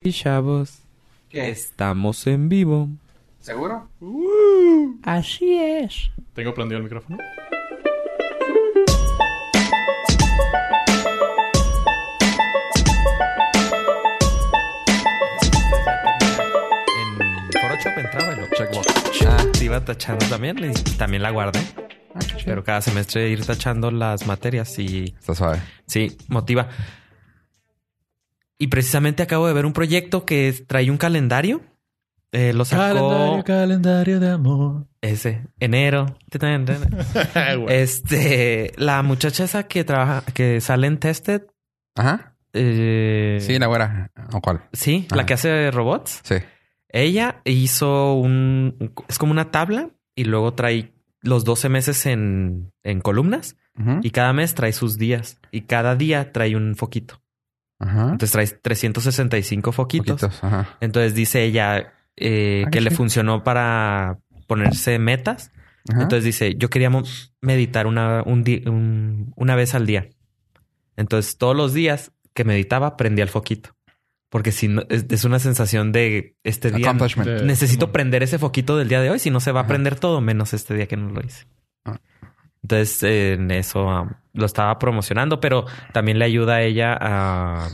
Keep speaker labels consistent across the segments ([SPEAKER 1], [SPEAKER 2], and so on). [SPEAKER 1] y chavos,
[SPEAKER 2] ¿Qué?
[SPEAKER 1] estamos en vivo.
[SPEAKER 2] ¿Seguro?
[SPEAKER 1] Así es.
[SPEAKER 3] Tengo prendido el micrófono.
[SPEAKER 4] En Foro Shop entraba el checkbox. Ah, te iba tachando también. y también la guardé. Pero cada semestre ir tachando las materias y
[SPEAKER 2] Está suave.
[SPEAKER 4] sí, motiva. Y precisamente acabo de ver un proyecto que trae un calendario. Eh, lo sacó
[SPEAKER 3] calendario de amor.
[SPEAKER 4] ese enero. Tan, tan, tan. Este, la muchacha esa que trabaja, que sale en Tested.
[SPEAKER 2] Ajá.
[SPEAKER 4] eh,
[SPEAKER 2] Sí, la güera. ¿O cuál?
[SPEAKER 4] sí, la
[SPEAKER 2] Ajá.
[SPEAKER 4] que hace robots.
[SPEAKER 2] Sí.
[SPEAKER 4] Ella hizo un... Es como una tabla y luego trae los 12 meses en, en columnas
[SPEAKER 2] Ujú.
[SPEAKER 4] y cada mes trae sus días y cada día trae un foquito.
[SPEAKER 2] Ajá.
[SPEAKER 4] Entonces trae 365 foquitos.
[SPEAKER 2] Poquitos, Ajá.
[SPEAKER 4] Entonces dice ella eh,
[SPEAKER 2] Ah,
[SPEAKER 4] que
[SPEAKER 2] qué
[SPEAKER 4] le
[SPEAKER 2] chido.
[SPEAKER 4] funcionó para ponerse metas.
[SPEAKER 2] Ajá.
[SPEAKER 4] Entonces dice, yo quería mo- meditar una, un di- un- una vez al día. Entonces todos los días que meditaba prendía el foquito. Porque si no- es, es una sensación de este día...
[SPEAKER 2] Accomplishment.
[SPEAKER 3] de-
[SPEAKER 4] Necesito
[SPEAKER 3] Simón.
[SPEAKER 4] prender ese foquito del día de hoy, si no se va a
[SPEAKER 2] eh, Ajá.
[SPEAKER 4] prender todo, menos este día que no lo hice.
[SPEAKER 2] Ah.
[SPEAKER 4] Entonces, eh, en eso um, lo estaba promocionando, pero también le ayuda a ella a,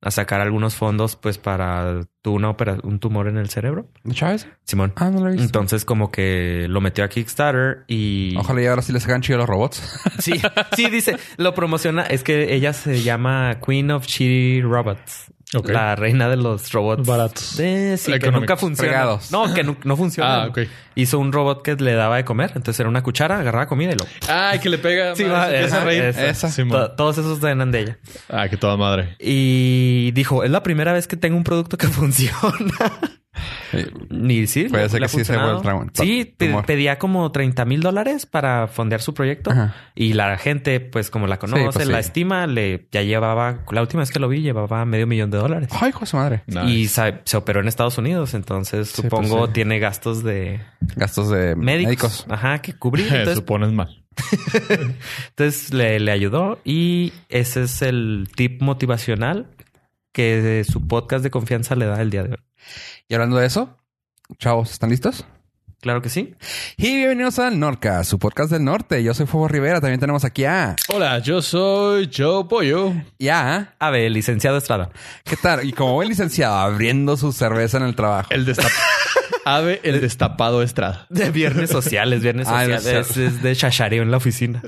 [SPEAKER 4] a sacar algunos fondos, pues, para tu, una opera- un tumor en el cerebro.
[SPEAKER 2] ¿De Chávez?
[SPEAKER 4] Simón.
[SPEAKER 2] Ah, no lo he visto.
[SPEAKER 4] Entonces, como que lo metió a Kickstarter y...
[SPEAKER 2] Ojalá y ahora sí les hagan chido a los robots.
[SPEAKER 4] Sí, sí, dice, lo promociona. Es que ella se llama Queen of Shitty Robots.
[SPEAKER 3] Ok.
[SPEAKER 4] La reina de los robots.
[SPEAKER 3] Baratos.
[SPEAKER 4] Eh, sí, que
[SPEAKER 3] Económicos.
[SPEAKER 4] nunca funciona.
[SPEAKER 2] Fregados.
[SPEAKER 4] No, que nu- no funciona.
[SPEAKER 3] Ah, ok.
[SPEAKER 4] Hizo un robot que le daba de comer. Entonces era una cuchara, agarraba comida y lo...
[SPEAKER 3] Ay, que le pega.
[SPEAKER 4] Sí,
[SPEAKER 3] madre,
[SPEAKER 4] va,
[SPEAKER 3] se empieza
[SPEAKER 4] esa,
[SPEAKER 3] a reír.
[SPEAKER 4] esa.
[SPEAKER 2] Esa.
[SPEAKER 3] Simón.
[SPEAKER 4] To- todos esos eran de ella.
[SPEAKER 3] Ah, que toda madre.
[SPEAKER 4] Y dijo, es la primera vez que tengo un producto que funciona.
[SPEAKER 2] Sí.
[SPEAKER 4] Ni sí.
[SPEAKER 2] Puede
[SPEAKER 4] le-
[SPEAKER 2] ser
[SPEAKER 4] le
[SPEAKER 2] que
[SPEAKER 4] ha
[SPEAKER 2] sí se vuelva
[SPEAKER 4] funcionado.
[SPEAKER 2] un tra-
[SPEAKER 4] Sí, pe-
[SPEAKER 2] tumor.
[SPEAKER 4] pedía como 30 mil dólares para fondear su proyecto.
[SPEAKER 2] Ajá.
[SPEAKER 4] Y la gente, pues como la conoce,
[SPEAKER 2] pues,
[SPEAKER 4] la
[SPEAKER 2] sí.
[SPEAKER 4] estima, le ya llevaba, la última vez que lo vi, llevaba medio millón de dólares.
[SPEAKER 2] Ay, hijo de su madre.
[SPEAKER 4] Y
[SPEAKER 3] Nice.
[SPEAKER 4] sa- se operó en Estados Unidos, entonces
[SPEAKER 2] Sí, pues,
[SPEAKER 4] supongo
[SPEAKER 2] sí.
[SPEAKER 4] tiene gastos de
[SPEAKER 2] Gastos de
[SPEAKER 4] médicos.
[SPEAKER 2] médicos.
[SPEAKER 4] Ajá, que cubrir.
[SPEAKER 3] Eh,
[SPEAKER 4] Entonces,
[SPEAKER 3] Supones mal.
[SPEAKER 4] entonces le, le ayudó y ese es el tip motivacional que su podcast de confianza le da el día de hoy.
[SPEAKER 2] Y hablando de eso, chavos, ¿están listos?
[SPEAKER 4] Claro que sí.
[SPEAKER 2] Y bienvenidos al Norca, su podcast del norte. Yo soy Fuego Rivera. También tenemos aquí a...
[SPEAKER 3] Hola, yo soy Joe Pollo.
[SPEAKER 2] Ya.
[SPEAKER 4] A ver, licenciado Estrada.
[SPEAKER 2] ¿Qué tal? Y como buen licenciado, abriendo su cerveza en el trabajo.
[SPEAKER 3] El destapado. Ave, el destapado Estrada.
[SPEAKER 4] De viernes sociales, viernes
[SPEAKER 2] Ah, no
[SPEAKER 4] sociales. es,
[SPEAKER 2] sé.
[SPEAKER 4] es de chachareo en la oficina.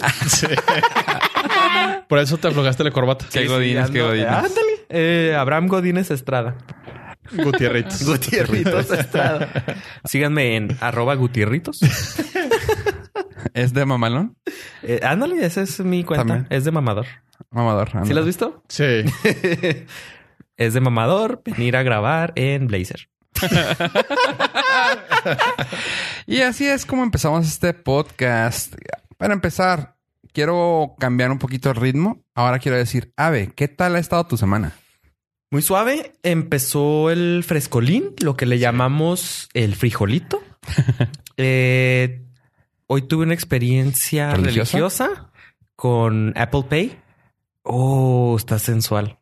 [SPEAKER 3] Por eso te aflojaste la corbata.
[SPEAKER 2] Qué godines, qué godines.
[SPEAKER 4] Ándale. Eh, Abraham Godínez Estrada.
[SPEAKER 3] Gutierritos.
[SPEAKER 4] Gutierritos Estrada. Síganme en arroba Gutierritos.
[SPEAKER 2] ¿Es de mamalón?
[SPEAKER 4] Eh, ándale, esa es mi cuenta.
[SPEAKER 2] También.
[SPEAKER 4] Es de mamador.
[SPEAKER 2] Mamador.
[SPEAKER 4] ¿Sí
[SPEAKER 2] ándale.
[SPEAKER 4] lo has visto?
[SPEAKER 3] Sí.
[SPEAKER 4] Es de mamador venir a grabar en Blazer.
[SPEAKER 2] Y así es como empezamos este podcast. Para empezar, quiero cambiar un poquito el ritmo. Ahora quiero decir, Ave, ¿qué tal ha estado tu semana?
[SPEAKER 4] Muy suave. Empezó el frescolín, lo que le llamamos el frijolito. Eh, hoy tuve una experiencia
[SPEAKER 2] ¿Religiosa?
[SPEAKER 4] religiosa con Apple Pay. Oh, está sensual.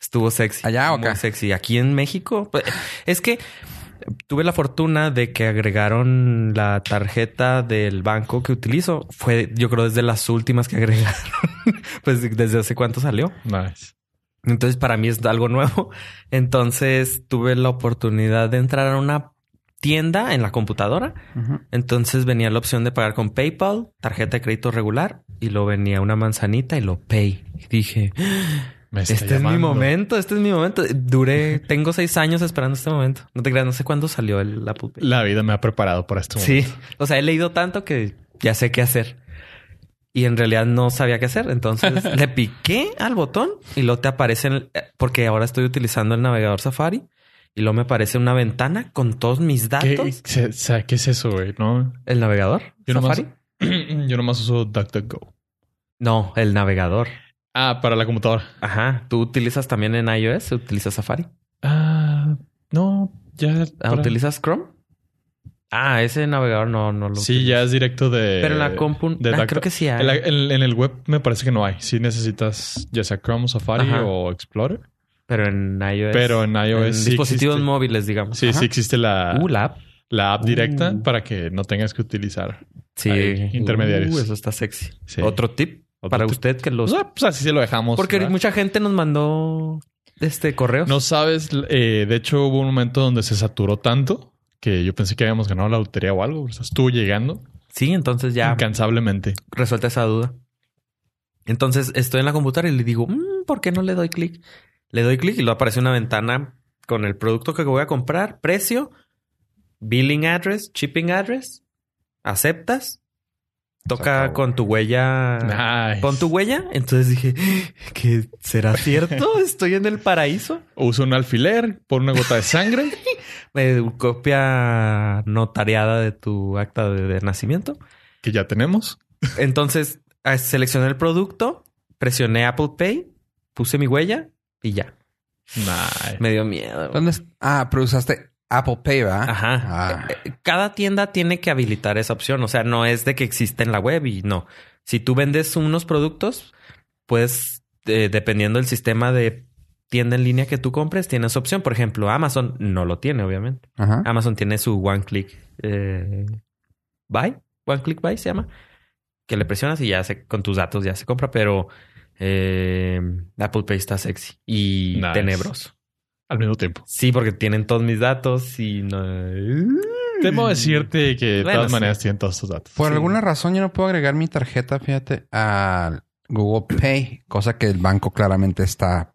[SPEAKER 4] Estuvo sexy.
[SPEAKER 2] ¿Allá o
[SPEAKER 4] Muy
[SPEAKER 2] acá?
[SPEAKER 4] sexy. Aquí en México. pues, Es que tuve la fortuna de que agregaron la tarjeta del banco que utilizo. Fue, yo creo, desde las últimas que agregaron. pues desde hace cuánto salió.
[SPEAKER 3] Nice.
[SPEAKER 4] Entonces para mí es algo nuevo. Entonces tuve la oportunidad de entrar a una tienda en la computadora. Entonces venía la opción de pagar con PayPal, tarjeta de crédito regular y lo venía una manzanita y lo pay. Y dije,
[SPEAKER 3] Me está
[SPEAKER 4] este es mi
[SPEAKER 3] llamando.
[SPEAKER 4] momento, este es mi momento. Duré, tengo seis años esperando este momento. No te creas, no sé cuándo salió el Apple Pay.
[SPEAKER 3] La vida me ha preparado para este esto.
[SPEAKER 4] Sí, o sea, he leído tanto que ya sé qué hacer. Y en realidad no sabía qué hacer. Entonces le piqué al botón y luego te aparece, en el- eh, porque ahora estoy utilizando el navegador Safari y luego me aparece una ventana con todos mis
[SPEAKER 3] ¿Qué,
[SPEAKER 4] datos.
[SPEAKER 3] se- se- ¿Qué es eso, güey? No.
[SPEAKER 4] ¿El navegador?
[SPEAKER 3] Yo nomás-
[SPEAKER 4] ¿Safari?
[SPEAKER 3] Yo nomás uso DuckDuckGo.
[SPEAKER 4] No, el navegador.
[SPEAKER 3] Ah, para la computadora.
[SPEAKER 4] Ajá. ¿Tú utilizas también en iOS? ¿Utilizas Safari?
[SPEAKER 3] Ah, no, ya.
[SPEAKER 4] Ah,
[SPEAKER 3] para-
[SPEAKER 4] ¿Utilizas Chrome? Ah, ese navegador no, no lo
[SPEAKER 3] Sí, ya es directo de.
[SPEAKER 4] Pero en la compu...
[SPEAKER 3] de
[SPEAKER 4] ah,
[SPEAKER 3] Duck-
[SPEAKER 4] creo que sí hay.
[SPEAKER 3] En, la- en- en el web me parece que no hay. Si necesitas ya sea Chrome, Safari
[SPEAKER 4] Ajá.
[SPEAKER 3] o Explorer.
[SPEAKER 4] Pero en iOS.
[SPEAKER 3] Pero en iOS sí
[SPEAKER 4] dispositivos
[SPEAKER 3] existe.
[SPEAKER 4] móviles, digamos.
[SPEAKER 3] Sí,
[SPEAKER 2] Ajá.
[SPEAKER 3] sí existe la,
[SPEAKER 4] Uh, la app.
[SPEAKER 3] la app directa
[SPEAKER 2] Uh.
[SPEAKER 3] para que no tengas que utilizar.
[SPEAKER 4] Sí.
[SPEAKER 3] Ahí, intermediarios.
[SPEAKER 4] Uh, eso está sexy.
[SPEAKER 3] Sí.
[SPEAKER 4] Otro tip
[SPEAKER 3] Otro
[SPEAKER 4] para
[SPEAKER 3] tip.
[SPEAKER 4] usted que los...
[SPEAKER 3] O sea, pues así se lo dejamos.
[SPEAKER 4] Porque
[SPEAKER 3] ¿verdad?
[SPEAKER 4] mucha gente nos mandó este correos.
[SPEAKER 3] No sabes, eh, de hecho hubo un momento donde se saturó tanto que yo pensé que habíamos ganado la lotería o algo. O sea, estuvo llegando
[SPEAKER 4] Sí, entonces ya
[SPEAKER 3] incansablemente.
[SPEAKER 4] resuelta esa duda. Entonces estoy en la computadora y le digo, "Mm, ¿por qué no le doy clic? Le doy clic y luego aparece una ventana con el producto que voy a comprar, precio, billing address, shipping address, aceptas, toca
[SPEAKER 2] acabó.
[SPEAKER 4] con tu huella.
[SPEAKER 3] Nice.
[SPEAKER 4] Con Ah. tu huella, entonces dije, ¿qué será cierto? ¿Estoy en el paraíso?
[SPEAKER 3] Usa un alfiler, pon una gota de sangre.
[SPEAKER 4] Eh, copia notariada de tu acta de- de nacimiento.
[SPEAKER 3] que ya tenemos.
[SPEAKER 4] Entonces, a- seleccioné el producto, presioné Apple Pay, puse mi huella y ya.
[SPEAKER 3] Nice.
[SPEAKER 4] Me dio miedo. güey.
[SPEAKER 2] ¿Dónde es? Ah, pero usaste Apple Pay, ¿verdad?
[SPEAKER 4] Ajá.
[SPEAKER 2] Ah.
[SPEAKER 4] Eh, eh, Cada tienda tiene que habilitar esa opción. O sea, no es de que existe en la web y no. Si tú vendes unos productos, pues eh, dependiendo del sistema de tienda en línea que tú compres, tienes opción. Por ejemplo, Amazon no lo tiene, obviamente.
[SPEAKER 2] Ajá.
[SPEAKER 4] Amazon tiene su One Click eh, Buy, One Click Buy se llama, que le presionas y ya se, con tus datos ya se compra, pero eh, Apple Pay está sexy y
[SPEAKER 3] Nice.
[SPEAKER 4] tenebroso.
[SPEAKER 3] Al mismo tiempo.
[SPEAKER 4] Sí, porque tienen todos mis datos y no...
[SPEAKER 3] Temo decirte que de
[SPEAKER 4] Mm. Bueno,
[SPEAKER 3] todas
[SPEAKER 4] sí.
[SPEAKER 3] maneras tienen todos tus datos.
[SPEAKER 2] Por
[SPEAKER 4] Sí.
[SPEAKER 2] alguna razón yo no puedo agregar mi tarjeta, fíjate, al Google Pay, cosa que el banco claramente está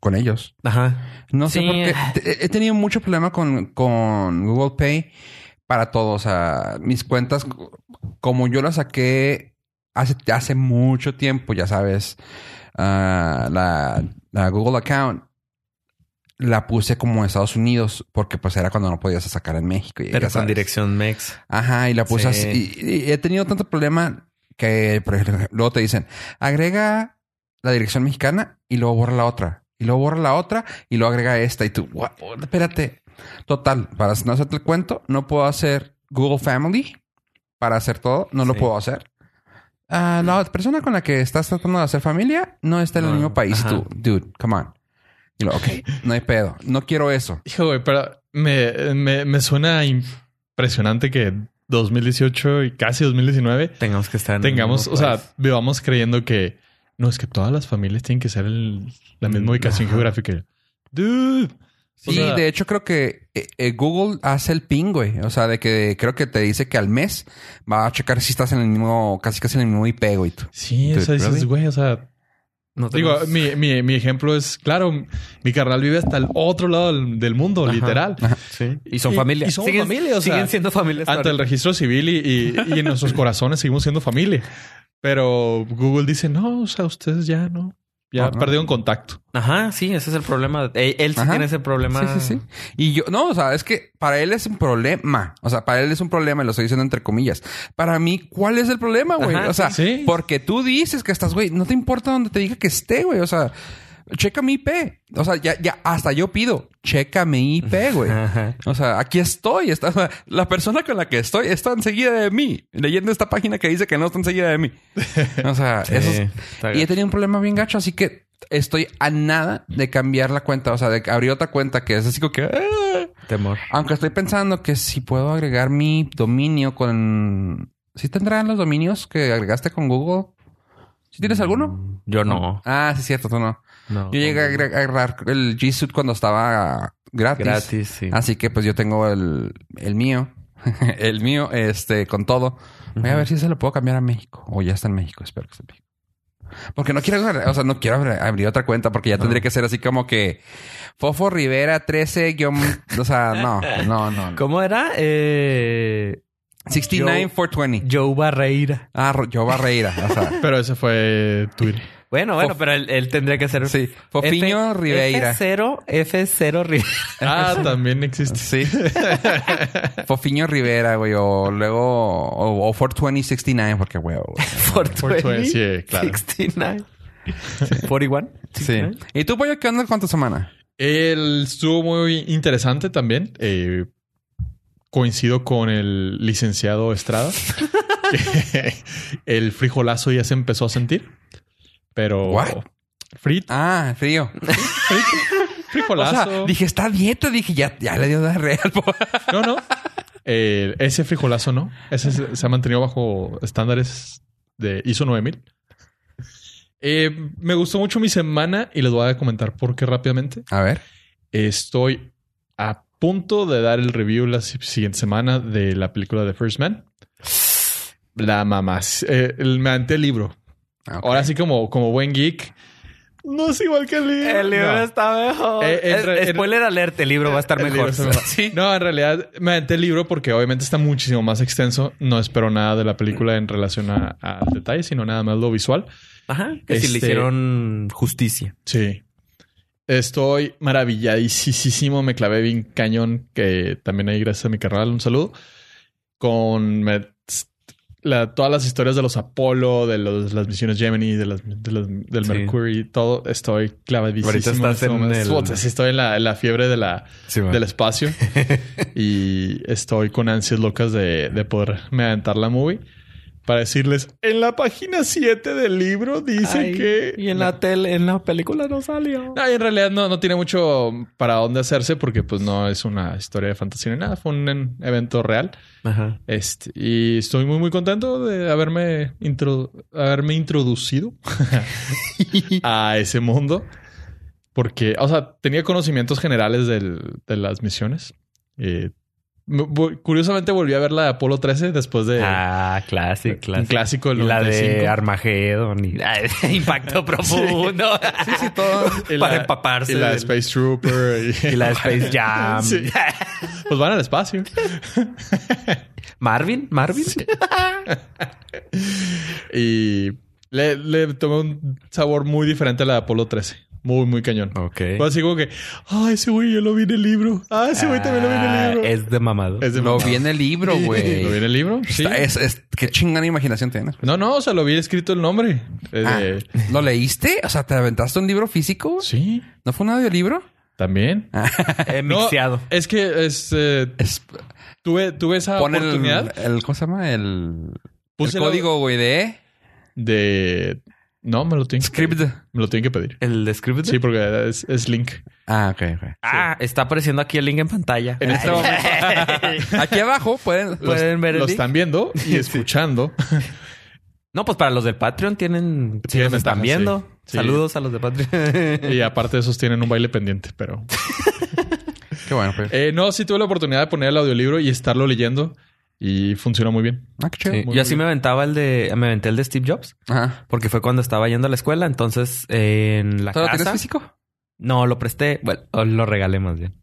[SPEAKER 2] con ellos.
[SPEAKER 4] Ajá.
[SPEAKER 2] No sé
[SPEAKER 4] Sí.
[SPEAKER 2] por qué. Te- He tenido mucho problema con, con Google Pay para todo. O sea, mis cuentas, c- como yo las saqué hace, hace mucho tiempo, ya sabes, ah, la, la Google Account la puse como en Estados Unidos porque pues era cuando no podías sacar en México. y ya
[SPEAKER 4] Pero con
[SPEAKER 2] sabes.
[SPEAKER 4] dirección MEX.
[SPEAKER 2] Ajá, y la puse
[SPEAKER 4] Sí.
[SPEAKER 2] así. Y, y he tenido tanto problema que, por ejemplo, luego te dicen, agrega la dirección mexicana y luego borra la otra. Y luego borra la otra y luego agrega esta. Y tú, "What? espérate. Total, para no hacerte el cuento, no puedo hacer Google Family para hacer todo. No lo
[SPEAKER 4] Sí. Mm.
[SPEAKER 2] puedo hacer. Ah, la otra persona con la que estás tratando de hacer familia no está en el
[SPEAKER 4] No,
[SPEAKER 2] mismo país. Y
[SPEAKER 4] ajá.
[SPEAKER 2] tú, dude, come on. Y luego, ok, no hay pedo. No quiero eso.
[SPEAKER 3] Hijo, güey, pero me, me, me suena impresionante que 2018 y casi 2019
[SPEAKER 4] Tengamos que estar en
[SPEAKER 3] tengamos,
[SPEAKER 4] un
[SPEAKER 3] o sea,
[SPEAKER 4] país.
[SPEAKER 3] vivamos creyendo que no es que todas las familias tienen que ser en la misma
[SPEAKER 4] Mm,
[SPEAKER 3] ubicación
[SPEAKER 4] ajá.
[SPEAKER 3] geográfica. Dude.
[SPEAKER 2] Sí,
[SPEAKER 3] O sea-
[SPEAKER 2] de hecho creo que eh, eh, Google hace el ping, güey. O sea, de que creo que te dice que al mes va a checar si estás en el mismo, casi casi en el mismo IP, güey. tú.
[SPEAKER 3] Sí, o
[SPEAKER 2] Dude,
[SPEAKER 3] sea, dices,
[SPEAKER 2] really?
[SPEAKER 3] güey, o sea,
[SPEAKER 4] No
[SPEAKER 3] digo,
[SPEAKER 4] tenemos-
[SPEAKER 3] mi, mi, mi ejemplo es, claro, mi carnal vive hasta el otro lado del, del mundo,
[SPEAKER 4] Ajá.
[SPEAKER 3] literal.
[SPEAKER 4] Sí. Y son
[SPEAKER 3] y-
[SPEAKER 4] familia.
[SPEAKER 3] y somos
[SPEAKER 4] siguen,
[SPEAKER 3] familia, o sea,
[SPEAKER 4] siguen siendo familias.
[SPEAKER 3] ante el
[SPEAKER 4] ahorita.
[SPEAKER 3] registro civil y, y- y en nuestros corazones seguimos siendo familia. Pero Google dice, no, o sea, ustedes ya no. Ya
[SPEAKER 2] Ajá.
[SPEAKER 3] perdieron contacto.
[SPEAKER 4] Ajá, sí, ese es el problema. Eh, Él sí
[SPEAKER 2] Ajá.
[SPEAKER 4] tiene ese problema.
[SPEAKER 2] Sí, sí, sí. Y yo, no, o sea, es que para él es un problema. O sea, para él es un problema, y lo estoy diciendo entre comillas. Para mí, ¿cuál es el problema, güey?
[SPEAKER 4] Ajá,
[SPEAKER 2] O sea,
[SPEAKER 3] sí.
[SPEAKER 2] porque tú dices que estás, güey, no te importa donde te diga que esté, güey. O sea, checa mi IP. O sea, ya, ya, hasta yo pido, checa mi IP, güey.
[SPEAKER 4] Pues, Ajá.
[SPEAKER 2] O sea, aquí estoy. Está, la persona con la que estoy está enseguida de mí. Leyendo esta página que dice que no está enseguida de mí. O sea, eso
[SPEAKER 4] Eh,
[SPEAKER 2] es- Y he tenido un problema bien gacho, así que estoy a nada de cambiar la cuenta. O sea, de abrir otra cuenta que es así como que... "Ah".
[SPEAKER 4] temor.
[SPEAKER 2] Aunque estoy pensando que si puedo agregar mi dominio con... ¿Sí tendrán los dominios que agregaste con Google? ¿Sí tienes alguno?
[SPEAKER 4] Mm, Yo no.
[SPEAKER 2] Ah, sí, cierto, tú no.
[SPEAKER 4] no.
[SPEAKER 2] Yo llegué a agre- a agarrar el G Suite cuando estaba gratis.
[SPEAKER 4] gratis, sí.
[SPEAKER 2] Así que pues yo tengo el, el mío. el mío, este, con todo. Voy a
[SPEAKER 4] Ujú.
[SPEAKER 2] ver si se lo puedo cambiar a México. O ya está en México, espero que esté en México. Porque no quiero, agarrar- o sea, no quiero abrir, abrir otra cuenta porque ya tendría que ser así como que Fofo Rivera 13 guión, o sea, no, no, no. no.
[SPEAKER 4] ¿Cómo era? Eh,
[SPEAKER 2] 69 420.
[SPEAKER 4] Joe Barreira.
[SPEAKER 2] Ah, Ro- yo Barreira, o sea,
[SPEAKER 3] Pero ese fue Twitter.
[SPEAKER 4] Bueno, bueno, pero él, él tendría que ser.
[SPEAKER 2] sí, Fofiño Rivera.
[SPEAKER 4] F0, F0 Rivera.
[SPEAKER 3] Ah, también existe.
[SPEAKER 2] Sí. Fofiño Rivera, güey, o luego o, o 420 69 porque güey. güey.
[SPEAKER 4] 420,
[SPEAKER 3] sí, claro.
[SPEAKER 4] 69. 41.
[SPEAKER 2] Sí. ¿Y tú, pollo, qué onda con tu semana?
[SPEAKER 3] Él estuvo muy interesante también. Eh, coincido con el licenciado Estrada. que el frijolazo ya se empezó a sentir. Pero...
[SPEAKER 2] What?
[SPEAKER 3] Frit.
[SPEAKER 2] Ah, frío. sea,
[SPEAKER 3] Frijolazo.
[SPEAKER 2] dije, está a dieta. Dije, ya, ya le dio diarrea al pobre.
[SPEAKER 3] No, no. Eh, ese frijolazo no. Ese se, se ha mantenido bajo estándares de ISO 9000. Eh, me gustó mucho mi semana y les voy a comentar por qué rápidamente.
[SPEAKER 2] A ver.
[SPEAKER 3] Estoy a punto de dar el review la si- siguiente semana de la película de First Man. La mamá. Eh, el, me aventé el libro.
[SPEAKER 2] Ah, ok.
[SPEAKER 3] Ahora sí, como, como buen geek. No es igual que el libro.
[SPEAKER 4] El libro
[SPEAKER 3] No.
[SPEAKER 4] está mejor.
[SPEAKER 3] Eh, en
[SPEAKER 4] Es-
[SPEAKER 3] re- en-
[SPEAKER 4] spoiler alert, el libro va a estar
[SPEAKER 3] El
[SPEAKER 4] mejor.
[SPEAKER 3] libro está mejor.
[SPEAKER 4] Sí.
[SPEAKER 3] No, en realidad me aventé el libro porque obviamente está muchísimo más extenso. No espero nada de la película en relación a- al detalle, sino nada más lo visual.
[SPEAKER 4] Ajá. Que si le
[SPEAKER 3] Este-
[SPEAKER 4] hicieron justicia.
[SPEAKER 3] Sí. Estoy maravilladísimo. Me clavé bien cañón, que también ahí gracias a mi carnal. Un saludo. Con me- la- todas las historias de los Apolo, de los- las misiones Gemini, de las, de las- del
[SPEAKER 4] Sí.
[SPEAKER 3] Mercury, todo. Estoy clavadísimo.
[SPEAKER 4] Ahorita estás
[SPEAKER 3] este
[SPEAKER 4] en
[SPEAKER 3] momento.
[SPEAKER 4] el-
[SPEAKER 3] Puta, sí, estoy en la- en la fiebre de la,
[SPEAKER 4] Sí,
[SPEAKER 3] del espacio y estoy con ansias locas de, de poderme aventar la movie para decirles en la página 7 del libro dice que
[SPEAKER 4] tele, en la película no salió.
[SPEAKER 3] no, y en realidad no, no tiene mucho para dónde hacerse porque pues no es una historia de fantasía ni nada, fue un en- evento real.
[SPEAKER 4] Ajá.
[SPEAKER 3] Este, y estoy muy muy contento de haberme, intro- haberme introducido a ese mundo. Porque, o sea, tenía conocimientos generales del- de las misiones. Eh, me- vo- curiosamente volví a ver la de Apolo 13 después de
[SPEAKER 4] Ah, clásico,
[SPEAKER 3] un
[SPEAKER 4] clásico.
[SPEAKER 3] clásico
[SPEAKER 4] Y
[SPEAKER 3] del
[SPEAKER 4] la
[SPEAKER 3] 95.
[SPEAKER 4] de Armagedón y Impacto Profundo. Sí, sí, todo.
[SPEAKER 3] Y
[SPEAKER 4] Para
[SPEAKER 3] la-
[SPEAKER 4] empaparse.
[SPEAKER 3] Y la de
[SPEAKER 4] del-
[SPEAKER 3] Space Trooper. Y,
[SPEAKER 4] y la de Space Jam.
[SPEAKER 3] Sí. Pues van al espacio.
[SPEAKER 4] Marvin, Marvin.
[SPEAKER 3] Y le, le tomé un sabor muy diferente a la de Apolo 13. Muy, muy cañón.
[SPEAKER 4] Ok.
[SPEAKER 3] Fue así como que, ah, ese güey yo lo vi en el libro. Ah, ese Pues güey también lo vi en el libro.
[SPEAKER 4] Es de mamado.
[SPEAKER 3] Es de
[SPEAKER 2] Lo
[SPEAKER 3] mamá.
[SPEAKER 2] vi en el libro, güey.
[SPEAKER 3] ¿Lo vi en el libro? Sí.
[SPEAKER 2] Está- es- es- qué chingada imaginación tienes.
[SPEAKER 3] No, no, o sea, lo vi escrito el nombre. Eh,
[SPEAKER 2] Ah,
[SPEAKER 3] de-
[SPEAKER 2] ¿Lo leíste? O sea, ¿te aventaste un libro físico?
[SPEAKER 3] Sí,
[SPEAKER 2] ¿No fue un audiolibro?
[SPEAKER 3] también.
[SPEAKER 2] Ah.
[SPEAKER 4] Eh,
[SPEAKER 3] No,
[SPEAKER 4] mixeado.
[SPEAKER 3] es que es, eh,
[SPEAKER 2] Es-
[SPEAKER 3] tuve, tuve esa
[SPEAKER 2] Pon el,
[SPEAKER 3] oportunidad.
[SPEAKER 2] el- ¿Cómo se llama? El, el
[SPEAKER 3] Puse la-
[SPEAKER 2] código, güey, de
[SPEAKER 3] de... No, me lo tienen que
[SPEAKER 2] script.
[SPEAKER 3] pedir. Me lo tienen que pedir.
[SPEAKER 4] El de Scribd.
[SPEAKER 3] Sí, porque es, es link.
[SPEAKER 2] Ah, ok, ok.
[SPEAKER 4] Ah, está apareciendo aquí el link en pantalla.
[SPEAKER 3] En este momento-
[SPEAKER 2] Aquí abajo pueden...
[SPEAKER 3] Los-
[SPEAKER 4] Pueden ver el
[SPEAKER 3] Lo
[SPEAKER 4] link.
[SPEAKER 3] están viendo y escuchando.
[SPEAKER 4] No, pues para los del Patreon tienen. Si
[SPEAKER 3] Tienen
[SPEAKER 4] nos están
[SPEAKER 3] ventaja,
[SPEAKER 4] viendo.
[SPEAKER 3] sí. Sí.
[SPEAKER 4] Saludos a los de Patreon.
[SPEAKER 3] y aparte de esos tienen un baile pendiente, pero...
[SPEAKER 2] Qué bueno, pues.
[SPEAKER 3] Eh, no, sí tuve la oportunidad de poner el audiolibro y estarlo leyendo y funciona muy bien.
[SPEAKER 2] Ah, qué chido.
[SPEAKER 4] Sí,
[SPEAKER 3] Muy
[SPEAKER 4] Yo así
[SPEAKER 3] bien.
[SPEAKER 4] me aventaba el de. Me aventé el de Steve Jobs.
[SPEAKER 2] Ajá.
[SPEAKER 4] Porque fue cuando estaba yendo a la escuela. Entonces, eh, en la
[SPEAKER 2] ¿Todo lo tienes
[SPEAKER 4] casa.
[SPEAKER 2] físico?
[SPEAKER 4] No, lo presté. Bueno, o lo regalé más bien.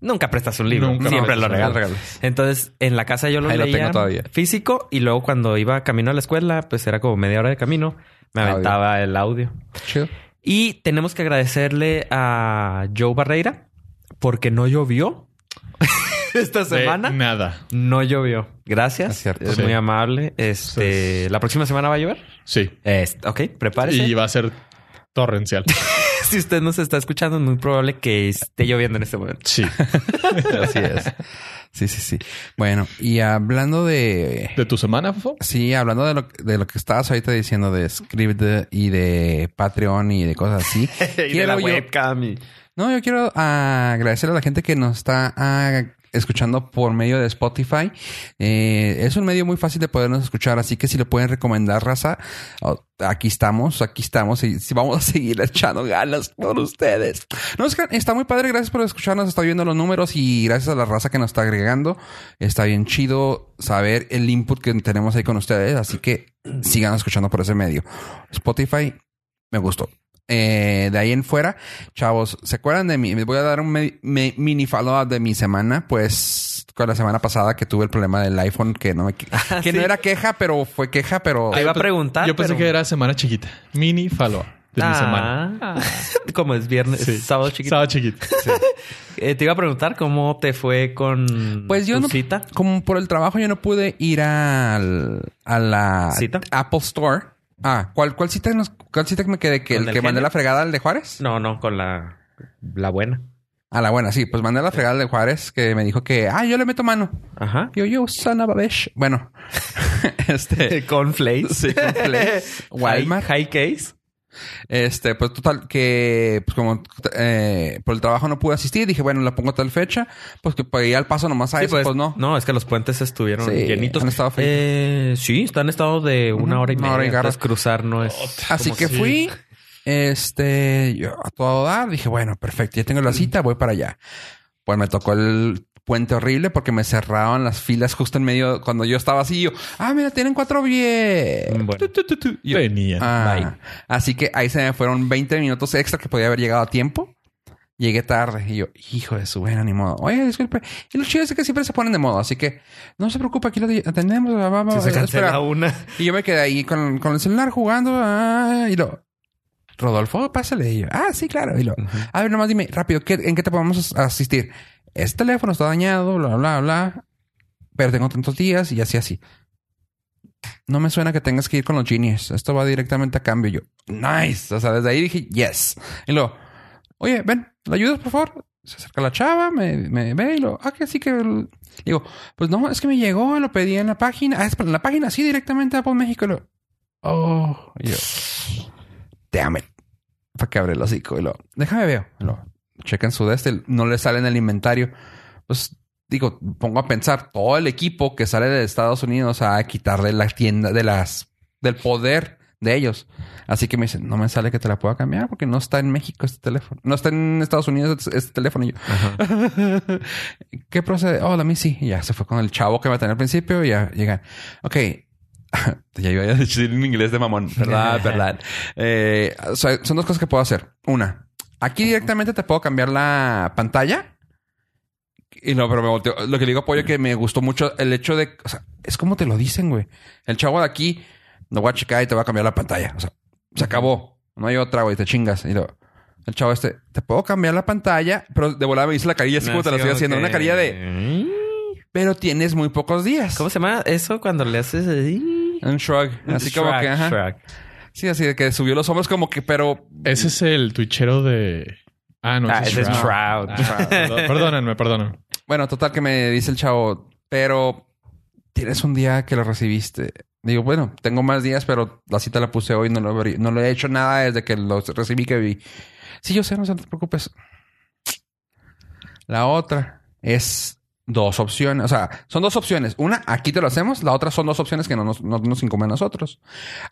[SPEAKER 4] Nunca prestas un libro.
[SPEAKER 3] Nunca
[SPEAKER 4] siempre
[SPEAKER 3] prestas
[SPEAKER 4] lo
[SPEAKER 3] un
[SPEAKER 4] regalas.
[SPEAKER 3] libro.
[SPEAKER 4] Entonces, en la casa yo lo
[SPEAKER 2] Ahí lo
[SPEAKER 4] leía
[SPEAKER 2] tengo todavía.
[SPEAKER 4] físico. Y luego cuando iba camino a la escuela, pues era como media hora de camino. Me
[SPEAKER 3] Ah,
[SPEAKER 2] Audio.
[SPEAKER 4] aventaba el audio.
[SPEAKER 2] Chido.
[SPEAKER 4] Y tenemos que agradecerle a Joe Barreira porque no llovió esta
[SPEAKER 3] De
[SPEAKER 4] semana.
[SPEAKER 3] nada.
[SPEAKER 4] No llovió. Gracias.
[SPEAKER 2] Es
[SPEAKER 4] Es,
[SPEAKER 2] cierto.
[SPEAKER 3] Sí.
[SPEAKER 4] muy amable. Este,
[SPEAKER 3] Entonces-
[SPEAKER 4] ¿La próxima semana va a llover?
[SPEAKER 3] Sí.
[SPEAKER 4] Este, ok, prepárese.
[SPEAKER 3] Y va a ser torrencial.
[SPEAKER 4] si usted nos está escuchando, es muy probable que esté lloviendo en este momento.
[SPEAKER 3] Sí.
[SPEAKER 2] Así es. Sí, sí, sí. Bueno, y hablando de...
[SPEAKER 3] ¿De tu semana, Fofo?
[SPEAKER 2] Sí, hablando de lo, de lo que estabas ahorita diciendo de script y de Patreon y de cosas así.
[SPEAKER 4] y de la
[SPEAKER 2] yo-
[SPEAKER 4] webcam y-
[SPEAKER 2] No, yo quiero ah, agradecer a la gente que nos está ah, escuchando por medio de Spotify. Eh, es un medio muy fácil de podernos escuchar, así que si le pueden recomendar, raza, oh, aquí estamos, aquí estamos y si vamos a seguir echando ganas por ustedes. No, es que está muy padre, gracias por escucharnos, está viendo los números y gracias a la raza que nos está agregando. Está bien chido saber el input que tenemos ahí con ustedes, así que sigan escuchando por ese medio. Spotify, me gustó. Eh, de ahí en fuera, chavos, ¿se acuerdan de mí? Me voy a dar un me- me- mini follow-up de mi semana. Pues con la semana pasada que tuve el problema del iPhone, que no me que
[SPEAKER 4] sí.
[SPEAKER 2] no era queja, pero fue queja, pero
[SPEAKER 4] Te iba a preguntar.
[SPEAKER 3] Yo pensé
[SPEAKER 4] pero-
[SPEAKER 3] que era semana chiquita. Mini follow de mi
[SPEAKER 4] Ah,
[SPEAKER 3] semana.
[SPEAKER 4] Como es viernes,
[SPEAKER 3] Sí.
[SPEAKER 4] es sábado chiquito.
[SPEAKER 3] Estaba chiquita.
[SPEAKER 4] Eh, te iba a preguntar cómo te fue con
[SPEAKER 2] Pues yo
[SPEAKER 4] tu
[SPEAKER 2] no-
[SPEAKER 4] cita.
[SPEAKER 2] como por el trabajo yo no pude ir al, a la
[SPEAKER 4] ¿Cita?
[SPEAKER 2] Apple Store. Ah, ¿cuál, cuál cita nos- cuál cita me quedé? ¿Que
[SPEAKER 4] ¿Con
[SPEAKER 2] el
[SPEAKER 4] el
[SPEAKER 2] que mandé
[SPEAKER 4] genio?
[SPEAKER 2] la fregada al de Juárez?
[SPEAKER 4] No, no, con la, la buena.
[SPEAKER 2] A la buena, sí, pues mandé la fregada al de Juárez que me dijo que ah, yo le meto mano.
[SPEAKER 4] Ajá.
[SPEAKER 2] Yo, yo, sana babesh. Bueno, este
[SPEAKER 4] Con Flakes.
[SPEAKER 2] Sí, con Flakes. Walmart.
[SPEAKER 4] High, high case.
[SPEAKER 2] Este, pues total, que pues como eh, por el trabajo no pude asistir, dije, bueno, la pongo a tal fecha, pues que para ir al paso nomás a
[SPEAKER 4] Sí,
[SPEAKER 2] eso, pues, no.
[SPEAKER 4] No, es que los puentes estuvieron
[SPEAKER 2] Sí,
[SPEAKER 4] llenitos.
[SPEAKER 2] han estado feitos.
[SPEAKER 4] Eh, sí, están en estado de una
[SPEAKER 2] Ujú,
[SPEAKER 4] hora y
[SPEAKER 2] una
[SPEAKER 4] media.
[SPEAKER 2] hora y garra.
[SPEAKER 4] Entonces, cruzar no es.
[SPEAKER 2] Así
[SPEAKER 3] como
[SPEAKER 2] que
[SPEAKER 3] si-
[SPEAKER 2] fui, este, yo a todo dar, dije, bueno, perfecto, ya tengo la cita, voy para allá. Pues me tocó el puente horrible porque me cerraban las filas justo en medio cuando yo estaba así, y yo, ah, mira, tienen cuatro bien.
[SPEAKER 4] Bueno.
[SPEAKER 2] Tu, tu, tu, tu. Y yo,
[SPEAKER 3] Tenía.
[SPEAKER 2] Ah,
[SPEAKER 4] Mm, Bye.
[SPEAKER 2] así que ahí se me fueron 20 minutos extra que podía haber llegado a tiempo. Llegué tarde y yo, hijo de su buena, ni modo. Oye, disculpe. Y lo chido es que siempre se ponen de modo, así que no se preocupe, aquí lo de- atendemos. bla, bla, bla,
[SPEAKER 4] Si se
[SPEAKER 2] espera.
[SPEAKER 4] cancela una.
[SPEAKER 2] Y yo me quedé ahí con, con el celular jugando. ah, y lo, Rodolfo, pásale. Y yo, ah, sí, claro. Y lo, a ver, nomás dime rápido, ¿qué- ¿en qué te podemos as- asistir? Este teléfono está dañado, bla, bla, bla. Pero tengo tantos días y así, así. No me suena que tengas que ir con los genies. Esto va directamente a cambio. Y Yo, nice. O sea, desde ahí dije, yes. Y luego, oye, ven, ¿la ayudas, por favor? Se acerca la chava, me, me ve y lo, ah, que sí que. el-". Digo, pues no, es que me llegó, lo pedí en la página. Ah, es en la página, sí, directamente a Apple México. Y lo, oh, y yo, damn it. Para que abre el hocico. Y lo, déjame veo. Y Lo, chequen su de este, no le sale en el inventario. Pues digo, pongo a pensar todo el equipo que sale de Estados Unidos a quitarle la tienda de las del poder de ellos. Así que me dicen, no me sale que te la pueda cambiar porque no está en México este teléfono. No está en Estados Unidos este, este teléfono. Y yo, ¿qué procede? Oh, la mí sí. Y ya se fue con el chavo que me tenía al principio y ya llegan. Ok. ya iba a decir en inglés de mamón. Verdad, verdad. Eh, o sea, son dos cosas que puedo hacer. Una, aquí directamente te puedo cambiar la pantalla. Y no, pero me volteo. Lo que le digo a Pollo que me gustó mucho el hecho de. O sea, es como te lo dicen, güey. El chavo de aquí no voy a checar y te va a cambiar la pantalla. O sea, se acabó. No hay otra, güey. Te chingas. Y luego, el chavo este, te puedo cambiar la pantalla, pero de volada me hizo la carilla así como te la estoy haciendo. Una carilla de. Pero tienes muy pocos días.
[SPEAKER 4] ¿Cómo se llama eso cuando le haces así?
[SPEAKER 2] Un shrug. Así como
[SPEAKER 4] Shrug,
[SPEAKER 2] que, ajá.
[SPEAKER 4] shrug.
[SPEAKER 2] Sí, así de que subió los hombros como que, pero...
[SPEAKER 3] Ese es el twitchero de. Ah, no.
[SPEAKER 4] Ah, ese es
[SPEAKER 3] Shroud.
[SPEAKER 4] Shroud.
[SPEAKER 3] Ah, perdón- Perdónenme, perdónenme.
[SPEAKER 2] Bueno, total que me dice el chavo, pero tienes un día que lo recibiste. Digo, bueno, tengo más días, pero la cita la puse hoy, no lo, abrí- no lo he hecho nada desde que lo recibí que vi. Sí, yo sé, no se- no te preocupes. La otra es dos opciones. O sea, son dos opciones. Una, aquí te lo hacemos. La otra son dos opciones que no nos, no nos incumben a nosotros.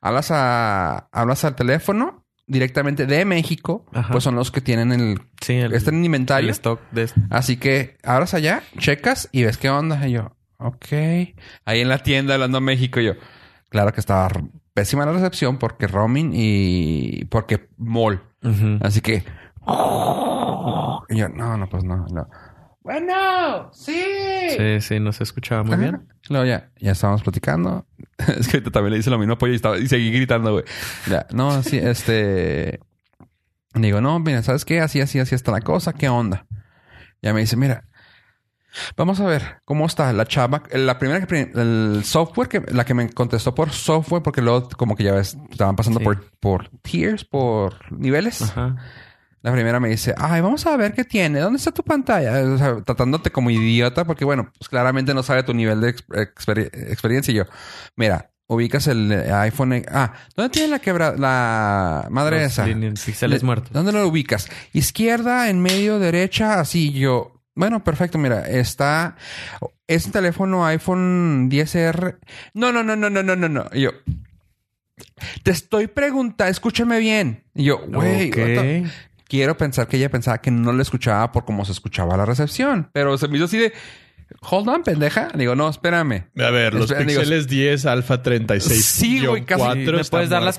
[SPEAKER 2] Hablas, a, hablas al teléfono directamente de México,
[SPEAKER 4] Ajá.
[SPEAKER 2] pues son los que tienen el...
[SPEAKER 4] Sí, el,
[SPEAKER 2] Están en
[SPEAKER 4] el
[SPEAKER 2] inventario.
[SPEAKER 4] stock de este.
[SPEAKER 2] Así que abras allá, checas y ves qué onda. Y yo, ok. Ahí en la tienda hablando a México, yo. Claro que estaba r- pésima la recepción porque roaming y porque mall.
[SPEAKER 4] Ujú.
[SPEAKER 2] Así que. Y yo, no, no, pues no, no. Bueno, sí.
[SPEAKER 4] Sí, sí, no se escuchaba muy
[SPEAKER 2] Ajá.
[SPEAKER 4] bien.
[SPEAKER 2] Luego ya, ya estábamos platicando. es que ahorita también le hice lo mismo apoyo y, estaba- y seguí gritando, güey. Ya, no, sí, este. Le Digo, no, mira, ¿sabes qué? Así, así, así está la cosa. ¿Qué onda? Ya me dice, mira, vamos a ver cómo está la chava. La primera que, pri- el software, que, la que me contestó por software, porque luego, como que ya ves, estaban pasando
[SPEAKER 4] Sí.
[SPEAKER 2] por, por tiers, por niveles.
[SPEAKER 4] Ajá.
[SPEAKER 2] La primera me dice, ay, vamos a ver qué tiene. ¿Dónde está tu pantalla? O sea, tratándote como idiota porque, bueno, pues claramente no sabe tu nivel de ex- exper- experiencia. Y yo, mira, ubicas el eh, iPhone... eh, Ah, ¿dónde tiene la quebra... la madre
[SPEAKER 4] Los
[SPEAKER 2] esa?
[SPEAKER 4] líneas- Píxeles
[SPEAKER 2] Le-
[SPEAKER 4] muertos.
[SPEAKER 2] ¿Dónde lo ubicas? Izquierda, en medio, derecha, así yo. Bueno, perfecto, mira, está. Es un teléfono iPhone 10R. No, no, no, no, no, no, no, no. Y yo. Te estoy preguntando, escúchame bien. Y yo, güey,
[SPEAKER 4] Ok.
[SPEAKER 2] what the- quiero pensar que ella pensaba que no le escuchaba por cómo se escuchaba la recepción. Pero se me hizo así de. Hold on, pendeja. Le digo, no, espérame.
[SPEAKER 3] A ver, los
[SPEAKER 2] Espera, digo,
[SPEAKER 3] píxeles 10, alfa 36.
[SPEAKER 2] Sí, güey, casi.
[SPEAKER 4] ¿Me puedes dar las
[SPEAKER 3] coordenadas?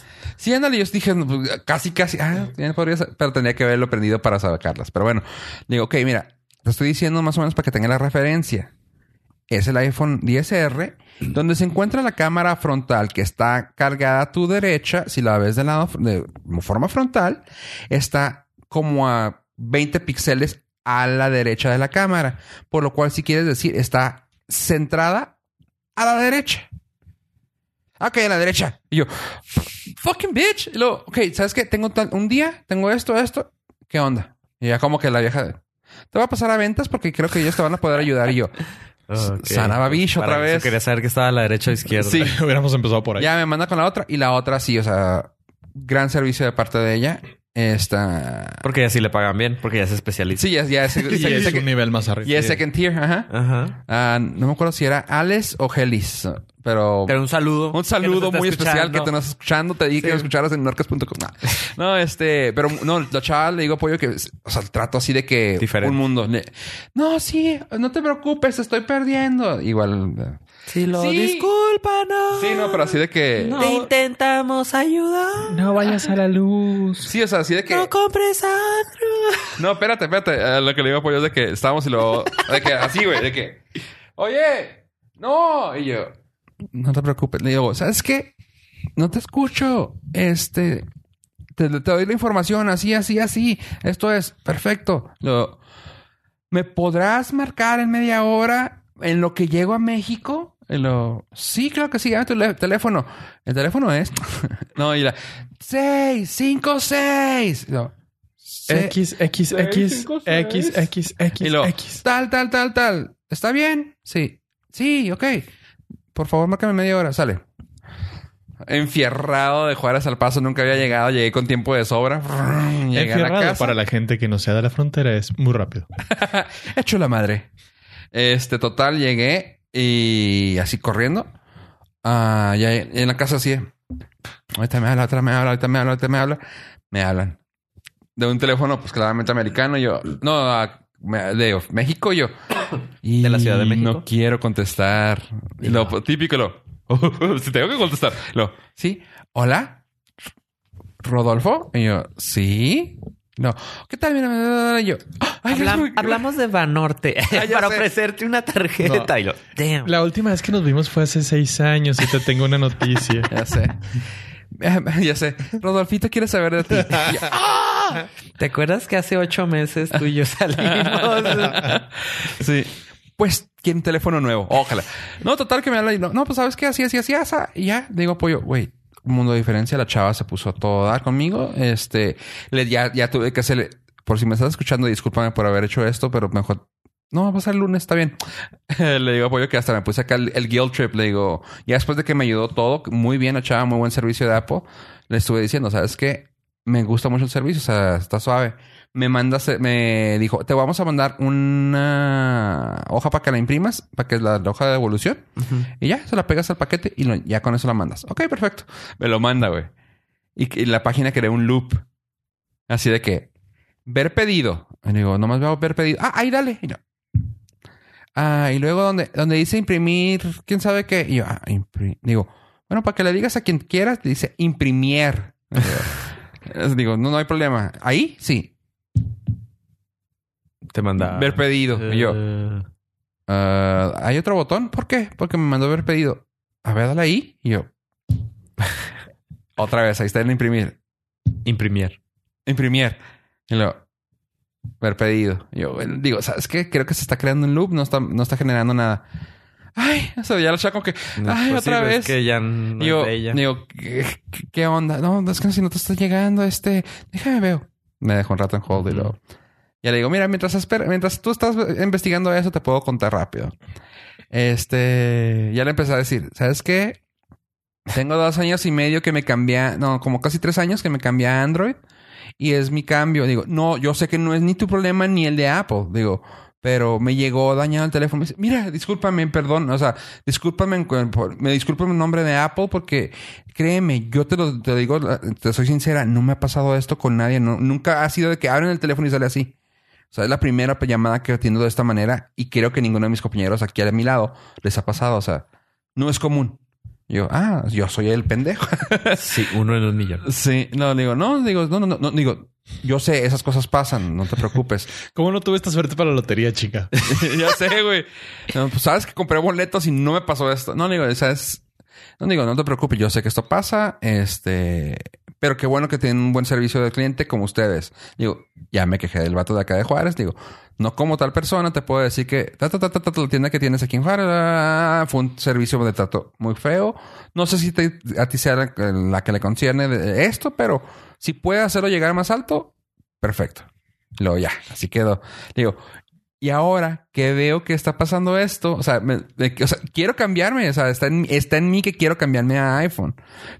[SPEAKER 4] coordenadas?
[SPEAKER 2] Sí, ándale, yo dije, no, pues, casi, casi, ah, ya podría ser, pero tenía que haberlo aprendido para sacarlas. Pero bueno, digo, ok, mira, te estoy diciendo más o menos para que tenga la referencia. Es el iPhone 10R, donde se encuentra la cámara frontal que está cargada a tu derecha. Si la ves de lado de forma frontal, está como a 20 píxeles a la derecha de la cámara. Por lo cual, si quieres decir, está centrada a la derecha. Ah, Ok, a la derecha. Y yo, fucking bitch. Y luego, ok, ¿sabes qué? Tengo tal- un día, tengo esto, esto. ¿Qué onda? Y ya como que la vieja... Te va a pasar a ventas porque creo que ellos te van a poder ayudar. Y yo,
[SPEAKER 4] Ok.
[SPEAKER 2] Sanaba bicho
[SPEAKER 4] Para
[SPEAKER 2] otra
[SPEAKER 4] eso
[SPEAKER 2] vez.
[SPEAKER 4] Quería saber que estaba a la derecha o izquierda.
[SPEAKER 2] Sí.
[SPEAKER 3] Hubiéramos empezado por ahí.
[SPEAKER 2] ya me manda con la otra. Y la otra sí, o sea... gran servicio de parte de ella. Esta.
[SPEAKER 4] Porque ya sí le pagan bien, porque ya se especializa.
[SPEAKER 2] Sí, ya, ya es,
[SPEAKER 3] Y es un nivel más arriba.
[SPEAKER 2] ya es second tier, ajá.
[SPEAKER 4] Ajá.
[SPEAKER 2] Ah, no me acuerdo si era Alex o Helis, pero.
[SPEAKER 4] Pero un saludo.
[SPEAKER 2] Un saludo
[SPEAKER 4] que nos está
[SPEAKER 2] muy especial
[SPEAKER 4] escuchando.
[SPEAKER 2] que te estás escuchando. Te dije que
[SPEAKER 4] Sí.
[SPEAKER 2] lo escucharas en norcas.com. No. No, este, pero no, la chava le digo apoyo que, o sea, el trato así de que
[SPEAKER 4] Diferente.
[SPEAKER 2] un mundo. le- No, sí, no te preocupes, estoy perdiendo. Igual. eh,
[SPEAKER 4] Sí, lo
[SPEAKER 2] Sí.
[SPEAKER 4] discúlpanos.
[SPEAKER 2] Sí, no, pero así de que.
[SPEAKER 4] Te intentamos ayudar.
[SPEAKER 1] No vayas a la luz.
[SPEAKER 2] Sí, o sea, así de que.
[SPEAKER 4] No compres agro.
[SPEAKER 2] No, espérate, espérate. Eh, lo que le digo apoyo es de que estábamos y luego. De que así, güey, de que. Oye, no. Y yo. No te preocupes. Le digo, ¿sabes qué? No te escucho. Este. Te, te doy la información así, así, así. Esto es perfecto. Lo, ¿Me podrás marcar en media hora en lo que llego a México? Y lo, sí, claro que sí. Dame tu le- teléfono. El teléfono es. no, y la. Seis, cinco, seis. Y lo, "Se-
[SPEAKER 3] X, X, X, X, X,
[SPEAKER 2] y
[SPEAKER 3] X,
[SPEAKER 2] luego,
[SPEAKER 3] X.
[SPEAKER 2] tal, tal, tal, tal. ¿Está bien? Sí. Sí, ok. Por favor, márcame media hora. Sale. Enfierrado de Juárez al paso. Nunca había llegado. Llegué con tiempo de sobra. Llegué a la
[SPEAKER 3] Enfierrado
[SPEAKER 2] casa.
[SPEAKER 3] para la gente que no sea de la frontera es muy rápido.
[SPEAKER 2] Hecho la madre. Este, total, llegué y así corriendo. Ah, ya en la casa así. Ahorita me habla, otra me habla, ahorita me habla, ahorita me habla. Me hablan. De un teléfono, pues claramente americano. Yo, no, ah, me- de México, yo.
[SPEAKER 4] De la Ciudad de
[SPEAKER 2] Y
[SPEAKER 4] México.
[SPEAKER 2] No quiero contestar. Y lo típico, lo. si tengo que contestar. Lo, sí, hola. Rodolfo. Y yo, sí. No, ¿qué tal? Mira, mira, mira, yo. "Ah, ay,
[SPEAKER 4] Habla-
[SPEAKER 2] Dios mío, qué-
[SPEAKER 4] hablamos de Banorte
[SPEAKER 2] Ah, ya
[SPEAKER 4] para
[SPEAKER 2] sé.
[SPEAKER 4] ofrecerte una tarjeta. Y lo, damn.
[SPEAKER 3] La última vez que nos vimos fue hace seis años y te tengo una noticia.
[SPEAKER 2] Ya sé. ya sé. Rodolfito quiere saber de ti. Y yo, "Ah".
[SPEAKER 4] ¿Te acuerdas que hace ocho meses tú y yo salimos?
[SPEAKER 2] sí. Pues, ¿quién teléfono nuevo? Ojalá. No, total que me habla y no, no, pues sabes qué, así, así, así, así. Y ya, digo, pollo, güey, un mundo de diferencia. La chava se puso a todo dar conmigo. Este, le, ya, ya tuve que hacerle, por si me estás escuchando, discúlpame por haber hecho esto, pero mejor. No, va a ser el lunes, está bien. le digo a Pollo que hasta me puse acá el, el guilt trip. Le digo, ya después de que me ayudó todo, muy bien la chava, muy buen servicio de Apple, le estuve diciendo, ¿sabes qué? Me gusta mucho el servicio, o sea, está suave. me manda, se- me dijo, te vamos a mandar una hoja para que la imprimas, para que es la, la hoja de devolución. Y ya, se la pegas al paquete y lo- ya con eso la mandas. Ok, perfecto. Me lo manda, güey. Y, que- y la página creó un loop. Así de que, ver pedido. Y le digo, nomás veo ver pedido. Ah, ahí dale. Y, no. ah, y luego donde, donde dice imprimir, quién sabe qué. Y yo, ah, impri- Digo, bueno, para que le digas a quien quieras, dice imprimir. digo, no, no hay problema. Ahí, sí.
[SPEAKER 4] Te manda.
[SPEAKER 2] Ver pedido. Y yo,
[SPEAKER 4] Eh,
[SPEAKER 2] ah, ¿hay otro botón? ¿Por qué? Porque me mandó ver pedido. A ver, dale ahí. Y yo, otra vez, ahí está en imprimir.
[SPEAKER 4] imprimir.
[SPEAKER 2] Imprimir. Y luego, ver pedido. Y yo, bueno, digo, ¿sabes qué? Creo que se está creando un loop, no está, no está generando nada. Ay, eso ya lo chaco que. Ay,
[SPEAKER 4] Pues sí,
[SPEAKER 2] otra
[SPEAKER 4] ves
[SPEAKER 2] vez.
[SPEAKER 4] que ya no
[SPEAKER 2] Y yo,
[SPEAKER 4] es de ella.
[SPEAKER 2] digo, ¿qué, qué- qué onda? No, es que si no te está llegando, este, déjame veo. Me dejó un rato en hold y luego. Ya le digo, mira, mientras, espera- mientras tú estás investigando eso, te puedo contar rápido. Este, ya le empecé a decir, ¿sabes qué? Tengo dos años y medio que me cambié, a- no, como casi tres años que me cambié a Android y es mi cambio. Digo, no, yo sé que no es ni tu problema ni el de Apple. Digo, pero me llegó dañado el teléfono. Me dice, mira, discúlpame, perdón. O sea, discúlpame, en cu- por- me discúlpame en nombre de Apple porque créeme, yo te lo te digo, la- te soy sincera, no me ha pasado esto con nadie. no- nunca ha sido de que abren el teléfono y sale así. O sea, es la primera llamada que atiendo de esta manera y creo que ninguno de mis compañeros aquí a mi lado les ha pasado. O sea, no es común. Yo, ah, yo soy el pendejo.
[SPEAKER 4] Sí, uno en un millón.
[SPEAKER 2] Sí, no, le digo, no, digo, no, no, no, no, digo, yo sé, esas cosas pasan, no te preocupes.
[SPEAKER 3] ¿Cómo no tuve esta suerte para la lotería, chica?
[SPEAKER 2] ya sé, güey. No, pues sabes que compré boletos y no me pasó esto. No, le digo, sabes, no digo, no te preocupes, yo sé que esto pasa, este, pero qué bueno que tienen un buen servicio de cliente como ustedes. Digo, ya me quejé del vato de acá de Juárez, digo, no como tal persona, te puedo decir que ta, ta, ta, ta, ta, la tienda que tienes aquí en Juárez ah, fue un servicio de trato muy feo. No sé si te- a ti sea la, la que le concierne de esto, pero si puede hacerlo llegar más alto, perfecto. Luego ya, así quedó. Digo, Y ahora que veo que está pasando esto, o sea, me- de que- o sea, quiero cambiarme, o sea, está en, está en mí que quiero cambiarme a iPhone.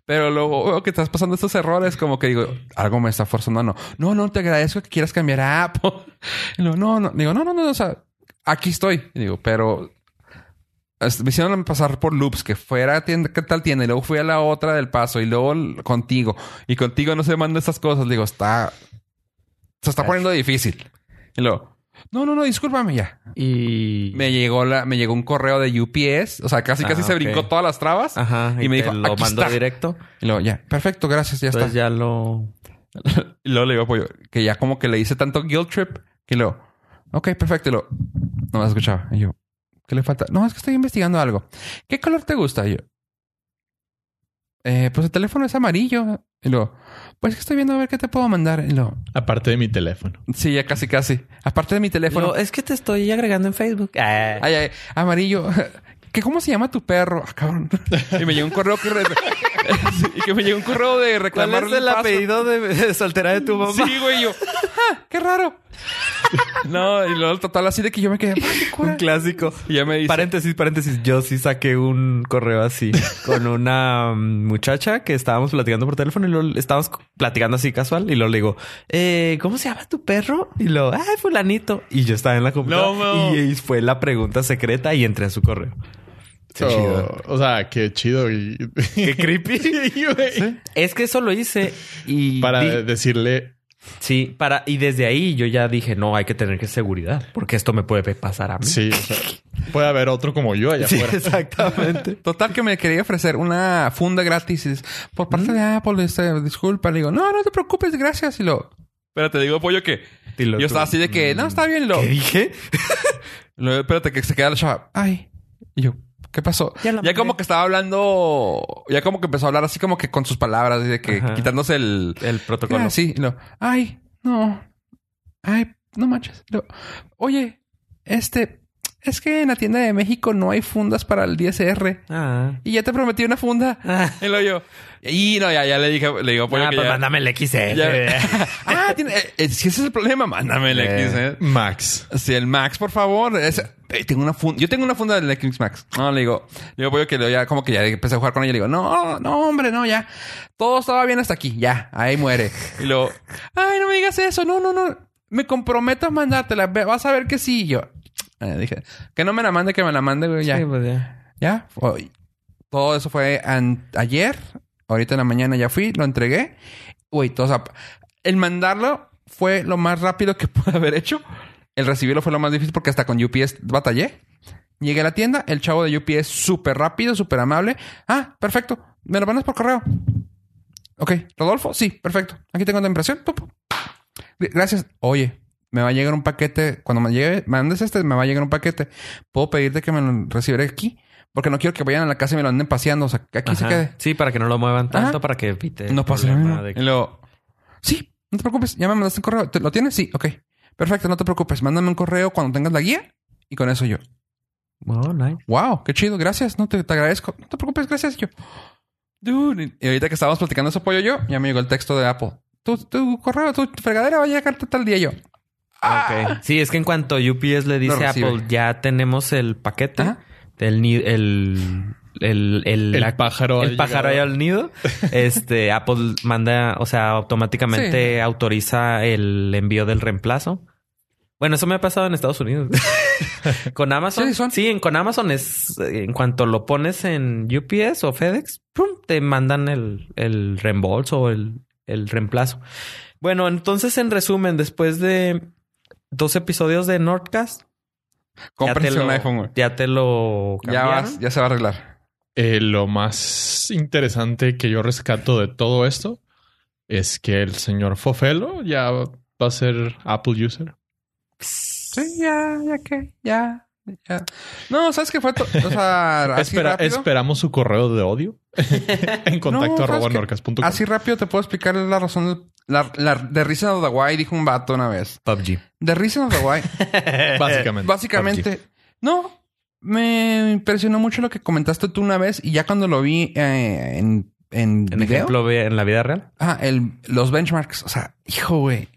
[SPEAKER 2] Pero luego veo que estás pasando estos errores, como que digo, algo me está forzando, no, no, no, te agradezco que quieras cambiar a Apple. Y luego, no, no, digo, no, no, no, o sea, aquí estoy. Y digo, pero es- me hicieron pasar por loops, que fuera a tienda, ¿qué tal tienda? Y luego fui a la otra del paso y luego l- contigo. Y contigo no se manda estas cosas. Le digo, está, se está poniendo difícil. Y luego, no, no, no, discúlpame ya.
[SPEAKER 4] Y.
[SPEAKER 2] Me llegó la, me llegó un correo de UPS. O sea, casi,
[SPEAKER 4] Ah,
[SPEAKER 2] casi se
[SPEAKER 4] ok.
[SPEAKER 2] brincó todas las trabas.
[SPEAKER 4] Ajá.
[SPEAKER 2] y me
[SPEAKER 4] te
[SPEAKER 2] dijo,
[SPEAKER 4] Lo
[SPEAKER 2] "Aquí
[SPEAKER 4] mandó
[SPEAKER 2] está".
[SPEAKER 4] directo.
[SPEAKER 2] Y luego, ya, perfecto, gracias, Pues ya
[SPEAKER 4] Entonces
[SPEAKER 2] está.
[SPEAKER 4] ya lo.
[SPEAKER 2] Y luego le digo, pollo, que ya como que le hice tanto guilt trip que luego, ok, perfecto. Y luego, no me escuchaba. Y yo, ¿qué le falta? No, es que estoy investigando algo. ¿Qué color te gusta? Y yo, "Eh, pues el teléfono es amarillo. Y luego, pues es que estoy viendo a ver qué te puedo mandar. Y luego,
[SPEAKER 3] Aparte de mi teléfono.
[SPEAKER 2] sí, ya casi, casi. Aparte de mi teléfono.
[SPEAKER 4] Lo- es que te estoy agregando en Facebook. Ah.
[SPEAKER 2] Ay, ay, amarillo. ¿Qué, ¿Cómo se llama tu perro? Ah, cabrón. Y me llegó un correo que... re- Sí, y que me llegó un correo de
[SPEAKER 4] ¿Cuál
[SPEAKER 2] reclamarle
[SPEAKER 4] es el
[SPEAKER 2] paso.
[SPEAKER 4] apellido de, de soltera de tu mamá?
[SPEAKER 2] Sí, güey. y yo, "Ah, ¡Qué raro! No, y luego el total así de que yo me quedé... "Ah, qué cura".
[SPEAKER 4] Un clásico.
[SPEAKER 2] Y ya me dice...
[SPEAKER 4] Paréntesis, paréntesis. Yo sí saqué un correo así con una mm, muchacha que estábamos platicando por teléfono y luego estábamos c- platicando así casual y luego le digo, eh, ¿cómo se llama tu perro? Y lo, ay, fulanito. Y yo estaba en la computadora
[SPEAKER 3] No, no.
[SPEAKER 4] y, y fue la pregunta secreta y entré en su correo.
[SPEAKER 3] Oh,
[SPEAKER 4] chido.
[SPEAKER 3] O sea, qué chido. Y...
[SPEAKER 4] Qué creepy.
[SPEAKER 3] Sí, güey.
[SPEAKER 4] Es que eso lo hice y
[SPEAKER 3] Para
[SPEAKER 4] di-
[SPEAKER 3] decirle,
[SPEAKER 4] sí, para y desde ahí yo ya dije, no, hay que tener que seguridad porque esto me puede pasar a mí.
[SPEAKER 3] sí, o sea, puede haber otro como yo allá
[SPEAKER 4] Sí,
[SPEAKER 3] afuera.
[SPEAKER 4] exactamente.
[SPEAKER 2] Total que me quería ofrecer una funda gratis y dice, por
[SPEAKER 4] Mm.
[SPEAKER 2] parte de Apple, este, disculpa, le digo, no, no te preocupes, gracias. Y lo... Espérate, digo, pollo, que...
[SPEAKER 4] Y lo
[SPEAKER 2] Yo
[SPEAKER 4] tú,
[SPEAKER 2] estaba así de que, no, está bien. Y lo...
[SPEAKER 4] ¿Qué dije?
[SPEAKER 2] Luego, espérate, que se queda la chava. Ay. Y yo, ¿qué pasó?
[SPEAKER 4] Ya
[SPEAKER 2] Ya,
[SPEAKER 4] la mandé.
[SPEAKER 2] como que estaba hablando. Ya como que empezó a hablar así como que con sus palabras, así de que
[SPEAKER 4] Ajá.
[SPEAKER 2] quitándose el.
[SPEAKER 4] El protocolo.
[SPEAKER 2] Ah, sí. Y luego, ay, no. Ay, no manches. Y luego, Oye, este. Es que en la tienda de México no hay fundas para el DSR.
[SPEAKER 4] Ah.
[SPEAKER 2] Y ya te prometí una funda.
[SPEAKER 4] Ah.
[SPEAKER 2] Y luego yo. Y no, ya, ya le dije, le digo, pollo,
[SPEAKER 4] Ah,
[SPEAKER 2] que
[SPEAKER 4] pues
[SPEAKER 2] ya-
[SPEAKER 4] mándame el XS.
[SPEAKER 2] ya- ah, tiene- eh, eh, si ese es el problema, mándame el
[SPEAKER 4] Eh.
[SPEAKER 2] X, eh.
[SPEAKER 3] Max.
[SPEAKER 2] Si el Max, por favor. Es- eh, tengo una funda. Yo tengo una funda del Electrix Max. No, le digo. Yo voy que le- ya, como que ya empecé a jugar con ella. Le digo, no, no, hombre, no, ya. Todo estaba bien hasta aquí. Ya, ahí muere. Y luego, ay, no me digas eso. No, no, no. Me comprometo a mandártela. Ve- Vas a ver que sí. Y Yo eh, dije, que no me la mande, que me la mande, güey. Ya,
[SPEAKER 4] Sí, pues ya.
[SPEAKER 2] ya. Hoy. Todo eso fue an- ayer. Ahorita en la mañana ya fui, lo entregué. Güey, todo, o sea, el mandarlo fue lo más rápido que pude haber hecho. El recibirlo fue lo más difícil porque hasta con UPS batallé. Llegué a la tienda, el chavo de UPS súper rápido, súper amable. Ah, perfecto. Me lo mandas por correo. Ok, Rodolfo, sí, perfecto. Aquí tengo la impresión. Tup. Gracias. Oye, me va a llegar un paquete. Cuando me llegue, mandes este, me va a llegar un paquete. Puedo pedirte que me lo recibiera aquí. Porque no quiero que vayan a la casa y me lo anden paseando. O sea, que aquí se
[SPEAKER 4] Ajá.
[SPEAKER 2] quede.
[SPEAKER 4] Sí, para que no lo muevan tanto,
[SPEAKER 2] Ajá.
[SPEAKER 4] para que evite. el
[SPEAKER 2] No pasa
[SPEAKER 4] problema
[SPEAKER 2] nada.
[SPEAKER 4] de-
[SPEAKER 2] Y luego, sí, no te preocupes. Ya me mandaste un correo. ¿Te- ¿Lo tienes? Sí, ok. Perfecto, no te preocupes. Mándame un correo cuando tengas la guía. Y con eso yo.
[SPEAKER 4] Oh, nice.
[SPEAKER 2] Wow, qué chido, gracias. No te, te agradezco. No te preocupes, gracias. Yo, dude. Y ahorita que estábamos platicando ese pollo, yo ya me llegó el texto de Apple. Tu, tu correo, tu fregadera va a llegar tal día. Yo,
[SPEAKER 4] Ok. Sí, es que en cuanto UPS le dice a
[SPEAKER 2] Ah. recibe.
[SPEAKER 4] Apple, ya tenemos el paquete
[SPEAKER 2] Ajá.
[SPEAKER 4] del ni- el, el, el,
[SPEAKER 3] El
[SPEAKER 4] la-
[SPEAKER 3] pájaro. eh,
[SPEAKER 4] el pájaro ahí al nido. Este Apple manda, o sea, automáticamente autoriza el envío del reemplazo. Bueno, eso me ha pasado en Estados Unidos. con Amazon. Sí,
[SPEAKER 2] Sí, son.
[SPEAKER 4] en, con Amazon es eh, en cuanto lo pones en UPS o FedEx, ¡pum! te mandan el, el reembolso o el, el reemplazo. Bueno, entonces, en resumen, después de dos episodios de Nordcast, ya te
[SPEAKER 2] cómprate
[SPEAKER 4] lo,
[SPEAKER 2] un iPhone, güey.
[SPEAKER 4] ya te lo
[SPEAKER 2] Ya
[SPEAKER 4] cambiaron.
[SPEAKER 2] vas, ya se va a arreglar.
[SPEAKER 3] Eh, lo más interesante que yo rescato de todo esto es que el señor Fofelo ya va a ser Apple user.
[SPEAKER 2] Sí, ya, ya que, ya, ya. No, sabes que fue, to- o sea, así
[SPEAKER 3] Espera-
[SPEAKER 2] rápido.
[SPEAKER 3] esperamos su correo de odio en contacto
[SPEAKER 2] No,
[SPEAKER 3] arroba
[SPEAKER 2] ¿sabes qué?
[SPEAKER 3] norcas.com.
[SPEAKER 2] Así rápido te puedo explicar la razón. La, la, de Reason of the Why dijo un vato una vez.
[SPEAKER 4] PUBG.
[SPEAKER 2] The Reason of the Why.
[SPEAKER 3] Básicamente.
[SPEAKER 2] Eh, Básicamente, no. Me impresionó mucho lo que comentaste tú una vez y ya cuando lo vi eh, en, en
[SPEAKER 4] En
[SPEAKER 2] video.
[SPEAKER 4] ejemplo, ve- en la vida real.
[SPEAKER 2] Ah, el, los benchmarks. O sea, hijo, güey.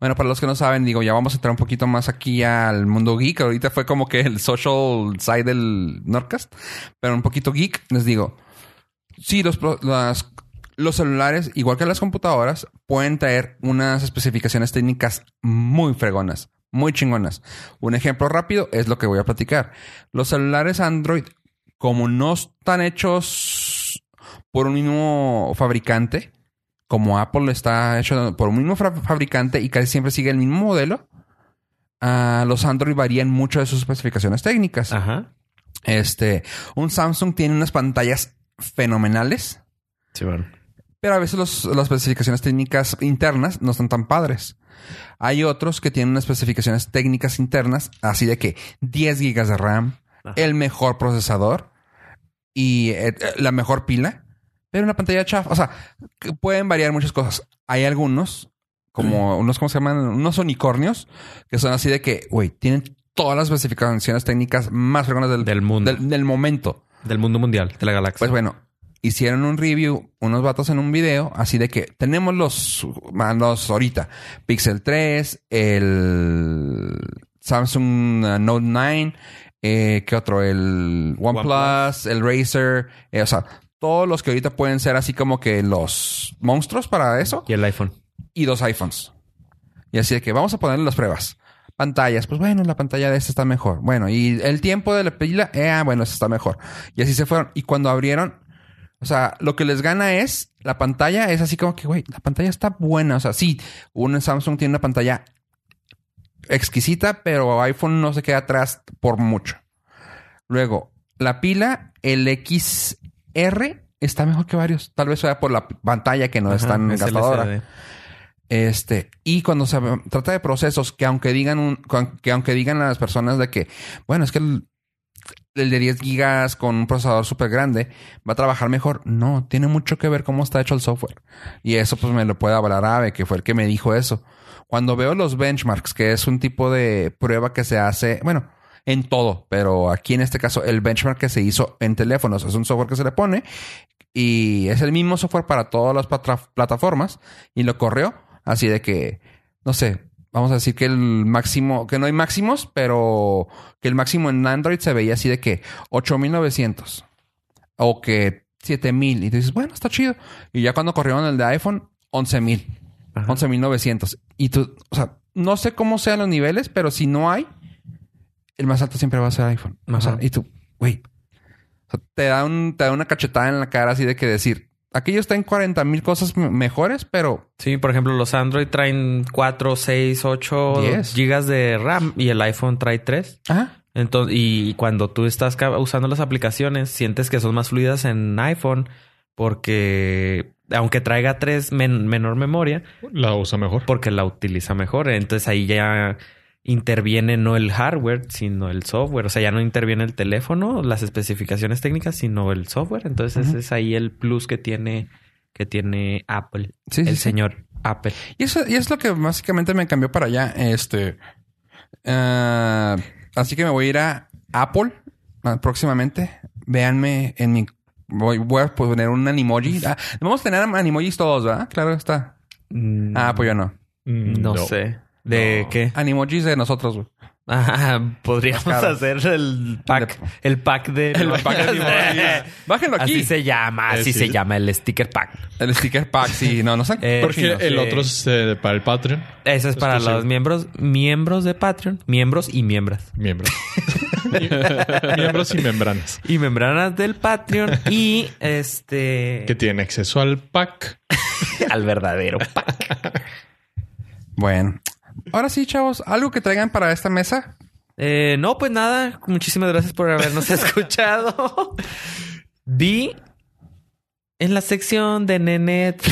[SPEAKER 2] Bueno, para los que no saben, digo, ya vamos a entrar un poquito más aquí al mundo geek. Ahorita fue como que el social side del Nordcast, pero un poquito geek, les digo. Sí, los, pro- las- los celulares, igual que las computadoras, pueden traer unas especificaciones técnicas muy fregonas, muy chingonas. Un ejemplo rápido es lo que voy a platicar. Los celulares Android, como no están hechos por un mismo fabricante, como Apple está hecho por un mismo fra- fabricante y casi siempre sigue el mismo modelo, ah, los Android varían mucho de sus especificaciones técnicas.
[SPEAKER 4] Ajá.
[SPEAKER 2] Este, un Samsung tiene unas pantallas fenomenales,
[SPEAKER 4] Sí, bueno.
[SPEAKER 2] pero a veces los- las especificaciones técnicas internas no están tan padres. Hay otros que tienen unas especificaciones técnicas internas, así de que 10 gigas de RAM,
[SPEAKER 4] Ajá.
[SPEAKER 2] el mejor procesador y eh, eh, la mejor pila, pero una pantalla chafa. O sea, que pueden variar muchas cosas. Hay algunos, como unos, ¿cómo se llaman? Unos unicornios, que son así de que, güey, tienen todas las especificaciones técnicas más fregonas del,
[SPEAKER 4] Del mundo.
[SPEAKER 2] del- del momento.
[SPEAKER 4] Del mundo mundial, de la galaxia.
[SPEAKER 2] Pues bueno, hicieron un review, unos vatos en un video, así de que tenemos los mandos ahorita. Pixel 3, el Samsung eh, Note 9, eh, ¿qué otro? El OnePlus, el Razer, eh, o sea, todos los que ahorita pueden ser así como que los monstruos para eso
[SPEAKER 4] Y el iPhone.
[SPEAKER 2] y dos iPhones. Y así de que vamos a ponerle las pruebas. Pantallas, pues bueno, la pantalla de esta está mejor. Bueno, y el tiempo de la pila, eh, ah, bueno, esta está mejor. Y así se fueron. Y cuando abrieron, o sea, lo que les gana es la pantalla, es así como que, güey, la pantalla está buena. O sea, sí, un Samsung tiene una pantalla exquisita, pero iPhone no se queda atrás por mucho. Luego, la pila, el XR, está mejor que varios. Tal vez sea por la p- pantalla que no es
[SPEAKER 4] Ajá,
[SPEAKER 2] tan
[SPEAKER 4] es
[SPEAKER 2] gastadora.
[SPEAKER 4] LCD.
[SPEAKER 2] Este, y cuando se trata de procesos que aunque digan un, con- que aunque digan las personas de que, bueno, es que el, el de 10 gigas con un procesador súper grande va a trabajar mejor. No, tiene mucho que ver cómo está hecho el software. Y eso pues me lo puede hablar Ave, que fue el que me dijo eso. Cuando veo los benchmarks, que es un tipo de prueba que se hace, bueno, en todo, pero aquí en este caso el benchmark que se hizo en teléfonos es un software que se le pone y es el mismo software para todas las patra- plataformas y lo corrió así de que no sé vamos a decir que el máximo que no hay máximos pero que el máximo en Android se veía así de que 8900 o que 7000 y tú dices bueno está chido y ya cuando corrieron el de iPhone 11000
[SPEAKER 4] Ajá.
[SPEAKER 2] 11900 y tú o sea no sé cómo sean los niveles pero si no hay el más alto siempre va a ser iPhone o sea,
[SPEAKER 4] Ajá.
[SPEAKER 2] y tú güey o sea, te da, un, te da una cachetada en la cara así de que decir, aquello está en 40 mil cosas me- mejores, pero
[SPEAKER 4] Sí, por ejemplo, los Android traen 4, 6, 8
[SPEAKER 2] Diez.
[SPEAKER 4] gigas de RAM y el iPhone trae 3.
[SPEAKER 2] ah,
[SPEAKER 4] Entonces, y cuando tú estás ca- usando las aplicaciones, sientes que son más fluidas en iPhone porque aunque traiga 3 menor memoria,
[SPEAKER 3] La usa mejor.
[SPEAKER 4] porque la utiliza mejor. Entonces ahí ya interviene no el hardware, sino el software. O sea, ya no interviene el teléfono, las especificaciones técnicas, sino el software. Entonces
[SPEAKER 2] Ujú.
[SPEAKER 4] es ahí el plus que tiene que tiene Apple,
[SPEAKER 2] sí, sí,
[SPEAKER 4] el
[SPEAKER 2] sí.
[SPEAKER 4] señor Apple.
[SPEAKER 2] Y eso y es lo que básicamente me cambió para allá. Este. ah, así que me voy a ir a Apple ah, próximamente. Véanme en mi. Voy, voy a poner un animoji. Ah, vamos a tener animojis todos, ¿verdad? Claro está.
[SPEAKER 4] Mm,
[SPEAKER 2] Ah, pues yo no.
[SPEAKER 3] Mm,
[SPEAKER 4] no, sé. ¿De
[SPEAKER 3] No.
[SPEAKER 4] qué?
[SPEAKER 2] Animojis de nosotros, güey.
[SPEAKER 4] Ah, podríamos
[SPEAKER 2] Claro.
[SPEAKER 4] hacer el pack, el pack de...
[SPEAKER 2] El pack de animojis. Bájenlo aquí.
[SPEAKER 4] así se llama, así
[SPEAKER 3] Eh, sí.
[SPEAKER 4] se llama el sticker pack.
[SPEAKER 2] El sticker pack, sí. No, no sé.
[SPEAKER 4] Eh,
[SPEAKER 3] Porque
[SPEAKER 4] cochinos,
[SPEAKER 3] el
[SPEAKER 4] sí.
[SPEAKER 3] otro es eh, para el Patreon.
[SPEAKER 4] Eso es para
[SPEAKER 3] Estoy seguro.
[SPEAKER 4] los miembros, miembros de Patreon, miembros y miembras.
[SPEAKER 3] Miembros. Miembros y membranas.
[SPEAKER 4] y membranas del Patreon y este
[SPEAKER 3] Que tiene acceso al pack.
[SPEAKER 4] al verdadero pack.
[SPEAKER 2] Bueno. Ahora sí, chavos. ¿Algo que traigan para esta mesa?
[SPEAKER 4] Eh, no, pues nada, muchísimas gracias por habernos escuchado. Vi en la sección de Nenet.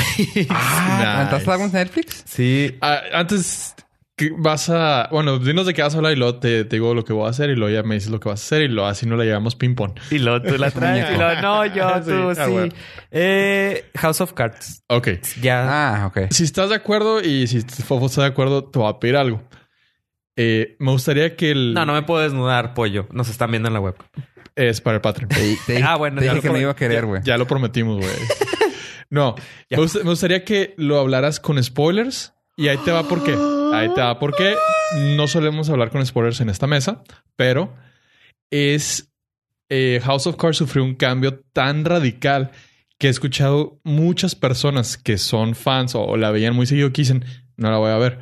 [SPEAKER 2] Ah,
[SPEAKER 3] Nice.
[SPEAKER 2] ¿Entraste algo en Netflix?
[SPEAKER 4] sí.
[SPEAKER 3] Ah, antes que vas a. Bueno, dinos de qué vas a hablar y luego te, te digo lo que voy a hacer y luego ya me dices lo que vas a hacer y luego así no la llevamos ping-pong.
[SPEAKER 4] Y luego tú la traes. y luego, no, yo,
[SPEAKER 3] Sí,
[SPEAKER 4] tú,
[SPEAKER 3] ah,
[SPEAKER 4] sí.
[SPEAKER 3] bueno.
[SPEAKER 4] Eh, House of Cards.
[SPEAKER 3] Ok.
[SPEAKER 4] Ya.
[SPEAKER 2] Ah, ok.
[SPEAKER 3] Si estás de acuerdo y si Fofo está de acuerdo, te voy a pedir algo. Eh, me gustaría que el.
[SPEAKER 4] No, no me puedo desnudar, pollo. Nos están viendo en la web.
[SPEAKER 3] Es para el Patreon.
[SPEAKER 2] Te, te-
[SPEAKER 4] Ah, bueno,
[SPEAKER 2] te
[SPEAKER 4] ya
[SPEAKER 2] dije
[SPEAKER 4] lo
[SPEAKER 2] que me iba a querer, güey.
[SPEAKER 3] Ya lo prometimos, güey. No,
[SPEAKER 4] Ya.
[SPEAKER 3] me, gust- me gustaría que lo hablaras con spoilers y ahí te va por qué. Ahí te va. Porque no solemos hablar con spoilers en esta mesa, pero es eh, House of Cards sufrió un cambio tan radical que he escuchado muchas personas que son fans o, o la veían muy seguido que dicen, no la voy a ver.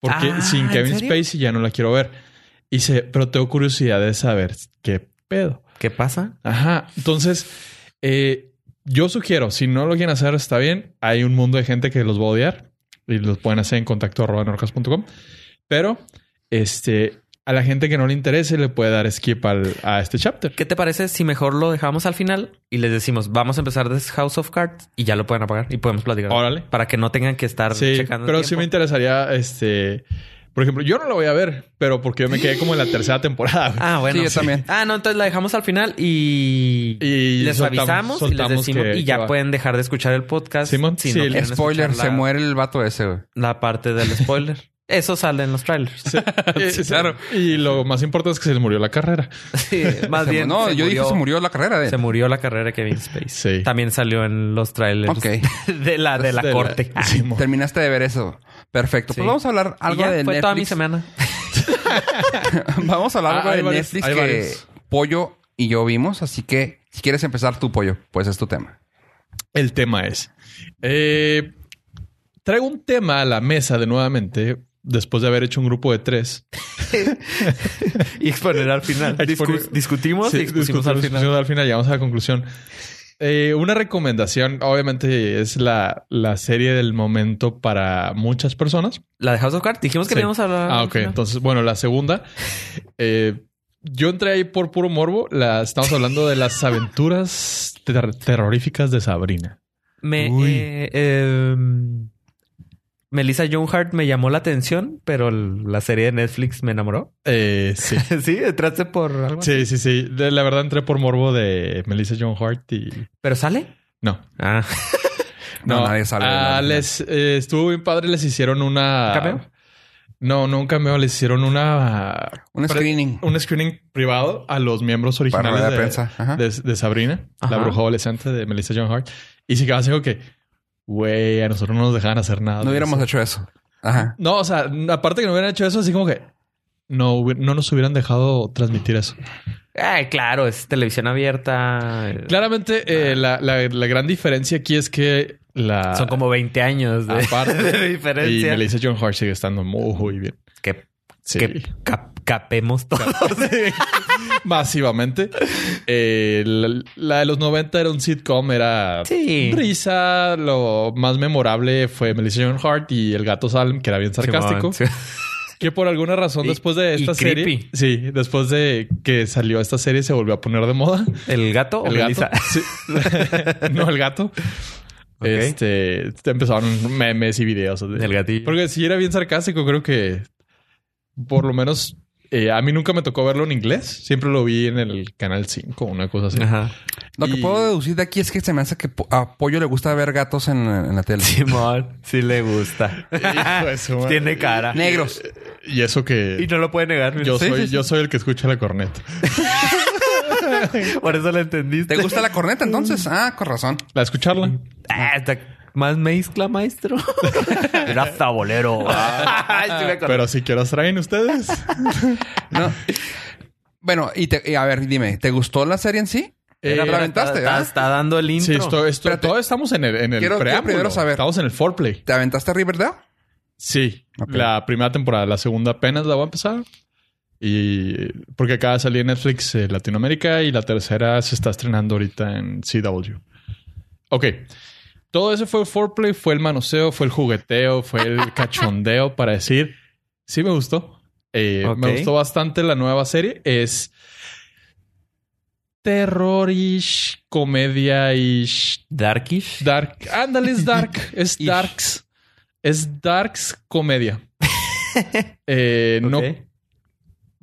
[SPEAKER 3] Porque
[SPEAKER 4] Ah,
[SPEAKER 3] sin
[SPEAKER 4] ¿en
[SPEAKER 3] Kevin
[SPEAKER 4] serio?
[SPEAKER 3] Spacey ya no la quiero ver. Y sé, pero tengo curiosidad de saber qué pedo.
[SPEAKER 4] ¿Qué pasa?
[SPEAKER 3] Ajá. Entonces, eh, yo sugiero, si no lo quieren hacer, está bien. Hay un mundo de gente que los va a odiar y los pueden hacer en contacto arroba norcas.com. Pero, este, a la gente que no le interese, le puede dar skip al, a este chapter.
[SPEAKER 4] ¿Qué te parece si mejor lo dejamos al final y les decimos, vamos a empezar desde House of Cards y ya lo pueden apagar y podemos platicar?
[SPEAKER 3] Órale.
[SPEAKER 4] Para que no tengan que estar
[SPEAKER 3] Sí,
[SPEAKER 4] checando. el
[SPEAKER 3] pero sí
[SPEAKER 4] tiempo.
[SPEAKER 3] me interesaría, este, por ejemplo, yo no lo voy a ver, pero porque yo me quedé como en la tercera temporada. güey.
[SPEAKER 4] Ah, bueno.
[SPEAKER 2] Sí, yo también.
[SPEAKER 4] Ah, no, entonces la dejamos al final y,
[SPEAKER 3] Y
[SPEAKER 4] les
[SPEAKER 3] soltamos-
[SPEAKER 4] avisamos y
[SPEAKER 3] soltamos
[SPEAKER 4] les decimos
[SPEAKER 3] que-
[SPEAKER 4] y ya
[SPEAKER 3] que va.
[SPEAKER 4] pueden dejar de escuchar el podcast.
[SPEAKER 3] Simón, sí, el
[SPEAKER 4] quieren
[SPEAKER 2] Spoiler,
[SPEAKER 4] escuchar
[SPEAKER 2] se
[SPEAKER 4] la-
[SPEAKER 2] muere el vato ese, güey.
[SPEAKER 4] La parte del spoiler. Eso sale en los trailers.
[SPEAKER 3] Eh, sí,
[SPEAKER 2] claro.
[SPEAKER 3] Y lo más importante es que se le murió la carrera.
[SPEAKER 4] Sí, más
[SPEAKER 2] Se mu-
[SPEAKER 4] bien.
[SPEAKER 2] No,
[SPEAKER 4] se
[SPEAKER 2] yo dije
[SPEAKER 4] murió-
[SPEAKER 2] se murió la carrera de.
[SPEAKER 4] Se murió la carrera de Kevin Spacey.
[SPEAKER 3] Sí.
[SPEAKER 4] También salió en los trailers
[SPEAKER 2] Ok.
[SPEAKER 4] de la, de la corte.
[SPEAKER 3] Simón.
[SPEAKER 2] Terminaste de ver eso. Perfecto.
[SPEAKER 4] Sí.
[SPEAKER 2] Pues vamos a hablar
[SPEAKER 4] Y
[SPEAKER 2] algo
[SPEAKER 4] ya,
[SPEAKER 2] de
[SPEAKER 4] fue toda mi
[SPEAKER 2] Netflix.
[SPEAKER 4] semana.
[SPEAKER 2] vamos a hablar
[SPEAKER 3] Ah,
[SPEAKER 2] algo
[SPEAKER 3] hay
[SPEAKER 2] de
[SPEAKER 3] varios-
[SPEAKER 2] Netflix
[SPEAKER 3] hay
[SPEAKER 2] que
[SPEAKER 3] varios.
[SPEAKER 2] Pollo y yo vimos. Así que si quieres empezar tu pollo, pues es tu tema.
[SPEAKER 3] El tema es. eh, traigo un tema a la mesa de nuevamente, después de haber hecho un grupo de tres.
[SPEAKER 4] y exponer al final.
[SPEAKER 3] Exponer-
[SPEAKER 4] Discu- discutimos
[SPEAKER 3] Sí,
[SPEAKER 4] y expusimos al
[SPEAKER 3] discutimos,
[SPEAKER 4] final.
[SPEAKER 3] discutimos al final, llegamos a la conclusión. Eh, una recomendación, obviamente, es la, la serie del momento para muchas personas.
[SPEAKER 4] La de House of Cards. Dijimos que
[SPEAKER 3] Sí.
[SPEAKER 4] le íbamos a hablar.
[SPEAKER 3] Ah,
[SPEAKER 4] al
[SPEAKER 3] ok.
[SPEAKER 4] final.
[SPEAKER 3] Entonces, bueno, la segunda. eh, yo entré ahí por puro morbo. La, estamos hablando de las aventuras ter- terroríficas de Sabrina.
[SPEAKER 4] Me,
[SPEAKER 3] Uy.
[SPEAKER 4] eh, em, Melissa Joan Hart me llamó la atención, pero el- la serie de Netflix me enamoró.
[SPEAKER 3] Eh, sí.
[SPEAKER 4] sí, entraste por algo. así?
[SPEAKER 3] Sí, sí, sí. De- la verdad entré por morbo de Melissa John Hart y...
[SPEAKER 4] ¿Pero sale?
[SPEAKER 3] No.
[SPEAKER 4] Ah.
[SPEAKER 2] No, nadie sabe.
[SPEAKER 3] Ah,
[SPEAKER 2] No, no.
[SPEAKER 3] les, eh, estuvo bien padre. Les hicieron una...
[SPEAKER 4] ¿Un cameo?
[SPEAKER 3] No, no un cameo. Les hicieron una...
[SPEAKER 2] Un
[SPEAKER 3] pre-
[SPEAKER 2] screening
[SPEAKER 3] Un screening privado a los miembros
[SPEAKER 2] para
[SPEAKER 3] originales
[SPEAKER 2] rueda de
[SPEAKER 3] de,
[SPEAKER 2] prensa. Ajá.
[SPEAKER 3] de- de Sabrina, la
[SPEAKER 4] Ajá.
[SPEAKER 3] bruja adolescente de Melissa John Hart. Y se quedaba así como que... Güey, a nosotros no nos dejaban hacer nada.
[SPEAKER 2] no
[SPEAKER 3] de
[SPEAKER 2] hubiéramos
[SPEAKER 3] eso".
[SPEAKER 2] hecho eso. Ajá.
[SPEAKER 3] No, o sea, aparte que no hubieran hecho eso, así como que... No, hubi- no nos hubieran dejado transmitir eso.
[SPEAKER 4] Ay, claro, es televisión abierta. eh,
[SPEAKER 3] Claramente, eh, la, la- la gran diferencia aquí es que la.
[SPEAKER 4] Ah. Son como 20 años de,
[SPEAKER 3] Aparte.
[SPEAKER 4] de
[SPEAKER 3] Ah, Y
[SPEAKER 4] diferencia.
[SPEAKER 3] me dice John Hart sigue estando muy bien.
[SPEAKER 4] Que,
[SPEAKER 3] Sí.
[SPEAKER 4] que cap- capemos todo.
[SPEAKER 3] Masivamente. Eh, la, la de los 90 era un sitcom, era
[SPEAKER 4] Sí.
[SPEAKER 3] risa. Lo más memorable fue Melissa John Hart y el gato Salem, que era bien sarcástico.
[SPEAKER 4] Simón,
[SPEAKER 3] Que por alguna razón,
[SPEAKER 4] Y-
[SPEAKER 3] después de
[SPEAKER 4] y
[SPEAKER 3] esta serie.
[SPEAKER 4] creepy.
[SPEAKER 3] Sí, después de que salió esta serie, se volvió a poner de moda.
[SPEAKER 4] sí. ¿El gato o
[SPEAKER 3] El gato.
[SPEAKER 4] Melissa?
[SPEAKER 3] Sí. no, el gato.
[SPEAKER 4] Ok.
[SPEAKER 3] Este te empezaron memes y videos. de-
[SPEAKER 4] El gatillo.
[SPEAKER 3] Porque si era bien sarcástico, creo que por lo menos eh, a mí nunca me tocó verlo en inglés. Siempre lo vi en el canal 5, una cosa así.
[SPEAKER 4] Ajá.
[SPEAKER 2] Lo
[SPEAKER 3] Y-
[SPEAKER 2] que puedo deducir de aquí es que se me hace que po- a Pollo le gusta ver gatos en, en la tele.
[SPEAKER 4] Simón, sí le gusta.
[SPEAKER 3] Hijo de su madre.
[SPEAKER 4] Tiene cara.
[SPEAKER 2] Negros.
[SPEAKER 3] Y eso
[SPEAKER 4] Y
[SPEAKER 3] que
[SPEAKER 4] no lo puede negar. mira.
[SPEAKER 3] yo
[SPEAKER 2] Sí,
[SPEAKER 3] soy,
[SPEAKER 2] sí, sí.
[SPEAKER 3] yo soy el que escucha la corneta.
[SPEAKER 4] Por eso lo entendiste.
[SPEAKER 2] ¿Te gusta la corneta entonces? Ah, con razón.
[SPEAKER 3] La escucharla.
[SPEAKER 4] Ah, está más mezcla, maestro. Era tabolero. Ay, sí me acordé.
[SPEAKER 3] Pero si quiero traen ustedes.
[SPEAKER 2] No. Bueno, y, te- y a ver, dime, ¿te gustó la serie en sí?
[SPEAKER 4] Era-
[SPEAKER 2] la aventaste,
[SPEAKER 4] está,
[SPEAKER 2] ¿ah?
[SPEAKER 4] está dando el
[SPEAKER 3] Eh, Sí,
[SPEAKER 4] intro.
[SPEAKER 3] esto, esto,
[SPEAKER 2] Espérate.
[SPEAKER 3] todo estamos en el, en
[SPEAKER 2] Quiero-
[SPEAKER 3] el
[SPEAKER 2] quiero
[SPEAKER 3] preámbulo.
[SPEAKER 2] primero saber.
[SPEAKER 3] Estamos en el foreplay.
[SPEAKER 2] ¿Te aventaste Riverdale?
[SPEAKER 3] Sí,
[SPEAKER 2] Ok.
[SPEAKER 3] la primera temporada, la segunda apenas la voy a empezar. Y porque acaba de salir en Netflix eh, Latinoamérica y la tercera se está estrenando ahorita en CW. Ok. Todo eso fue foreplay, fue el manoseo, fue el jugueteo, fue el cachondeo para decir, sí me gustó. Eh,
[SPEAKER 4] Ok.
[SPEAKER 3] Me gustó bastante la nueva serie. Es terrorish, comedia-ish,
[SPEAKER 4] Darkish.
[SPEAKER 3] Dark. Ándale, es dark. Es
[SPEAKER 2] Ish.
[SPEAKER 3] darks. Es darks comedia. Eh, no,
[SPEAKER 4] Ok.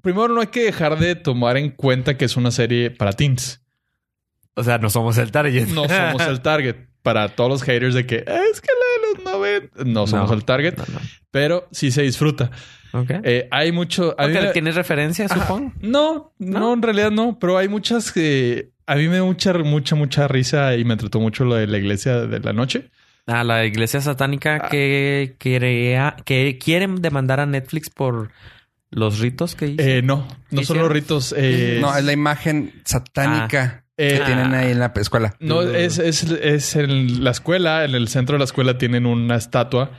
[SPEAKER 3] primero no hay que dejar de tomar en cuenta que es una serie para teens.
[SPEAKER 4] O sea, no somos el target.
[SPEAKER 3] No somos el target. Para todos los haters de que es que la de los 90. No somos
[SPEAKER 4] No.
[SPEAKER 3] el target,
[SPEAKER 4] No, no.
[SPEAKER 3] pero sí se disfruta.
[SPEAKER 4] Ok.
[SPEAKER 3] Eh, hay mucho. a mí
[SPEAKER 4] Porque
[SPEAKER 3] me-
[SPEAKER 4] ¿Tienes referencia, supongo?
[SPEAKER 3] No, no,
[SPEAKER 4] ¿No?
[SPEAKER 3] en realidad no, pero hay muchas que a mí me dio mucha, mucha, mucha risa y me trató mucho lo de la iglesia de la noche.
[SPEAKER 4] a la iglesia satánica
[SPEAKER 3] Ah.
[SPEAKER 4] que, quería- que quieren demandar a Netflix por los ritos que hizo.
[SPEAKER 3] Eh, no, no son
[SPEAKER 4] ¿Hicieron?
[SPEAKER 3] los ritos. eh,
[SPEAKER 2] No, es la imagen satánica que
[SPEAKER 3] eh,
[SPEAKER 2] tienen ahí en la escuela.
[SPEAKER 3] No, es, es, es en la escuela, en el centro de la escuela tienen una estatua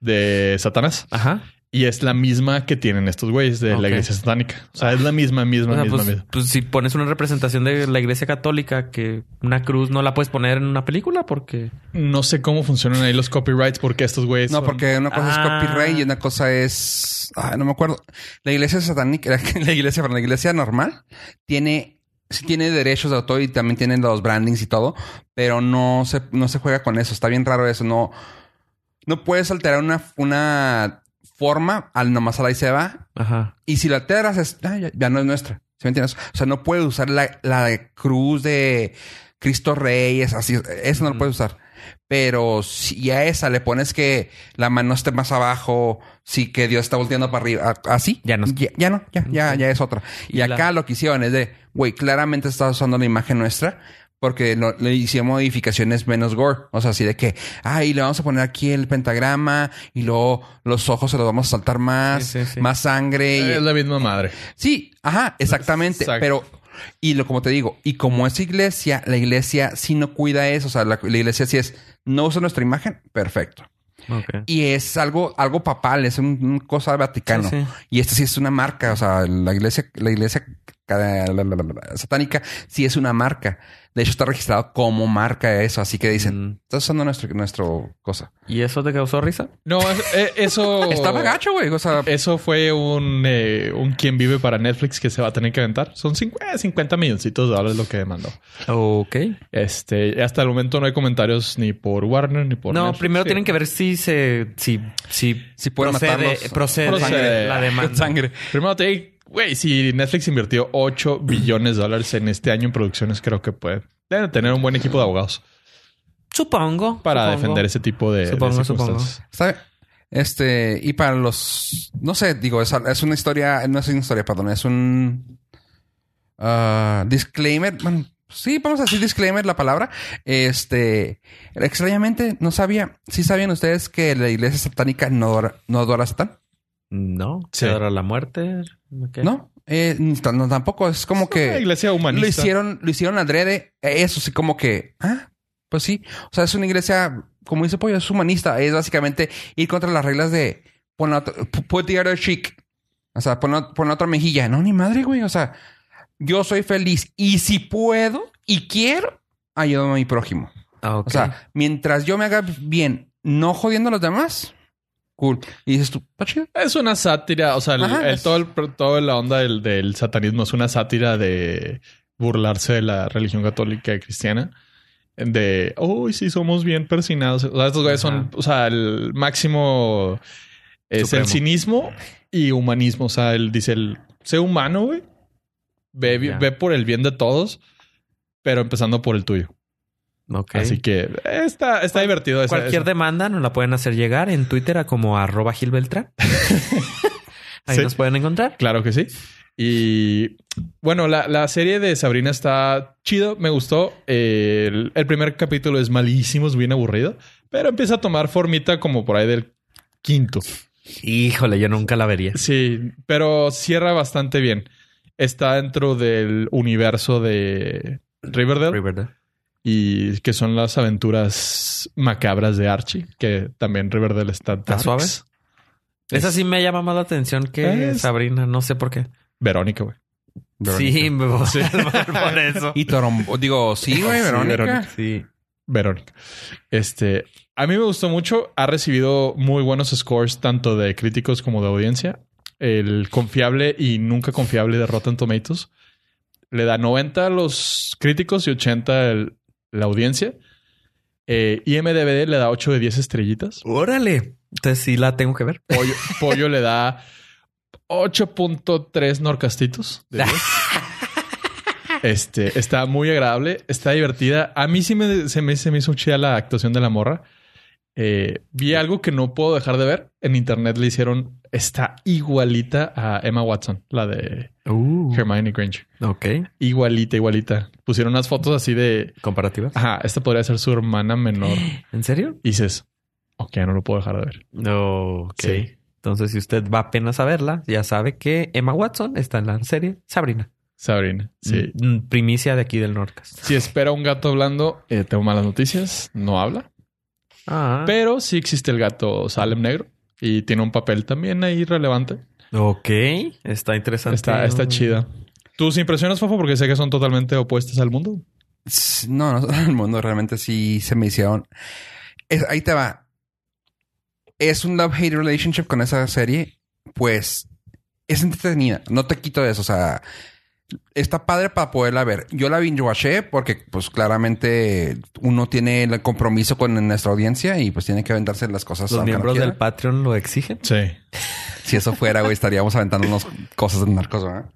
[SPEAKER 3] de Satanás
[SPEAKER 4] Ajá.
[SPEAKER 3] y es la misma que tienen estos güeyes de
[SPEAKER 4] Ok.
[SPEAKER 3] la iglesia satánica. O sea, es la misma, misma,
[SPEAKER 4] O sea,
[SPEAKER 3] misma,
[SPEAKER 4] pues,
[SPEAKER 3] misma.
[SPEAKER 4] pues, si pones una representación de la iglesia católica, que una cruz no la puedes poner en una película porque...
[SPEAKER 3] No sé cómo funcionan ahí los copyrights porque estos güeyes.
[SPEAKER 2] No,
[SPEAKER 3] son-
[SPEAKER 2] porque una cosa
[SPEAKER 4] Ah.
[SPEAKER 2] es copyright y una cosa es. Ay, no me acuerdo. La iglesia satánica, la, iglesia, perdón, la iglesia normal tiene. Sí tiene derechos de autor y también tienen los brandings y todo, pero no se, no se juega con eso. Está bien raro eso. No, no puedes alterar una, una forma al nomás ahí se va.
[SPEAKER 4] Ajá.
[SPEAKER 2] Y si la alteras, es, ah, ya, ya no es nuestra. ¿Sí me entiendes? O sea, no puedes usar la, la cruz de Cristo Rey, es así. Eso no lo
[SPEAKER 4] Ujú.
[SPEAKER 2] puedes usar. Pero si a esa le pones que la mano esté más abajo, sí que Dios está volteando para arriba, a- así.
[SPEAKER 4] Ya no es-
[SPEAKER 2] Ya, ya no, ya, ya, ya es otra. Y,
[SPEAKER 4] Y la-
[SPEAKER 2] acá lo que hicieron es de, güey, claramente estás usando la imagen nuestra. Porque lo- le hicieron modificaciones menos gore. O sea, así de que, ay, le vamos a poner aquí el pentagrama y luego los ojos se los vamos a saltar más,
[SPEAKER 4] Sí, sí, Eh, sí.
[SPEAKER 2] más sangre. y-
[SPEAKER 3] Es la misma madre.
[SPEAKER 2] Sí, ajá, exactamente.
[SPEAKER 3] Exacto.
[SPEAKER 2] Pero, y lo como te digo, y como es iglesia, la iglesia sí no cuida eso. O sea, la, la iglesia sí es, no usa nuestra imagen, perfecto.
[SPEAKER 4] Ok.
[SPEAKER 2] Y es algo, algo papal, es un- una cosa vaticano.
[SPEAKER 4] Sí, sí.
[SPEAKER 2] Y esta sí es una marca. O sea, la iglesia, la iglesia ca- la- la- la- la- satánica sí es una marca. De hecho, está registrado como marca eso. Así que dicen,
[SPEAKER 4] Mm.
[SPEAKER 2] estás usando nuestro, nuestro cosa.
[SPEAKER 4] ¿Y eso te causó risa?
[SPEAKER 3] No, es- eh, eso.
[SPEAKER 2] Estaba gacho, güey. O sea,
[SPEAKER 3] Eso fue un, eh, un quien vive para Netflix que se va a tener que aventar. Son cincu- eh, 50 milloncitos de dólares lo que demandó.
[SPEAKER 4] Ok.
[SPEAKER 3] Este, hasta el momento no hay comentarios ni por Warner ni por
[SPEAKER 4] no,
[SPEAKER 3] Netflix.
[SPEAKER 4] primero
[SPEAKER 3] Sí.
[SPEAKER 4] tienen que ver si se... Si, si,
[SPEAKER 2] Si pueden
[SPEAKER 4] procede,
[SPEAKER 2] matarlos.
[SPEAKER 4] procede
[SPEAKER 3] Con sangre.
[SPEAKER 4] la demanda.
[SPEAKER 2] con sangre.
[SPEAKER 3] Primero te güey, si Netflix invirtió 8 billones de dólares en este año en producciones, creo que puede. Deben tener un buen equipo de abogados
[SPEAKER 4] Supongo.
[SPEAKER 3] para
[SPEAKER 4] supongo.
[SPEAKER 3] defender ese tipo de, de
[SPEAKER 4] Supongo, supongo.
[SPEAKER 3] circunstancias.
[SPEAKER 2] Está bien. Este, y para los, no sé, digo, es, es una historia, no es una historia, perdón, es un ah, disclaimer. Bueno, sí, vamos a decir disclaimer la palabra. Este, extrañamente, no sabía, sí sabían ustedes que la iglesia satánica no adora, no adora a Satán,
[SPEAKER 4] No.
[SPEAKER 3] Sí.
[SPEAKER 4] Se dará la muerte. Ok.
[SPEAKER 2] ¿no? Eh, ni tan- no, tampoco, es como
[SPEAKER 3] Una
[SPEAKER 2] que
[SPEAKER 3] iglesia humanista.
[SPEAKER 2] lo hicieron, lo hicieron adrede, eh, eso sí, como que, ah, pues sí, o sea, es una iglesia, como dice Pollo, es humanista, es básicamente ir contra las reglas de pon la otra- pu- put the other cheek. O sea, pon la, pon la otra mejilla. No, ni madre, güey. O sea, yo soy feliz y si puedo y quiero, ayudo a mi prójimo.
[SPEAKER 4] Ah, ok.
[SPEAKER 2] O sea, mientras yo me haga bien, no jodiendo a los demás, cool. Y dices tú, está chido.
[SPEAKER 3] Es una sátira, o sea, el,
[SPEAKER 2] Ajá,
[SPEAKER 3] el-
[SPEAKER 2] es-
[SPEAKER 3] todo el, toda la onda del, del satanismo es una sátira de burlarse de la religión católica y cristiana. De, oh, sí, somos bien persinados. O sea, estos güeyes son,
[SPEAKER 4] Ajá.
[SPEAKER 3] o sea, el máximo es
[SPEAKER 4] Supremo.
[SPEAKER 3] el cinismo y humanismo. O sea, él dice, el, sé humano, güey. Ve, bi-
[SPEAKER 4] Ya.
[SPEAKER 3] ve por el bien de todos, pero empezando por el tuyo.
[SPEAKER 4] Ok.
[SPEAKER 3] Así que eh, está, está divertido. ese-
[SPEAKER 4] Cualquier
[SPEAKER 3] ese-
[SPEAKER 4] demanda nos la pueden hacer llegar en Twitter a como arroba Gilbeltrán. Ahí
[SPEAKER 3] Sí.
[SPEAKER 4] nos pueden encontrar.
[SPEAKER 3] Claro que sí. Y bueno, la, la serie de Sabrina está chido, me gustó. Eh, El, el primer capítulo es malísimo, es bien aburrido, pero empieza a tomar formita como por ahí del quinto.
[SPEAKER 4] Híjole, yo nunca la vería.
[SPEAKER 3] Sí, pero cierra bastante bien. Está dentro del universo de Riverdale
[SPEAKER 4] Riverdale.
[SPEAKER 3] y que son las aventuras macabras de Archie, que también Riverdale está
[SPEAKER 4] ¿Está
[SPEAKER 3] darks.
[SPEAKER 4] suave? Esa sí me llama más la atención que
[SPEAKER 3] Es-
[SPEAKER 4] Sabrina, no sé por qué.
[SPEAKER 3] Verónica, güey.
[SPEAKER 4] Sí, me voy
[SPEAKER 3] Sí.
[SPEAKER 4] a salvar por eso.
[SPEAKER 2] Y Torombo, digo, sí, güey,
[SPEAKER 3] Sí,
[SPEAKER 2] Verónica.
[SPEAKER 3] Verónica.
[SPEAKER 4] Sí.
[SPEAKER 3] Verónica. Este, a mí me gustó mucho. Ha recibido muy buenos scores tanto de críticos como de audiencia. El confiable y nunca confiable de Rotten Tomatoes le da 90 a los críticos y 80 el- la audiencia. Eh, IMDBD le da 8 de 10 estrellitas.
[SPEAKER 4] Órale. Entonces sí la tengo que ver.
[SPEAKER 3] Pollo, Pollo le da 8.3 norcastitos. de 10. Este, está muy agradable, está divertida. A mí sí me, se, me, se me hizo chida la actuación de la morra. eh, vi algo que no puedo dejar de ver. En internet le hicieron, está igualita a Emma Watson, la de
[SPEAKER 4] Uh,
[SPEAKER 3] Hermione Granger.
[SPEAKER 4] ok.
[SPEAKER 3] Igualita, igualita. Pusieron unas fotos así de,
[SPEAKER 4] ¿Comparativas?
[SPEAKER 3] ajá, esta podría ser su hermana menor.
[SPEAKER 4] ¿En serio?
[SPEAKER 3] Y dices, ok, no lo puedo dejar de ver.
[SPEAKER 4] No. Ok.
[SPEAKER 3] Sí.
[SPEAKER 4] Entonces, si usted va apenas a verla, ya sabe que Emma Watson está en la serie Sabrina.
[SPEAKER 3] Sabrina. Sí.
[SPEAKER 4] Mm, Primicia de aquí del Nordcast.
[SPEAKER 3] Si espera un gato hablando, eh, tengo malas noticias. No habla.
[SPEAKER 4] Ah.
[SPEAKER 3] Pero sí existe el gato Salem Negro. Y tiene un papel también ahí relevante.
[SPEAKER 4] ok. Está interesante.
[SPEAKER 3] Está, está chida. ¿Tus impresiones, Fofo? Porque sé que son totalmente opuestas al mundo.
[SPEAKER 2] S- No, no, el mundo realmente sí se me hicieron. Es- ahí te va. Es un love-hate relationship con esa serie. Pues es entretenida. No te quito eso. O sea, está padre para poderla ver. Yo la binge-watché porque, pues, claramente uno tiene el compromiso con nuestra audiencia y, pues, tiene que aventarse las cosas.
[SPEAKER 4] Los
[SPEAKER 2] aunque no
[SPEAKER 4] miembros
[SPEAKER 2] quiera.
[SPEAKER 4] del Patreon lo exigen.
[SPEAKER 3] Sí.
[SPEAKER 2] Si eso fuera, güey, estaríamos aventándonos cosas de narcos, ¿verdad?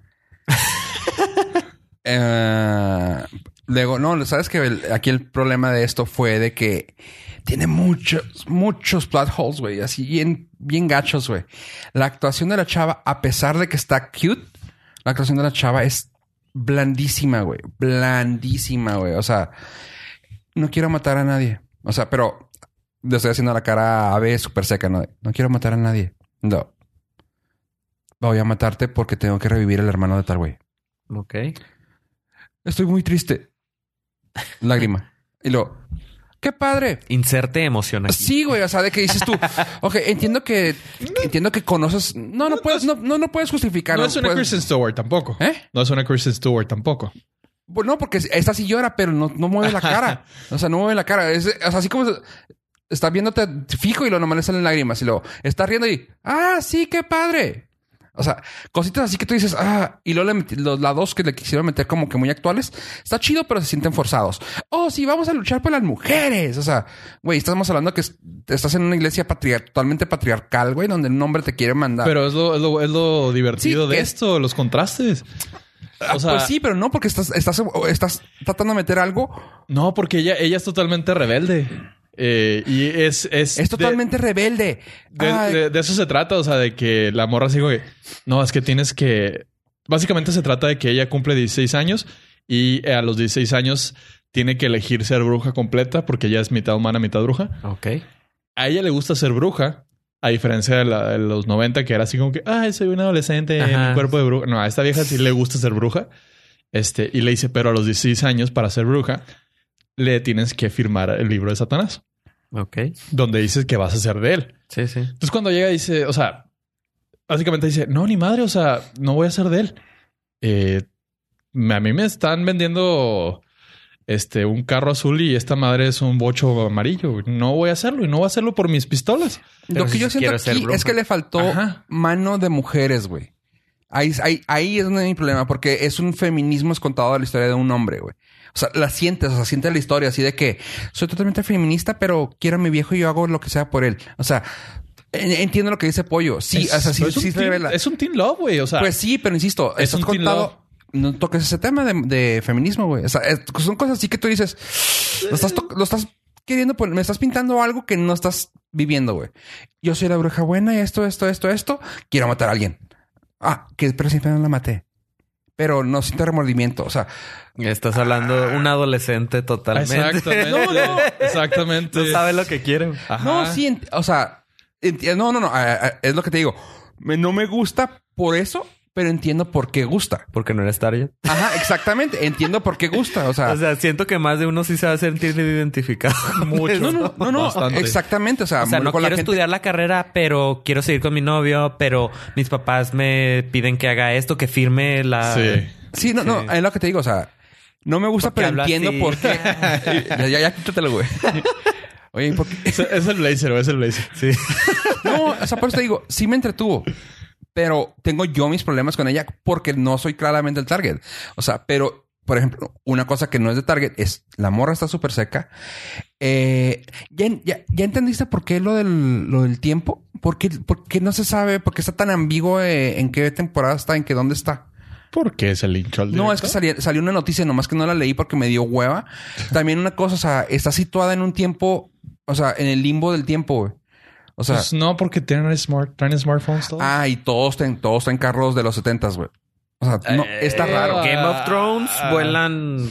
[SPEAKER 2] Eh, luego, no, sabes que el- aquí el problema de esto fue de que tiene muchos, muchos plot holes, güey, así bien, bien gachos, güey. La actuación de la chava, a pesar de que está cute, la actuación de la chava es blandísima, güey, blandísima, güey. O sea, no quiero matar a nadie. O sea, pero le estoy haciendo la cara ave súper seca, ¿no? No quiero matar a nadie. No. Voy a matarte porque tengo que revivir el hermano de tal güey.
[SPEAKER 4] Ok.
[SPEAKER 2] Estoy muy triste. Lágrima. Y luego, qué padre.
[SPEAKER 4] Inserte emoción aquí.
[SPEAKER 2] Sí, güey. O sea, de que dices tú, ok, entiendo que, entiendo que conoces. No, no puedes, no, no, no puedes justificar.
[SPEAKER 3] no es una
[SPEAKER 2] puedes-
[SPEAKER 3] Kristen Stewart tampoco.
[SPEAKER 2] ¿Eh?
[SPEAKER 3] No es una Kristen Stewart tampoco.
[SPEAKER 2] Bueno, Pues porque esta sí llora, pero no, no mueve la cara. O sea, no mueve la cara. Es, o sea, así como se- está viéndote fijo y lo nomás le salen lágrimas y luego está riendo y ah, sí, qué padre. O sea, cositas así que tú dices, ah, y luego le meti- los lados que le quisieron meter como que muy actuales, está chido, pero se sienten forzados. Oh, sí, vamos a luchar por las mujeres. O sea, güey, estamos hablando que es- estás en una iglesia patriar- totalmente patriarcal, güey, donde un hombre te quiere mandar.
[SPEAKER 3] Pero es lo, es lo, es lo divertido
[SPEAKER 2] Sí,
[SPEAKER 3] de
[SPEAKER 2] es-
[SPEAKER 3] esto, los contrastes. O sea,
[SPEAKER 2] pues sí, pero no, porque estás, estás, estás tratando de meter algo.
[SPEAKER 3] no, porque ella, ella es totalmente rebelde. Eh, y es,
[SPEAKER 2] Es
[SPEAKER 3] es, de-
[SPEAKER 2] totalmente rebelde.
[SPEAKER 3] De,
[SPEAKER 2] Ay,
[SPEAKER 3] de- de eso se trata, o sea, de que la morra así como que, no, es que tienes que... Básicamente se trata de que ella cumple 16 años y eh, a los 16 años tiene que elegir ser bruja completa porque ella es mitad humana, mitad bruja.
[SPEAKER 4] Ok.
[SPEAKER 3] A ella le gusta ser bruja, a diferencia de, la- de los 90 que era así como que, ay, soy una adolescente,
[SPEAKER 4] Ajá.
[SPEAKER 3] mi cuerpo de bruja. No, a esta vieja sí le gusta ser bruja. Este, y le dice, pero a los 16 años para ser bruja le tienes que firmar el libro de Satanás,
[SPEAKER 4] Ok.
[SPEAKER 3] donde dices que vas a ser de él.
[SPEAKER 4] Sí, sí.
[SPEAKER 3] Entonces cuando llega dice, o sea, básicamente dice, no, ni madre, o sea, no voy a ser de él. Eh, me- a mí me están vendiendo este un carro azul y esta madre es un bocho amarillo. güey. No voy a hacerlo y no voy a hacerlo por mis pistolas.
[SPEAKER 2] Lo
[SPEAKER 4] Pero
[SPEAKER 2] que
[SPEAKER 4] si
[SPEAKER 2] yo siento
[SPEAKER 4] quiero ser
[SPEAKER 2] aquí
[SPEAKER 4] bruja.
[SPEAKER 2] es que le faltó
[SPEAKER 3] Ajá.
[SPEAKER 2] mano de mujeres, güey. Ahí, ahí, ahí es donde hay mi problema, porque es un feminismo escontado de la historia de un hombre, güey. O sea, la sientes, o sea, sientes la historia así de que soy totalmente feminista, pero quiero a mi viejo y yo hago lo que sea por él. O sea, en- entiendo lo que dice Pollo. Sí, o sea, sí,
[SPEAKER 3] es, un
[SPEAKER 2] sí se
[SPEAKER 3] teen,
[SPEAKER 2] revela.
[SPEAKER 3] es un teen love, güey. O sea,
[SPEAKER 2] Pues sí, pero insisto,
[SPEAKER 3] Es
[SPEAKER 2] estás
[SPEAKER 3] un teen love.
[SPEAKER 2] contado. No toques ese tema de, de feminismo, güey. O sea, es- son cosas así que tú dices, lo estás, to- lo estás queriendo, pon- me estás pintando algo que no estás viviendo, güey. Yo soy la bruja buena y esto, esto, esto, esto. Quiero matar a alguien. Ah, que pero siempre no la maté. Pero no siento remordimiento. O sea,
[SPEAKER 4] Estás hablando de un adolescente totalmente.
[SPEAKER 3] exactamente. Exactamente.
[SPEAKER 4] No sabe lo que quiere.
[SPEAKER 3] Ajá.
[SPEAKER 2] No, sí, ent- o sea, enti- no, no, no, ah, ah, es lo que te digo. Me- no me gusta por eso, pero entiendo por qué gusta.
[SPEAKER 4] Porque no eres target.
[SPEAKER 2] Ajá, exactamente. Entiendo por qué gusta. O sea,
[SPEAKER 4] O sea, siento que más de uno sí se va a sentir identificado. Mucho.
[SPEAKER 2] No, no, no, no,
[SPEAKER 3] Bastante.
[SPEAKER 2] exactamente. O sea,
[SPEAKER 4] O sea, no
[SPEAKER 2] con
[SPEAKER 4] quiero
[SPEAKER 2] la gente-
[SPEAKER 4] estudiar la carrera, pero quiero seguir con mi novio, pero mis papás me piden que haga esto, que firme la...
[SPEAKER 3] Sí.
[SPEAKER 2] Sí, no, no, es lo que te digo. O sea, no me gusta,
[SPEAKER 4] Porque
[SPEAKER 2] pero
[SPEAKER 4] hablo
[SPEAKER 2] entiendo
[SPEAKER 4] así.
[SPEAKER 2] por qué. ya, ya, ya, quítatelo, güey. Oye, ¿por qué?
[SPEAKER 3] Es, es el blazer, güey, es el blazer.
[SPEAKER 4] Sí.
[SPEAKER 2] No, o sea, por eso te digo, sí me entretuvo. Pero tengo yo mis problemas con ella porque no soy claramente el target. O sea, pero, por ejemplo, una cosa que no es de target es la morra está súper seca. Eh, ¿ya, ya, ya entendiste por qué lo del, lo del tiempo? ¿Por qué, por qué no se sabe? ¿Por qué está tan ambiguo eh, en qué temporada está? ¿En qué dónde está?
[SPEAKER 3] ¿Por qué se linchó al
[SPEAKER 2] No, es
[SPEAKER 3] director?
[SPEAKER 2] que salía- salió, una noticia, nomás que no la leí porque me dio hueva. También una cosa, o sea, está situada en un tiempo o sea, en el limbo del tiempo, güey. O sea,
[SPEAKER 3] Pues no, porque tienen, smart, traen smartphones todos.
[SPEAKER 2] ah, y todos ten- todos en carros de los 70 güey. O sea, no, está
[SPEAKER 3] Eh,
[SPEAKER 2] raro.
[SPEAKER 4] Game of Thrones
[SPEAKER 3] Ah.
[SPEAKER 4] vuelan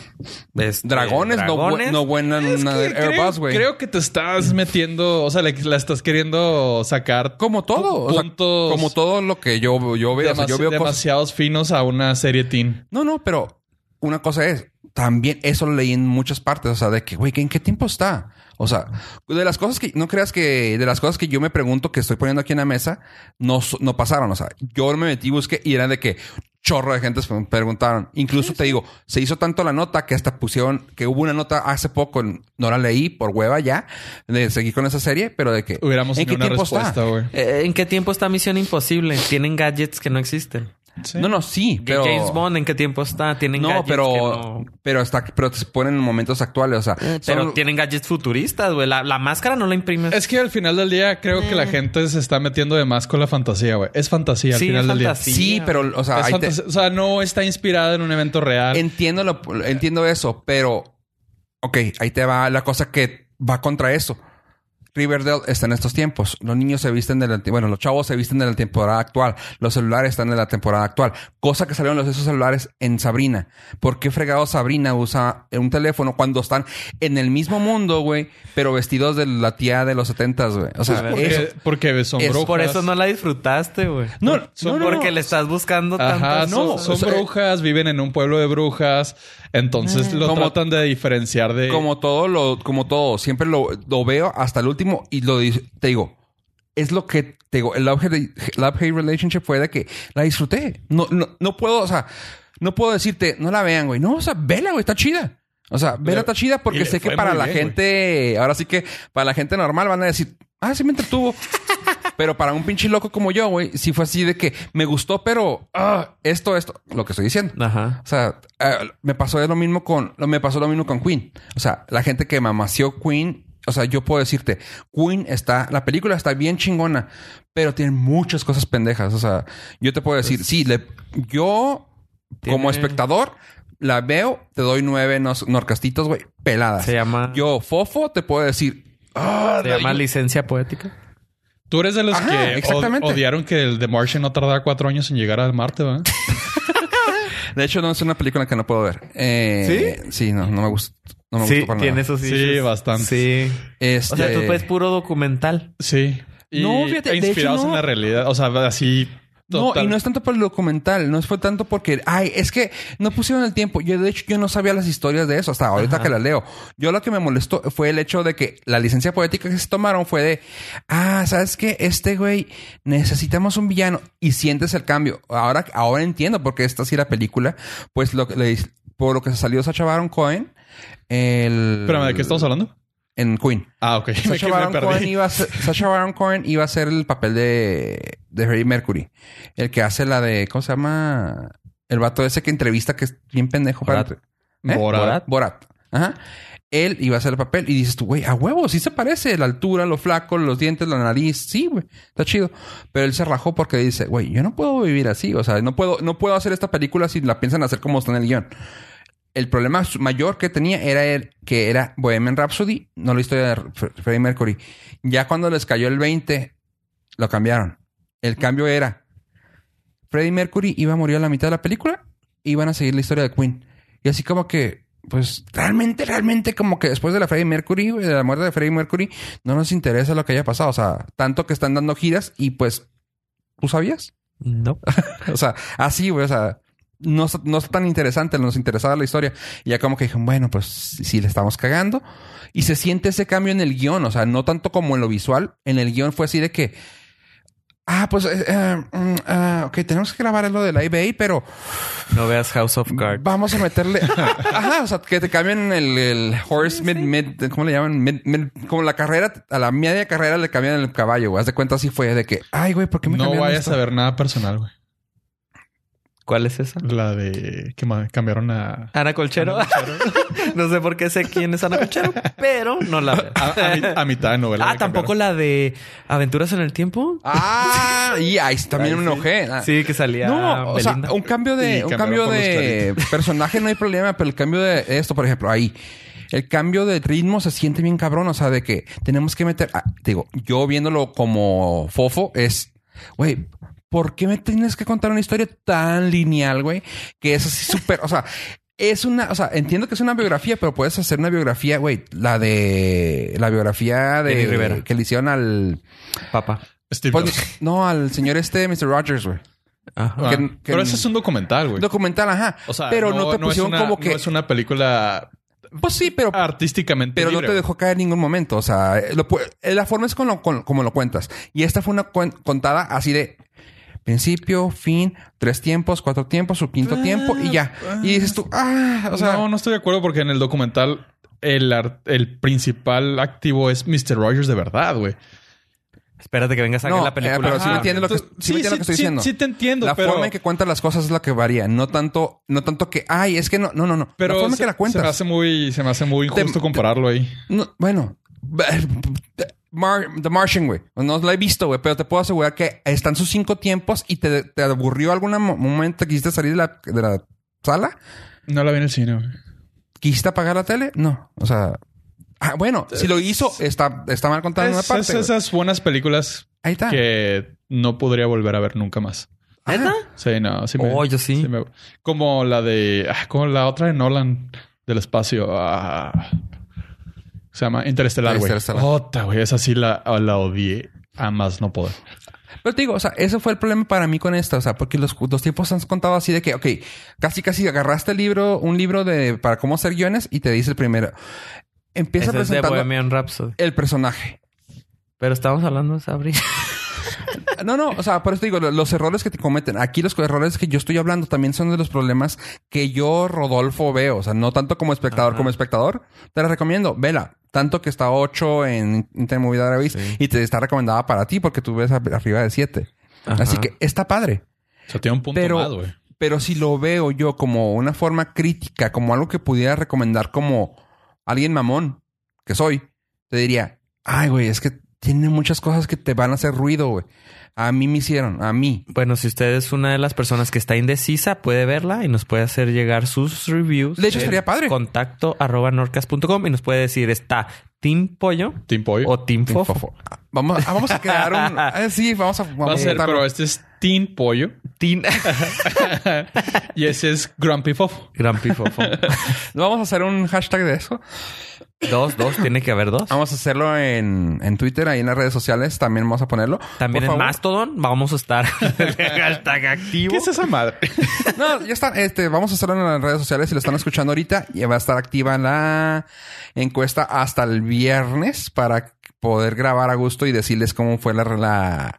[SPEAKER 4] este,
[SPEAKER 2] Dragones, no vue-
[SPEAKER 4] dragones.
[SPEAKER 2] no vuelan una
[SPEAKER 3] Sí,
[SPEAKER 2] de
[SPEAKER 3] creo-
[SPEAKER 2] Airbus, güey.
[SPEAKER 3] Creo que te estás metiendo, o sea, le- la estás queriendo sacar
[SPEAKER 2] Como todo. o sea,
[SPEAKER 3] Puntos-
[SPEAKER 2] como todo lo que yo, yo veo. o sea, yo
[SPEAKER 3] demasi-
[SPEAKER 2] veo cosas.
[SPEAKER 3] demasiados finos a una serie teen.
[SPEAKER 2] No, no, pero una cosa es, también eso lo leí en muchas partes, o sea, de que, güey, ¿en qué tiempo está? O sea, de las cosas que, no creas que, de las cosas que yo me pregunto que estoy poniendo aquí en la mesa, no, s- no pasaron, o sea, yo me metí, busqué y era de que chorro de gente se me preguntaron. Incluso te digo, se hizo tanto la nota que hasta pusieron, que hubo una nota hace poco, no la leí por hueva ya, de seguir con esa serie, pero de que...
[SPEAKER 3] Hubiéramos
[SPEAKER 2] ¿en
[SPEAKER 3] tenido
[SPEAKER 2] qué
[SPEAKER 3] una
[SPEAKER 2] tiempo está?
[SPEAKER 3] respuesta, güey.
[SPEAKER 4] Eh, ¿En qué tiempo está Misión Imposible? Tienen gadgets que no existen.
[SPEAKER 3] Sí.
[SPEAKER 2] No, no, sí, pero...
[SPEAKER 4] James Bond, ¿en qué tiempo está? Tienen
[SPEAKER 2] No,
[SPEAKER 4] gadgets
[SPEAKER 2] pero,
[SPEAKER 4] que no-
[SPEAKER 2] pero está, pero se ponen en momentos actuales, o sea,
[SPEAKER 4] Pero
[SPEAKER 2] son-
[SPEAKER 4] tienen gadgets futuristas, güey. La, la máscara no la imprimes.
[SPEAKER 3] Es que al final del día creo que la gente se está metiendo de más con la fantasía, güey. Es fantasía al
[SPEAKER 4] Sí,
[SPEAKER 3] final
[SPEAKER 4] es
[SPEAKER 3] del día.
[SPEAKER 4] fantasía.
[SPEAKER 2] sí, pero, o sea,
[SPEAKER 3] Es
[SPEAKER 2] ahí te-
[SPEAKER 3] fantasía. O sea, no está inspirada en un evento real.
[SPEAKER 2] entiendo, lo- entiendo eso, pero, ok, ahí te va la cosa que va contra eso. Riverdale está en estos tiempos. Los niños se visten de la, bueno, los chavos se visten de la temporada actual. Los celulares están de la temporada actual. Cosa que salieron los esos celulares en Sabrina. ¿Por qué fregado Sabrina usa un teléfono cuando están en el mismo mundo, güey, pero vestidos de la tía de los setentas, güey? O sea,
[SPEAKER 3] Pues porque,
[SPEAKER 2] eso.
[SPEAKER 3] porque son
[SPEAKER 2] eso.
[SPEAKER 3] brujas.
[SPEAKER 4] Por eso no la disfrutaste, güey.
[SPEAKER 2] pues, No,
[SPEAKER 3] son
[SPEAKER 2] no, no,
[SPEAKER 4] Porque
[SPEAKER 2] no.
[SPEAKER 4] le estás buscando
[SPEAKER 3] Ajá,
[SPEAKER 4] tantas
[SPEAKER 3] no,
[SPEAKER 4] cosas.
[SPEAKER 3] son
[SPEAKER 2] O sea, eh,
[SPEAKER 3] brujas, viven en un pueblo de brujas, entonces lo
[SPEAKER 2] Como-
[SPEAKER 3] tratan de diferenciar de
[SPEAKER 2] Como todo lo, como todo, siempre lo, lo veo hasta el último y lo dis- te digo, es lo que te digo, el love hate, love hate relationship fue de que la disfruté. No, no, no puedo, o sea, no puedo decirte, no la vean, güey. No, o sea, vela, güey, está chida. O sea, vela
[SPEAKER 3] Pero-
[SPEAKER 2] está chida
[SPEAKER 3] y
[SPEAKER 2] porque
[SPEAKER 3] le
[SPEAKER 2] sé que
[SPEAKER 3] fue
[SPEAKER 2] para
[SPEAKER 3] muy
[SPEAKER 2] la
[SPEAKER 3] bien,
[SPEAKER 2] gente, ahora sí que para la gente normal van a decir, ah, sí me entretuvo. pero para un pinche loco como yo, güey, sí fue así de que me gustó, pero ah, esto, esto, lo que estoy diciendo.
[SPEAKER 4] Ajá.
[SPEAKER 2] O sea, eh, me pasó lo mismo con lo- me pasó lo mismo con Queen. O sea, la gente que mamació Queen, o sea, yo puedo decirte, Queen está la película está bien chingona, pero tiene muchas cosas pendejas, o sea, yo te puedo decir, sí, le, yo como
[SPEAKER 4] Pues Tiene-
[SPEAKER 2] espectador la veo, te doy nueve nos- norcastitos, güey, peladas.
[SPEAKER 4] Se llama,
[SPEAKER 2] Yo fofo te puedo decir, "Ah,
[SPEAKER 4] se llama licencia poética.
[SPEAKER 3] Tú eres de los
[SPEAKER 2] Ajá,
[SPEAKER 3] que od-
[SPEAKER 2] exactamente.
[SPEAKER 3] odiaron que el The Martian no tardaba cuatro años en llegar al Marte, ¿verdad?
[SPEAKER 2] de hecho no es una película que no puedo ver. Eh, ¿Sí? Sí, no, no me gusta. No me
[SPEAKER 4] Sí,
[SPEAKER 2] gustó para
[SPEAKER 4] tiene
[SPEAKER 2] nada.
[SPEAKER 4] esos
[SPEAKER 3] Sí,
[SPEAKER 4] issues.
[SPEAKER 3] bastante.
[SPEAKER 4] Sí.
[SPEAKER 2] Este,
[SPEAKER 4] O sea, tú puedes puro documental.
[SPEAKER 3] Sí. Y
[SPEAKER 2] No, fíjate,
[SPEAKER 3] e
[SPEAKER 2] de hecho,
[SPEAKER 3] inspirados
[SPEAKER 2] no.
[SPEAKER 3] en la realidad, o sea, así
[SPEAKER 2] No,
[SPEAKER 3] total.
[SPEAKER 2] y no es tanto por el documental, no fue tanto porque, ay, es que no pusieron el tiempo. Yo, de hecho, yo no sabía las historias de eso hasta ahorita que las leo. Yo lo que me molestó fue el hecho de que la licencia poética que se tomaron fue de, ah, ¿sabes qué? Este güey, necesitamos un villano y sientes el cambio. Ahora, ahora entiendo por qué esta sí la película, pues lo que le, por lo que se salió Sacha Baron Cohen, el...
[SPEAKER 3] Espérame, ¿de qué estamos hablando?
[SPEAKER 2] En Queen.
[SPEAKER 3] Ah, ok. Me-
[SPEAKER 2] Sacha
[SPEAKER 3] me
[SPEAKER 2] Baron,
[SPEAKER 3] perdí.
[SPEAKER 2] Cohen iba a ser, Sacha Baron Cohen iba a ser el papel de, de Freddie Mercury. El que hace la de... ¿Cómo se llama? El vato ese que entrevista que es bien pendejo
[SPEAKER 4] Borat.
[SPEAKER 2] para... ¿Eh?
[SPEAKER 3] Borat.
[SPEAKER 2] Borat. Ajá. Él iba a hacer el papel y dices tú, güey, a huevo, sí se parece. La altura, lo flaco, los dientes, la nariz. Sí, güey. Está chido. Pero él se rajó porque dice, güey, yo no puedo vivir así. O sea, no puedo, no puedo hacer esta película si la piensan hacer como está en el guión. El problema su- mayor que tenía era el, que era Bohemian Rhapsody, no la historia de Fre- Freddie Mercury. Ya cuando les cayó el 20, lo cambiaron. El cambio era Freddie Mercury iba a morir a la mitad de la película y iban a seguir la historia de Queen. Y así como que, pues realmente, realmente como que después de la Freddie Mercury, güey, de la muerte de Freddie Mercury, no nos interesa lo que haya pasado. O sea, tanto que están dando giras y pues, ¿tú sabías?
[SPEAKER 4] No.
[SPEAKER 2] O sea, así, güey, o sea, no, es- no es tan interesante, nos interesaba la historia. Y ya como que dijeron, bueno, pues si le estamos cagando. Y se siente ese cambio en el guión, o sea, no tanto como en lo visual. En el guión fue así de que, ah, pues, eh, eh, mm, ah, ok, tenemos que grabar lo de la eBay, pero
[SPEAKER 4] No veas House of Cards.
[SPEAKER 2] vamos a meterle. Ajá, o sea, que te cambien el, el horse mid, mid, ¿cómo le llaman? Mid- mid- como la carrera, a la media carrera le cambian el caballo, güey. Haz de cuenta así fue de que, ay, güey, ¿por qué me
[SPEAKER 3] No
[SPEAKER 2] cambiaron
[SPEAKER 3] vayas
[SPEAKER 2] esto?
[SPEAKER 3] a ver nada personal, güey.
[SPEAKER 4] ¿Cuál es esa?
[SPEAKER 3] La de que ma- cambiaron a...
[SPEAKER 4] Ana Colchero. no sé por qué sé quién es Ana Colchero, pero no la
[SPEAKER 2] Ah,
[SPEAKER 4] veo.
[SPEAKER 3] A, a mi- a mitad de novela.
[SPEAKER 4] Ah,
[SPEAKER 3] la
[SPEAKER 4] tampoco la de Aventuras en el Tiempo.
[SPEAKER 2] Ah, y ahí también me enojé. Ah.
[SPEAKER 4] Sí, que salía
[SPEAKER 2] No, o sea,
[SPEAKER 4] Belinda.
[SPEAKER 2] un cambio
[SPEAKER 3] Y
[SPEAKER 2] de, un cambio
[SPEAKER 3] cambiaron por los
[SPEAKER 2] de personaje no hay problema, pero el cambio de esto, por ejemplo, ahí. el cambio de ritmo se siente bien cabrón. O sea, de que tenemos que meter. ah, te digo, yo viéndolo como fofo, es. Güey, ¿por qué me tienes que contar una historia tan lineal, güey? Que es así súper. o sea. Es una, o sea, entiendo que es una biografía, pero puedes hacer una biografía, güey, la de la biografía de
[SPEAKER 4] Jenny Rivera.
[SPEAKER 2] que le hicieron al
[SPEAKER 4] Papá.
[SPEAKER 3] Steve
[SPEAKER 2] pues,
[SPEAKER 3] Jobs.
[SPEAKER 2] no, al señor este, Mr. Rogers, güey.
[SPEAKER 4] Ajá.
[SPEAKER 3] Ah,
[SPEAKER 2] que- que-
[SPEAKER 3] pero ese es un documental, güey.
[SPEAKER 2] Documental, ajá.
[SPEAKER 3] o sea,
[SPEAKER 2] pero no, te
[SPEAKER 3] es
[SPEAKER 2] pusieron
[SPEAKER 3] una-
[SPEAKER 2] como que.
[SPEAKER 3] No es una película
[SPEAKER 2] Pues sí, pero,
[SPEAKER 3] artísticamente
[SPEAKER 2] pero no
[SPEAKER 3] libre,
[SPEAKER 2] te
[SPEAKER 3] güey.
[SPEAKER 2] dejó caer en ningún momento. O sea, eh, lo pu- eh, la forma es con lo- con- como lo cuentas. Y esta fue una cuen- contada así de principio, fin, tres tiempos, cuatro tiempos, su quinto
[SPEAKER 3] Ah,
[SPEAKER 2] tiempo y ya.
[SPEAKER 3] ah.
[SPEAKER 2] y dices tú, ah, o sea,
[SPEAKER 3] no, no estoy de acuerdo porque en el documental el, ar- el principal activo es Mr. Rogers de verdad, güey.
[SPEAKER 4] Espérate que vengas a
[SPEAKER 2] No,
[SPEAKER 4] la película.
[SPEAKER 2] eh, pero sí
[SPEAKER 4] Ajá.
[SPEAKER 2] me entiendes lo que-
[SPEAKER 3] Entonces,
[SPEAKER 2] sí me entiendes lo que estoy diciendo.
[SPEAKER 3] Sí, te entiendo,
[SPEAKER 2] la
[SPEAKER 3] pero...
[SPEAKER 2] forma en que cuentas las cosas es la que varía. No tanto, no tanto que, ay, es que no, no, no, no.
[SPEAKER 3] pero
[SPEAKER 2] la forma en
[SPEAKER 3] se,
[SPEAKER 2] que la
[SPEAKER 3] se me
[SPEAKER 2] cuentas.
[SPEAKER 3] hace muy, se me hace muy
[SPEAKER 2] Te-
[SPEAKER 3] injusto compararlo ahí.
[SPEAKER 2] No, bueno, eh, Mar- The Martian, güey. No la he visto, güey, pero te puedo asegurar que están sus cinco tiempos y te, te aburrió algún mo- momento, quisiste salir de la, de la sala,
[SPEAKER 3] No la vi en el cine, güey.
[SPEAKER 2] quisiste apagar la tele. No, o sea, ah, bueno, si lo hizo, está, está mal contado en una
[SPEAKER 3] Es-
[SPEAKER 2] parte.
[SPEAKER 3] es
[SPEAKER 2] güey. Ah.
[SPEAKER 3] esas buenas películas
[SPEAKER 2] Ahí está.
[SPEAKER 3] que no podría volver a ver nunca más.
[SPEAKER 2] Ah,
[SPEAKER 4] ¿Neta?
[SPEAKER 3] Sí, no, sí
[SPEAKER 4] Oh, yo sí.
[SPEAKER 3] me- como la de. ah, como la otra de Nolan del espacio. ah. se llama Interestelar, güey.
[SPEAKER 2] Interestelar.
[SPEAKER 3] Ota, güey. Esa sí la, ah, la odié. A más no poder.
[SPEAKER 2] Pero te digo, o sea, ese fue el problema para mí con esta, o sea, porque los, los tiempos han contado así de que, ok, casi casi agarraste el libro, un libro de para cómo hacer guiones y te dice el primero.
[SPEAKER 4] Ese
[SPEAKER 2] Empieza
[SPEAKER 4] es de
[SPEAKER 2] presentando
[SPEAKER 4] Bohemian Rhapsody.
[SPEAKER 2] el personaje.
[SPEAKER 4] Pero estamos hablando de Sabrina.
[SPEAKER 2] No, no, o sea, por eso te digo, lo- los errores que te cometen, aquí los errores que yo estoy hablando también son de los problemas que yo, Rodolfo, veo, o sea, no tanto como espectador,
[SPEAKER 4] Ajá.
[SPEAKER 2] como espectador, te la recomiendo, vela, tanto que está 8 en Intermovie Database
[SPEAKER 4] Sí.
[SPEAKER 2] y te está recomendada para ti porque tú ves a- arriba de 7.
[SPEAKER 4] Ajá.
[SPEAKER 2] Así que está padre,
[SPEAKER 3] O sea, tiene un punto
[SPEAKER 2] Pero-
[SPEAKER 3] más, güey.
[SPEAKER 2] pero si lo veo yo como una forma crítica, como algo que pudiera recomendar como alguien mamón que soy, te diría, ay, güey, es que tiene muchas cosas que te van a hacer ruido, güey. A mí me hicieron, a mí.
[SPEAKER 4] Bueno, si usted es una de las personas que está indecisa, puede verla y nos puede hacer llegar sus reviews.
[SPEAKER 2] De hecho,
[SPEAKER 4] en
[SPEAKER 2] estaría padre.
[SPEAKER 4] Contacto arroba norcas.com y nos puede decir, ¿está Team Pollo
[SPEAKER 3] Team Boy.
[SPEAKER 4] o Team,
[SPEAKER 2] Team
[SPEAKER 4] Fofo?
[SPEAKER 2] Fofo. Ah, Vamos, ah, vamos a crear un. ah, sí, vamos a.
[SPEAKER 3] Va a
[SPEAKER 2] vamos a
[SPEAKER 3] ser,
[SPEAKER 2] montarlo.
[SPEAKER 3] pero este es Team Pollo
[SPEAKER 4] Team...
[SPEAKER 3] y ese es Grumpy Fofo.
[SPEAKER 4] Grumpy Fofo.
[SPEAKER 2] ¿No vamos a hacer un hashtag de eso.
[SPEAKER 4] dos, dos. Tiene que haber dos.
[SPEAKER 2] Vamos a hacerlo en, en Twitter, ahí en las redes sociales. También vamos a ponerlo.
[SPEAKER 4] También en
[SPEAKER 2] Por favor.
[SPEAKER 4] Mastodon vamos a estar hashtag activo.
[SPEAKER 3] ¿Qué es esa madre?
[SPEAKER 2] No, ya está. Este, vamos a hacerlo en las redes sociales. Si lo están escuchando ahorita, ya va a estar activa la encuesta hasta el viernes para poder grabar a gusto y decirles cómo fue la. la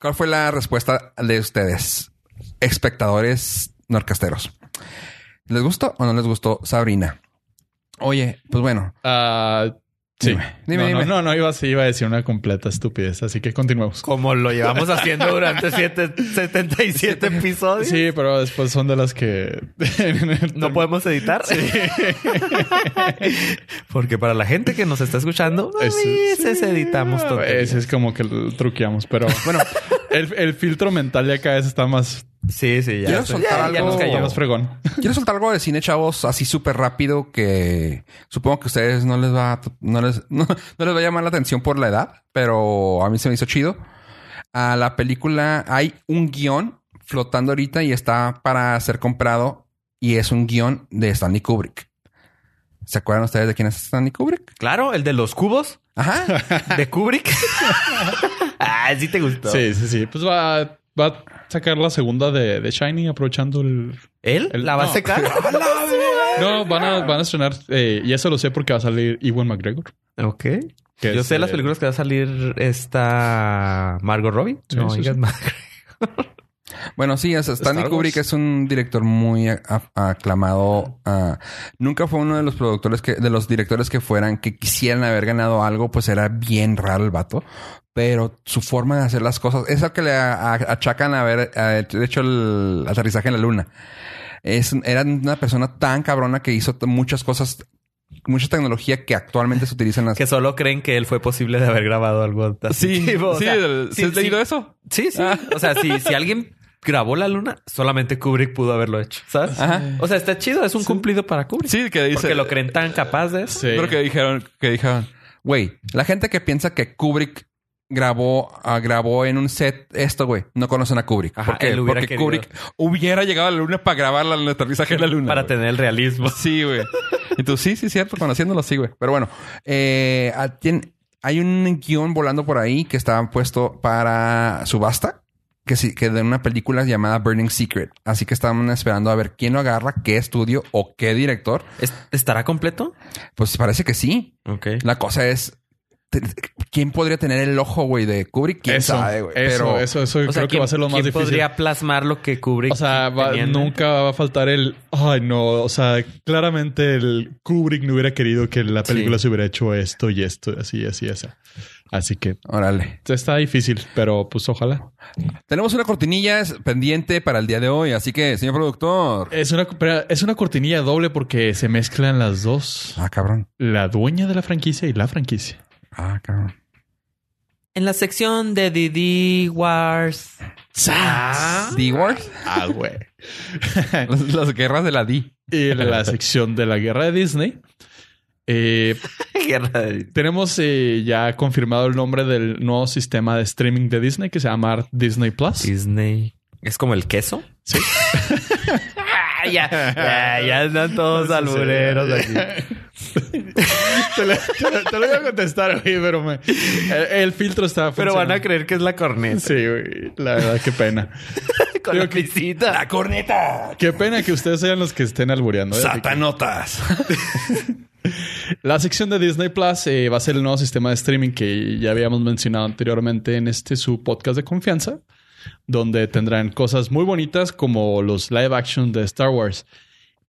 [SPEAKER 2] ¿Cuál fue la respuesta de ustedes, espectadores norcasteros? ¿Les gustó o no les gustó Sabrina? Oye, pues bueno,
[SPEAKER 3] Ah, sí.
[SPEAKER 2] Dime, dime,
[SPEAKER 3] no, no,
[SPEAKER 2] dime.
[SPEAKER 3] no, no, iba, a- iba a decir una completa estupidez, así que continuemos.
[SPEAKER 4] Como lo llevamos haciendo durante siete- 77 episodios.
[SPEAKER 3] Sí, pero después son de las que...
[SPEAKER 4] No podemos editar. Porque para la gente que nos está escuchando, a
[SPEAKER 3] Ese-
[SPEAKER 4] veces
[SPEAKER 3] sí,
[SPEAKER 4] editamos
[SPEAKER 3] a
[SPEAKER 4] todo.
[SPEAKER 3] veces como que lo truqueamos, pero bueno, el, el filtro mental ya cada vez está más,
[SPEAKER 4] Sí, sí, ya.
[SPEAKER 2] Quiero
[SPEAKER 4] Sí,
[SPEAKER 2] soltar
[SPEAKER 4] ya,
[SPEAKER 2] algo.
[SPEAKER 4] ya nos
[SPEAKER 3] ya
[SPEAKER 4] cayó.
[SPEAKER 3] más fregón.
[SPEAKER 2] Quiero soltar algo de cine, chavos, así súper rápido que supongo que a ustedes no les va a, no les, no, no les va a llamar la atención por la edad, pero a mí se me hizo chido. A la película hay un guión flotando ahorita y está para ser comprado y es un guión de Stanley Kubrick. ¿Se acuerdan ustedes de quién es Stanley Kubrick?
[SPEAKER 4] Claro, el de los cubos
[SPEAKER 2] Ajá.
[SPEAKER 4] de Kubrick. ah, sí te gustó.
[SPEAKER 3] Sí, sí, sí. Pues va, va a sacar la segunda de, de Shiny aprovechando el...
[SPEAKER 4] ¿Él?
[SPEAKER 3] El-
[SPEAKER 4] ¿La va a
[SPEAKER 3] no.
[SPEAKER 4] secar?
[SPEAKER 3] No, van a, van a estrenar, eh, y eso lo sé porque va a salir Ewan McGregor.
[SPEAKER 4] ok.
[SPEAKER 3] que
[SPEAKER 4] Yo
[SPEAKER 3] es,
[SPEAKER 4] sé las
[SPEAKER 3] eh,
[SPEAKER 4] películas que va a salir esta Margot Robbie.
[SPEAKER 3] Sí,
[SPEAKER 4] no,
[SPEAKER 3] sí,
[SPEAKER 4] digas
[SPEAKER 3] sí.
[SPEAKER 4] más.
[SPEAKER 2] Bueno, sí, es- Stanley
[SPEAKER 3] Wars.
[SPEAKER 2] Kubrick es un director muy a- a- aclamado. ah, nunca fue uno de los productores que, de los directores que fueran, que quisieran haber ganado algo, pues era bien raro el vato. Pero su forma de hacer las cosas, es al que le a- a- achacan haber eh, hecho el aterrizaje en la luna. Es, era una persona tan cabrona que hizo t- muchas cosas, mucha tecnología que actualmente se utiliza en las.
[SPEAKER 4] Que solo creen que él fue posible de haber grabado algo así. Tipo, o sea, sí, sí.
[SPEAKER 2] eso?
[SPEAKER 4] Sí, sí. O sea, si, si alguien grabó la luna, solamente Kubrick pudo haberlo hecho, ¿sabes?
[SPEAKER 2] Ajá.
[SPEAKER 4] O sea, está chido, es un cumplido para Kubrick.
[SPEAKER 2] Sí, que dice.
[SPEAKER 4] Porque lo creen tan capaz de eso.
[SPEAKER 3] Sí.
[SPEAKER 2] Creo que dijeron, que dijeron, güey, la gente que piensa que Kubrick grabó, ah, grabó en un set esto, güey, no conocen a Kubrick.
[SPEAKER 4] Ajá,
[SPEAKER 2] ¿Por qué?
[SPEAKER 4] él hubiera
[SPEAKER 2] Porque
[SPEAKER 4] querido.
[SPEAKER 2] Kubrick hubiera llegado a la luna para grabar la- el aterrizaje de la luna.
[SPEAKER 4] para
[SPEAKER 2] güey.
[SPEAKER 4] tener el realismo.
[SPEAKER 2] Sí, güey. Y tú, sí, sí, cierto, conociéndolo, sí, güey. Pero bueno, eh, a- tien- hay un guión volando por ahí que estaba puesto para subasta, que sí, que de una película llamada Burning Secret. Así que estaban esperando a ver quién lo agarra, qué estudio o qué director.
[SPEAKER 4] ¿Es- ¿Estará completo?
[SPEAKER 2] Pues parece que sí.
[SPEAKER 4] Ok.
[SPEAKER 2] La cosa es. te- ¿Quién podría tener el ojo, güey, de Kubrick? ¿Quién
[SPEAKER 3] eso,
[SPEAKER 2] sabe, güey?
[SPEAKER 3] Eso,
[SPEAKER 2] Pero
[SPEAKER 3] eso, eso creo que va a ser lo más
[SPEAKER 4] ¿quién
[SPEAKER 3] difícil.
[SPEAKER 4] podría plasmar lo que Kubrick
[SPEAKER 3] O sea, va-
[SPEAKER 4] tenía en mente?
[SPEAKER 3] nunca va a faltar el. Ay, no. O sea, claramente el Kubrick no hubiera querido que la película
[SPEAKER 4] Sí.
[SPEAKER 3] se hubiera hecho esto y esto, así, así, así. Así que
[SPEAKER 2] Órale.
[SPEAKER 3] está difícil, pero pues ojalá.
[SPEAKER 2] Tenemos una cortinilla pendiente para el día de hoy, así que, señor productor.
[SPEAKER 3] Es una, pero es una cortinilla doble porque se mezclan las dos:
[SPEAKER 2] Ah, cabrón.
[SPEAKER 3] la dueña de la franquicia y la franquicia.
[SPEAKER 2] Ah, cabrón.
[SPEAKER 4] En la sección de Didi Wars.
[SPEAKER 3] ¡Sas!
[SPEAKER 2] D-Wars.
[SPEAKER 3] Ah, güey.
[SPEAKER 2] Las, las guerras de la D.
[SPEAKER 3] y en la sección de la guerra de Disney. Eh,
[SPEAKER 4] Guerra de-
[SPEAKER 3] tenemos eh, ya confirmado el nombre del nuevo sistema de streaming de Disney que se llama Disney Plus.
[SPEAKER 4] Disney. ¿Es como el queso?
[SPEAKER 3] Sí.
[SPEAKER 4] Ah, ya, ya, ya andan todos albureros aquí.
[SPEAKER 3] te, lo, te lo- te lo voy a contestar, güey, pero me- el, el filtro está
[SPEAKER 4] Pero van a
[SPEAKER 3] funcionando.
[SPEAKER 4] creer que es la corneta.
[SPEAKER 3] Sí, güey. La verdad, qué pena.
[SPEAKER 4] Con la pisita. La corneta.
[SPEAKER 3] Qué pena que ustedes sean los que estén albureando. ¿eh? Así que-
[SPEAKER 2] Satanotas.
[SPEAKER 3] La sección de Disney Plus eh, va a ser el nuevo sistema de streaming que ya habíamos mencionado anteriormente en este su podcast de confianza, donde tendrán cosas muy bonitas como los live action de Star Wars.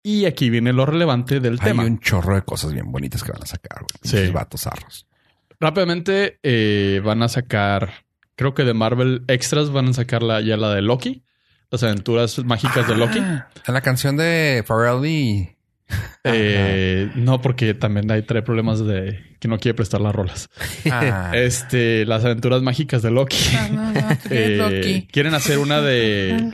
[SPEAKER 3] Y aquí viene lo relevante del
[SPEAKER 2] Hay
[SPEAKER 3] tema.
[SPEAKER 2] un chorro de cosas bien bonitas que van a sacar, güey.
[SPEAKER 3] Sí.
[SPEAKER 2] Pinches Vatos arros.
[SPEAKER 3] Rápidamente eh, van a sacar, creo que de Marvel Extras van a sacar la, ya la de Loki, las aventuras mágicas
[SPEAKER 2] Ah.
[SPEAKER 3] de Loki.
[SPEAKER 2] En la canción de Pharrell y...
[SPEAKER 3] Eh, no, porque también hay tres problemas de que no quiere prestar las rolas.
[SPEAKER 2] Ah.
[SPEAKER 3] Este, las aventuras mágicas de Loki. Eh, quieren hacer una de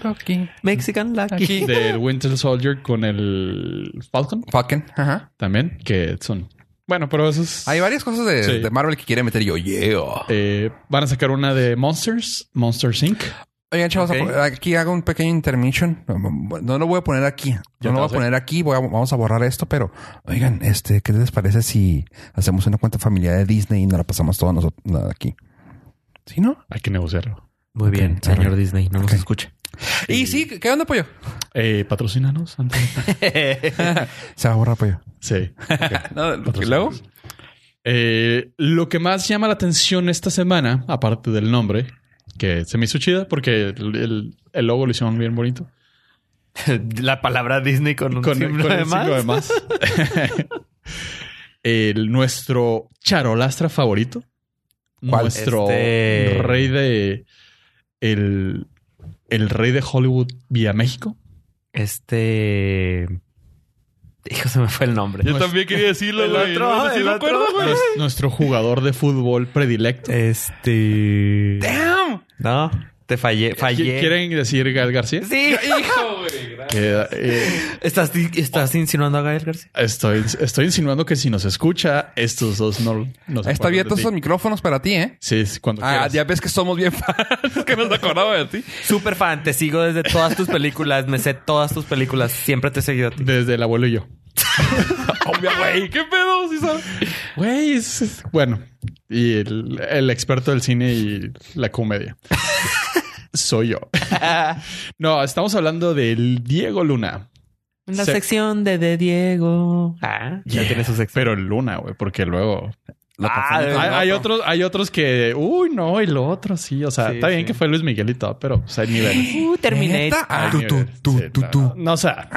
[SPEAKER 4] Mexican Lucky.
[SPEAKER 3] del Winter Soldier con el Falcon
[SPEAKER 2] Falcon. Ajá.
[SPEAKER 3] también, que son bueno, pero esos
[SPEAKER 2] Hay varias cosas de,
[SPEAKER 3] Sí.
[SPEAKER 2] de Marvel que quiere meter y yo, yeah. oh.
[SPEAKER 3] eh, van a sacar una de Monsters, Monsters Inc.
[SPEAKER 2] Oigan, chavos,
[SPEAKER 4] Ok.
[SPEAKER 2] aquí hago un pequeño intermission. No lo voy a poner aquí. No lo
[SPEAKER 3] Ya te
[SPEAKER 2] voy
[SPEAKER 3] vas
[SPEAKER 2] a
[SPEAKER 3] a-
[SPEAKER 2] poner aquí. Voy a- vamos a borrar esto, pero oigan, este, ¿qué les parece si hacemos una cuenta familiar de Disney y nos la pasamos todos nosotros aquí? ¿Sí, no?
[SPEAKER 3] Hay que negociarlo.
[SPEAKER 4] Muy bien,
[SPEAKER 2] Ok,
[SPEAKER 4] señor
[SPEAKER 2] arre.
[SPEAKER 4] Disney. No nos
[SPEAKER 2] Ok.
[SPEAKER 4] escucha.
[SPEAKER 2] Y sí, ¿qué onda, pollo?
[SPEAKER 3] Eh, patrocínanos antes. de-
[SPEAKER 2] Se va a borrar, pollo.
[SPEAKER 3] sí.
[SPEAKER 2] No,
[SPEAKER 3] Otros temas. Eh, lo que más llama la atención esta semana, aparte del nombre, que se me hizo chida porque el, el- el logo lo hicieron bien bonito.
[SPEAKER 4] La palabra Disney con un símbolo
[SPEAKER 3] con
[SPEAKER 4] de
[SPEAKER 3] el signo de
[SPEAKER 4] más.
[SPEAKER 3] más. El- nuestro charolastra favorito.
[SPEAKER 2] ¿Cuál?
[SPEAKER 3] Nuestro
[SPEAKER 4] Este-
[SPEAKER 3] rey de. El, el rey de Hollywood vía México.
[SPEAKER 4] Este. Hijo, se me fue el nombre.
[SPEAKER 3] también quería decirlo,
[SPEAKER 4] El güey. otro, No sé si el me acuerdo, otro. güey.
[SPEAKER 3] ah, Nuestro jugador de fútbol predilecto.
[SPEAKER 4] Este. No, te fallé. Fallé.
[SPEAKER 3] ¿Quieren decir Gael García?
[SPEAKER 4] Sí.
[SPEAKER 3] Que, eh,
[SPEAKER 4] ¿Estás, estás insinuando a Gael García?
[SPEAKER 3] Estoy, estoy insinuando que si nos escucha, estos dos no nos
[SPEAKER 2] Está abiertos esos micrófonos para ti, ¿eh?
[SPEAKER 3] Sí, es cuando
[SPEAKER 2] Ah,
[SPEAKER 3] quieras.
[SPEAKER 2] ya ves que somos bien fans, que nos acordaba de ti.
[SPEAKER 4] Super fan, te sigo desde todas tus películas, me sé todas tus películas, siempre te he seguido a ti.
[SPEAKER 3] Desde el abuelo y yo.
[SPEAKER 2] Obvio, güey. ¿Qué pedo? ¿Sí sabes?
[SPEAKER 3] Güey, es- es- bueno. Y el, el experto del cine y la comedia. Soy yo. no, estamos hablando del Diego Luna.
[SPEAKER 4] En la
[SPEAKER 3] Se-
[SPEAKER 4] sección de De Diego. Ah, ya
[SPEAKER 3] Yeah.
[SPEAKER 4] tiene su sección.
[SPEAKER 3] Pero el Luna, güey, porque luego...
[SPEAKER 2] Lo
[SPEAKER 4] Ah,
[SPEAKER 2] confundí
[SPEAKER 3] Hay,
[SPEAKER 2] con
[SPEAKER 3] hay otros, hay otros que... Uy, no, y lo otro sí. O sea,
[SPEAKER 4] Sí,
[SPEAKER 3] está bien
[SPEAKER 4] sí.
[SPEAKER 3] que fue Luis Miguel y todo, pero pues, hay niveles.
[SPEAKER 4] Uh, Terminator.
[SPEAKER 2] ¿Neta? Ah,
[SPEAKER 3] Hay
[SPEAKER 2] tú, tú,
[SPEAKER 3] niveles.
[SPEAKER 2] tú,
[SPEAKER 3] Sí,
[SPEAKER 2] tú,
[SPEAKER 3] no,
[SPEAKER 2] tú.
[SPEAKER 3] No, o sea...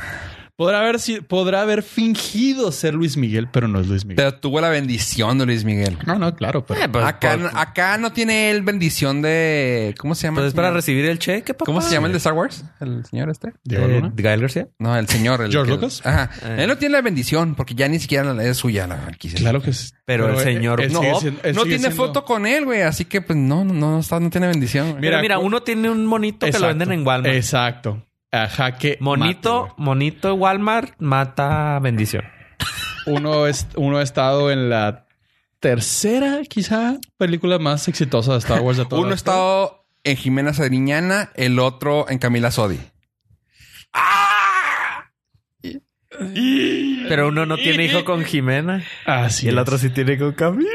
[SPEAKER 3] Podrá haber, si- podrá haber fingido ser Luis Miguel, pero no es Luis Miguel.
[SPEAKER 2] Pero tuvo la bendición de Luis Miguel.
[SPEAKER 3] No, no, claro, pero.
[SPEAKER 4] Eh, pues,
[SPEAKER 2] acá,
[SPEAKER 4] pues,
[SPEAKER 2] acá no tiene él bendición de. ¿Cómo se llama?
[SPEAKER 4] pues
[SPEAKER 2] el
[SPEAKER 4] es para
[SPEAKER 2] señor?
[SPEAKER 4] recibir el cheque, papá.
[SPEAKER 2] ¿Cómo se llama el de Star Wars? ¿El señor este?
[SPEAKER 3] Diego
[SPEAKER 4] Eh,
[SPEAKER 3] Luna.
[SPEAKER 4] Gael García.
[SPEAKER 2] No, el señor. el
[SPEAKER 3] ¿George
[SPEAKER 2] que-
[SPEAKER 3] Lucas?
[SPEAKER 2] Ajá.
[SPEAKER 4] Eh.
[SPEAKER 2] Él no tiene la bendición porque ya ni siquiera la- es suya la franquicia.
[SPEAKER 3] Claro que sí.
[SPEAKER 4] Pero el señor-
[SPEAKER 3] él
[SPEAKER 2] No,
[SPEAKER 3] eh, sigue siendo- él
[SPEAKER 2] no
[SPEAKER 3] sigue
[SPEAKER 2] tiene
[SPEAKER 3] siendo-
[SPEAKER 2] foto con él, güey. Así que, pues, no, no, no, está, no tiene bendición. güey.
[SPEAKER 3] Mira,
[SPEAKER 4] Mira, mira,
[SPEAKER 3] cu-
[SPEAKER 4] uno tiene un monito que lo
[SPEAKER 3] Exacto.
[SPEAKER 4] venden en Walmart.
[SPEAKER 3] Exacto. Ajá, que.
[SPEAKER 4] monito,
[SPEAKER 3] mate,
[SPEAKER 4] monito Walmart mata bendición.
[SPEAKER 3] güey. uno, es, uno ha estado en la tercera, quizá, película más exitosa de Star Wars de todas
[SPEAKER 2] Uno ha
[SPEAKER 3] las-
[SPEAKER 2] estado en Jimena Sariñana, el otro en Camila Sodi.
[SPEAKER 4] Pero uno no tiene hijo con Jimena.
[SPEAKER 3] Así
[SPEAKER 4] y el
[SPEAKER 3] es.
[SPEAKER 4] otro sí tiene con Camilo.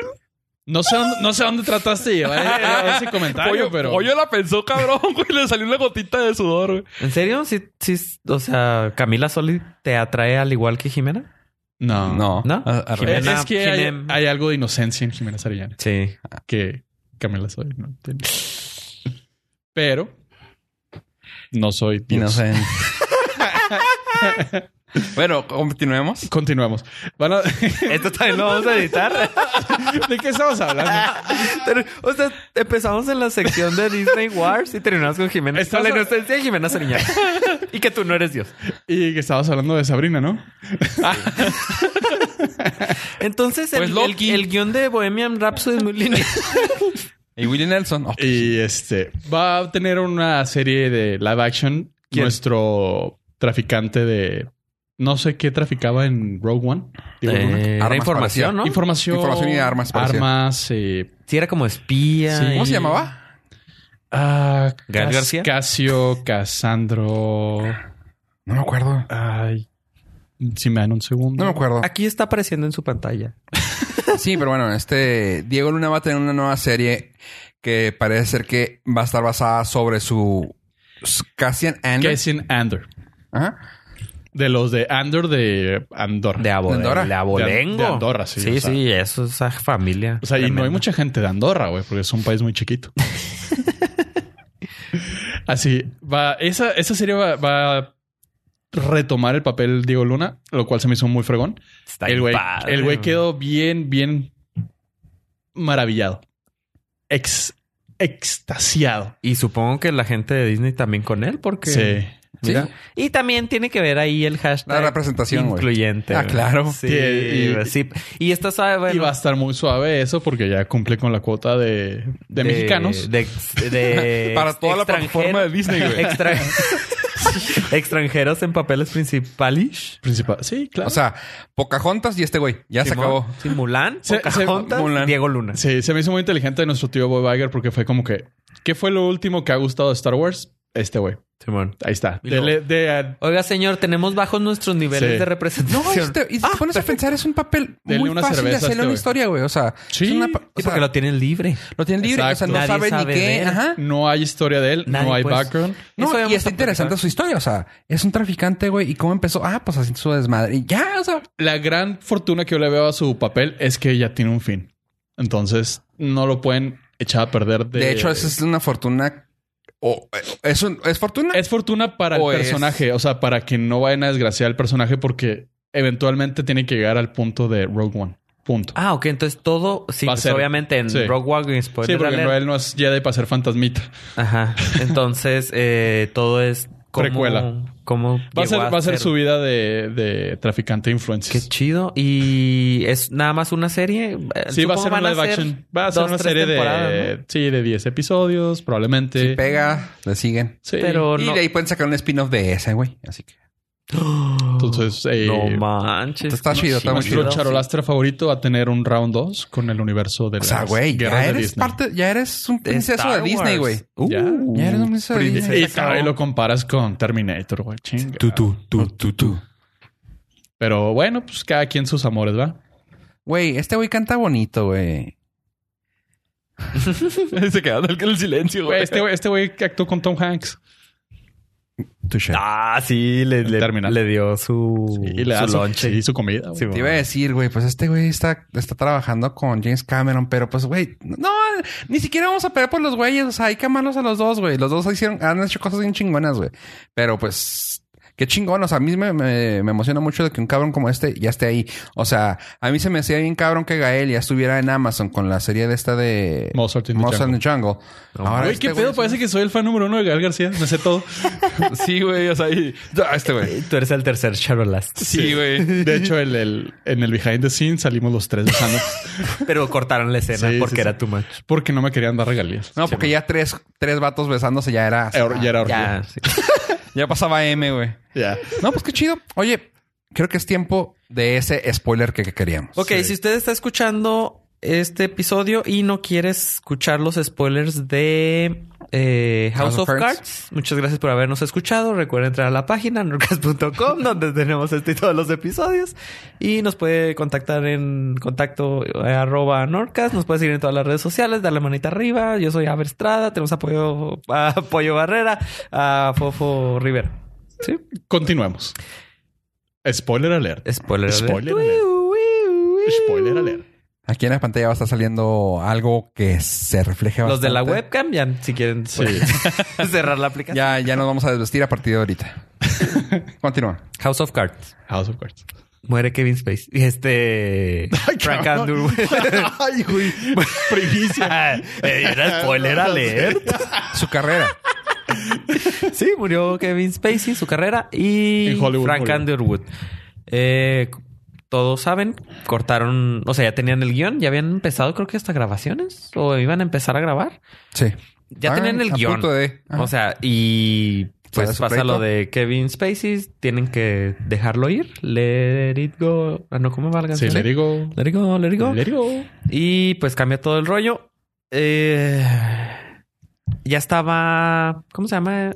[SPEAKER 3] No sé, dónde- no sé dónde trataste de llevar eh, ese comentario, pero.
[SPEAKER 2] la pensó, cabrón, güey. Le salió una gotita de sudor, güey.
[SPEAKER 4] ¿En serio? Sí, sí, o sea, Camila Soli te atrae al igual que Jimena.
[SPEAKER 3] No.
[SPEAKER 2] No.
[SPEAKER 4] ¿No?
[SPEAKER 2] A- al
[SPEAKER 3] Eh,
[SPEAKER 2] revés.
[SPEAKER 4] Jimena-
[SPEAKER 3] es que hay,
[SPEAKER 4] Jimena-
[SPEAKER 3] hay algo de inocencia en Jimena Sarillana
[SPEAKER 4] Sí.
[SPEAKER 3] que Camila soy. No tiene. Pero. No soy Dios.
[SPEAKER 2] No sé. bueno, continuemos.
[SPEAKER 3] Continuamos. Bueno,
[SPEAKER 4] Esto también lo vamos a editar.
[SPEAKER 3] ¿de qué estamos hablando?
[SPEAKER 4] Pero, o sea, empezamos en la sección de Disney Wars y terminamos con Jimena.
[SPEAKER 3] Estás-
[SPEAKER 4] Con la inocencia de Jimena Sariñana. y que tú no eres Dios.
[SPEAKER 3] Y que estabas hablando de Sabrina, ¿no?
[SPEAKER 4] Entonces, el-
[SPEAKER 2] Pues,
[SPEAKER 4] el,
[SPEAKER 2] Loki.
[SPEAKER 4] el guión de Bohemian Rhapsody es muy lineal.
[SPEAKER 2] Y Willie Nelson. Oh,
[SPEAKER 3] Y este va a tener una serie de live action.
[SPEAKER 4] ¿Quién?
[SPEAKER 3] Nuestro traficante de no sé qué traficaba en Rogue One. Diego Luna.
[SPEAKER 4] Eh, era
[SPEAKER 2] Armas
[SPEAKER 4] información,
[SPEAKER 2] parecía.
[SPEAKER 4] ¿no?
[SPEAKER 3] Información.
[SPEAKER 2] Información y armas, parecía.
[SPEAKER 3] Armas. eh,
[SPEAKER 4] Sí, era como espía.
[SPEAKER 3] Sí.
[SPEAKER 2] ¿Cómo
[SPEAKER 4] y-
[SPEAKER 2] se llamaba?
[SPEAKER 3] ah,
[SPEAKER 4] ¿Gael
[SPEAKER 3] Cas-
[SPEAKER 4] García?
[SPEAKER 3] Casio, Casandro.
[SPEAKER 2] No me acuerdo.
[SPEAKER 3] Ay. Si me dan un segundo.
[SPEAKER 2] No me acuerdo.
[SPEAKER 4] Aquí está apareciendo en su pantalla.
[SPEAKER 2] Sí, pero bueno, este Diego Luna va a tener una nueva serie que parece ser que va a estar basada sobre su su Cassian Andor.
[SPEAKER 3] Cassian Andor.
[SPEAKER 2] Ajá.
[SPEAKER 3] De los de Andor de Andorra.
[SPEAKER 4] De, Abo-
[SPEAKER 2] ¿De Andorra?
[SPEAKER 4] de Abolengo.
[SPEAKER 3] De- de Andorra, sí,
[SPEAKER 4] Sí,
[SPEAKER 3] o sea.
[SPEAKER 4] sí, eso es esa familia.
[SPEAKER 3] O sea, y no
[SPEAKER 4] Tremenda.
[SPEAKER 3] hay mucha gente de Andorra, güey, porque es un país muy chiquito. Así va. Esa, esa serie va, va a retomar el papel de Diego Luna, lo cual se me hizo muy fregón.
[SPEAKER 4] Está
[SPEAKER 3] el güey,
[SPEAKER 4] padre,
[SPEAKER 3] el güey
[SPEAKER 4] güey.
[SPEAKER 3] quedó bien, bien maravillado. Ex, extasiado.
[SPEAKER 4] Y supongo que la gente de Disney también con él, porque.
[SPEAKER 3] Sí.
[SPEAKER 4] Mira.
[SPEAKER 2] Sí.
[SPEAKER 4] Y también tiene que ver ahí el hashtag.
[SPEAKER 2] La representación, güey.
[SPEAKER 4] Incluyente.
[SPEAKER 2] Ah,
[SPEAKER 4] güey.
[SPEAKER 2] claro.
[SPEAKER 4] Sí.
[SPEAKER 3] Sí, y-
[SPEAKER 4] sí. Y esta sabe.
[SPEAKER 3] Y
[SPEAKER 4] bueno,
[SPEAKER 3] va a estar muy suave eso porque ya cumple con la cuota de, de, mexicanos.
[SPEAKER 4] De, de-
[SPEAKER 2] Para toda la
[SPEAKER 4] extranjero-
[SPEAKER 2] plataforma de Disney, güey.
[SPEAKER 4] extra- extranjeros en papeles principales.
[SPEAKER 3] Principal. Sí, claro.
[SPEAKER 2] O sea, Pocahontas y este güey. Ya se
[SPEAKER 4] Simón.
[SPEAKER 2] acabó.
[SPEAKER 4] Sí, Mulan,
[SPEAKER 3] Se- se-
[SPEAKER 4] Pocahontas,
[SPEAKER 2] Mulan.
[SPEAKER 4] Diego Luna.
[SPEAKER 3] Sí, se me hizo muy inteligente de nuestro tío Bob Iger porque fue como que, ¿qué fue lo último que ha gustado de Star Wars? Este güey.
[SPEAKER 4] Simón.
[SPEAKER 3] Ahí está.
[SPEAKER 4] Y
[SPEAKER 3] De-
[SPEAKER 4] luego-
[SPEAKER 3] de- de-
[SPEAKER 4] Oiga, señor, tenemos bajos nuestros niveles
[SPEAKER 3] Sí.
[SPEAKER 4] de representación.
[SPEAKER 2] No, este, y si te pones a pensar, es un papel
[SPEAKER 3] Denle
[SPEAKER 2] muy
[SPEAKER 3] una
[SPEAKER 2] fácil de
[SPEAKER 3] cerveza a
[SPEAKER 2] hacerle
[SPEAKER 3] este
[SPEAKER 2] una
[SPEAKER 3] güey.
[SPEAKER 2] historia, güey. O sea,
[SPEAKER 3] Sí.
[SPEAKER 2] es una pa- o
[SPEAKER 4] Sí,
[SPEAKER 2] sea,
[SPEAKER 4] porque lo tienen libre.
[SPEAKER 2] lo tienen libre. O sea,
[SPEAKER 3] Exacto.
[SPEAKER 2] no
[SPEAKER 4] Nadie
[SPEAKER 2] sabe ni
[SPEAKER 4] sabe de
[SPEAKER 2] qué.
[SPEAKER 4] él.
[SPEAKER 2] Ajá.
[SPEAKER 3] no hay historia de él,
[SPEAKER 4] Nadie,
[SPEAKER 3] no hay
[SPEAKER 4] pues.
[SPEAKER 3] background.
[SPEAKER 4] Eso
[SPEAKER 2] No,
[SPEAKER 4] vamos
[SPEAKER 2] y
[SPEAKER 4] a
[SPEAKER 2] está interesante
[SPEAKER 4] platicar.
[SPEAKER 2] su historia. O sea, es un traficante, güey. ¿Y cómo empezó? Ah, pues así su desmadre. Y ya, o sea,
[SPEAKER 3] La gran fortuna que yo le veo a su papel es que ya tiene un fin. Entonces, no lo pueden echar a perder. De, eh,
[SPEAKER 2] De hecho, esa es una fortuna. O, eh, ¿es, un- ¿Es fortuna?
[SPEAKER 3] Es fortuna para
[SPEAKER 2] O
[SPEAKER 3] el
[SPEAKER 2] es-
[SPEAKER 3] personaje. O sea, para que no vayan a desgraciar al personaje porque eventualmente tiene que llegar al punto de Rogue One. Punto.
[SPEAKER 4] Ah, ok. Entonces todo, sí,
[SPEAKER 3] Va a
[SPEAKER 4] pues,
[SPEAKER 3] ser.
[SPEAKER 4] obviamente en
[SPEAKER 3] Sí.
[SPEAKER 4] Rogue One, spoiler
[SPEAKER 3] sí, porque
[SPEAKER 4] alert.
[SPEAKER 3] no, él no es Jedi para ser fantasmita.
[SPEAKER 4] Ajá. Entonces eh, todo es como.
[SPEAKER 3] Precuela.
[SPEAKER 4] Cómo
[SPEAKER 3] Va a
[SPEAKER 4] llegó
[SPEAKER 3] ser, va a ser
[SPEAKER 4] ser-
[SPEAKER 3] su vida de, de traficante de
[SPEAKER 4] Qué
[SPEAKER 3] influencias.
[SPEAKER 4] chido. Y es nada más una serie. Eh,
[SPEAKER 3] Sí, va
[SPEAKER 4] supongo
[SPEAKER 3] a ser una
[SPEAKER 4] van
[SPEAKER 3] live
[SPEAKER 4] hacer
[SPEAKER 3] action. Va a ser
[SPEAKER 4] dos,
[SPEAKER 3] una
[SPEAKER 4] tres
[SPEAKER 3] serie de.
[SPEAKER 4] temporadas, ¿no?
[SPEAKER 3] Sí, de 10 episodios, probablemente.
[SPEAKER 2] Si pega, le siguen.
[SPEAKER 3] Sí.
[SPEAKER 4] Pero
[SPEAKER 2] y
[SPEAKER 4] no.
[SPEAKER 2] de ahí pueden sacar un spin-off de ese, güey. Así que.
[SPEAKER 3] Entonces, eh,
[SPEAKER 4] No manches.
[SPEAKER 2] Está chido, está muy
[SPEAKER 3] nuestro
[SPEAKER 2] chido.
[SPEAKER 3] charolastra favorito va a tener un round 2 con el universo de
[SPEAKER 2] O sea,
[SPEAKER 3] las
[SPEAKER 2] güey,
[SPEAKER 3] guerras
[SPEAKER 2] ya
[SPEAKER 3] de
[SPEAKER 2] eres
[SPEAKER 3] Disney.
[SPEAKER 2] parte, ya eres un princeso de
[SPEAKER 4] Star Wars.
[SPEAKER 2] Disney, güey.
[SPEAKER 4] Uh,
[SPEAKER 3] Ya.
[SPEAKER 2] Ya eres un princeso de
[SPEAKER 3] Y,
[SPEAKER 2] Disney.
[SPEAKER 3] y ahí lo comparas con Terminator, güey. chinga.
[SPEAKER 2] tú, tú, tú, tú.
[SPEAKER 3] Pero bueno, pues cada quien sus amores, ¿va?
[SPEAKER 2] Güey, este güey canta bonito, güey. Se quedó en el silencio,
[SPEAKER 3] Güey, Este güey este güey que actuó con Tom Hanks.
[SPEAKER 2] Touché.
[SPEAKER 4] Ah, sí, le, le,
[SPEAKER 3] Terminal.
[SPEAKER 4] le dio su,
[SPEAKER 3] Y le da
[SPEAKER 4] Uh, su
[SPEAKER 3] su,
[SPEAKER 4] lonche.
[SPEAKER 3] sí, su comida. güey.
[SPEAKER 4] Sí,
[SPEAKER 2] Te iba a decir, güey, pues este güey está, está trabajando con James Cameron, pero pues, güey, no, ni siquiera vamos a pelear por los güeyes. O sea, hay que amarlos a los dos, güey. Los dos hicieron, han hecho cosas bien chingonas, güey. Pero pues, Qué chingón. O sea, a mí me, me- me emociona mucho de que un cabrón como este ya esté ahí. O sea, a mí se me hacía bien cabrón que Gael ya estuviera en Amazon con la serie de esta de
[SPEAKER 3] Mozart in the
[SPEAKER 2] Mozart in the Jungle.
[SPEAKER 4] No,
[SPEAKER 3] Ah, Güey,
[SPEAKER 2] este
[SPEAKER 3] qué pedo.
[SPEAKER 2] es-
[SPEAKER 3] Parece que soy el fan número uno de Gael García. Me sé todo.
[SPEAKER 2] Sí, güey. O sea, y- Ah, este güey.
[SPEAKER 4] Tú eres el tercer Charolast.
[SPEAKER 2] Sí, güey.
[SPEAKER 3] De hecho, el, el- en el behind the scenes salimos los tres besando
[SPEAKER 4] Pero cortaron la escena
[SPEAKER 3] Sí,
[SPEAKER 4] porque
[SPEAKER 3] sí, sí.
[SPEAKER 4] era too much.
[SPEAKER 3] porque no me querían dar regalías.
[SPEAKER 2] No, porque ya tres, tres vatos besándose ya era.
[SPEAKER 3] Ahora- Ya era
[SPEAKER 4] Ya,
[SPEAKER 3] orgía.
[SPEAKER 4] sí.
[SPEAKER 2] Ya pasaba M, güey.
[SPEAKER 3] Ya.
[SPEAKER 2] No, pues qué chido. Oye, creo que es tiempo de ese spoiler que, que queríamos.
[SPEAKER 4] Ok,
[SPEAKER 3] Sí.
[SPEAKER 4] si usted está escuchando este episodio y no quiere escuchar los spoilers de eh, House,
[SPEAKER 2] House of
[SPEAKER 4] of,
[SPEAKER 2] Cards.
[SPEAKER 4] Cards, muchas gracias por habernos escuchado. Recuerden entrar a la página norcas.com donde tenemos este y todos los episodios. Y nos puede contactar en contacto eh, arroba norcas. Nos puede seguir en todas las redes sociales, darle manita arriba. Yo soy Aver Estrada. Tenemos apoyo a Pollo Barrera, a Fofo Rivera. Sí,
[SPEAKER 3] Continuemos. Spoiler alert.
[SPEAKER 4] spoiler. alert.
[SPEAKER 3] Spoiler alert. Spoiler alert.
[SPEAKER 2] Aquí en la pantalla va a estar saliendo algo que se refleje
[SPEAKER 4] Los de la
[SPEAKER 2] bastante.
[SPEAKER 4] webcam, ya si quieren
[SPEAKER 3] Sí.
[SPEAKER 4] pueden cerrar la aplicación.
[SPEAKER 2] Ya, ya nos vamos a desvestir a partir de ahorita. Continúa.
[SPEAKER 4] House of Cards.
[SPEAKER 3] House of Cards.
[SPEAKER 4] Muere Kevin Space. Y este. Frank
[SPEAKER 3] cabrón.
[SPEAKER 4] Underwood.
[SPEAKER 3] Ay, güey. Primicia.
[SPEAKER 4] Eh, Era spoiler alert.
[SPEAKER 2] Su carrera.
[SPEAKER 4] Sí, murió Kevin Spacey, su carrera. Y
[SPEAKER 3] En Hollywood
[SPEAKER 4] Frank
[SPEAKER 3] murió.
[SPEAKER 4] Underwood. Eh, todos saben, cortaron. O sea, ya tenían el guión, ya habían empezado, creo que hasta grabaciones. O iban a empezar a grabar.
[SPEAKER 2] Sí.
[SPEAKER 4] Ya
[SPEAKER 2] Ah,
[SPEAKER 4] tenían el
[SPEAKER 2] a
[SPEAKER 4] guión. Ah.
[SPEAKER 2] punto de- Ajá.
[SPEAKER 4] O sea, y
[SPEAKER 2] ¿Será
[SPEAKER 4] pues
[SPEAKER 2] su
[SPEAKER 4] pasa
[SPEAKER 2] pleito?
[SPEAKER 4] lo de Kevin Spacey, tienen que dejarlo ir. Let it go. Ah, no, ¿cómo va la
[SPEAKER 3] Sí,
[SPEAKER 4] canción?
[SPEAKER 3] le digo.
[SPEAKER 4] Let it go, let it go.
[SPEAKER 3] Le digo.
[SPEAKER 4] Y pues cambia todo el rollo. Eh, ya estaba. ¿Cómo se llama?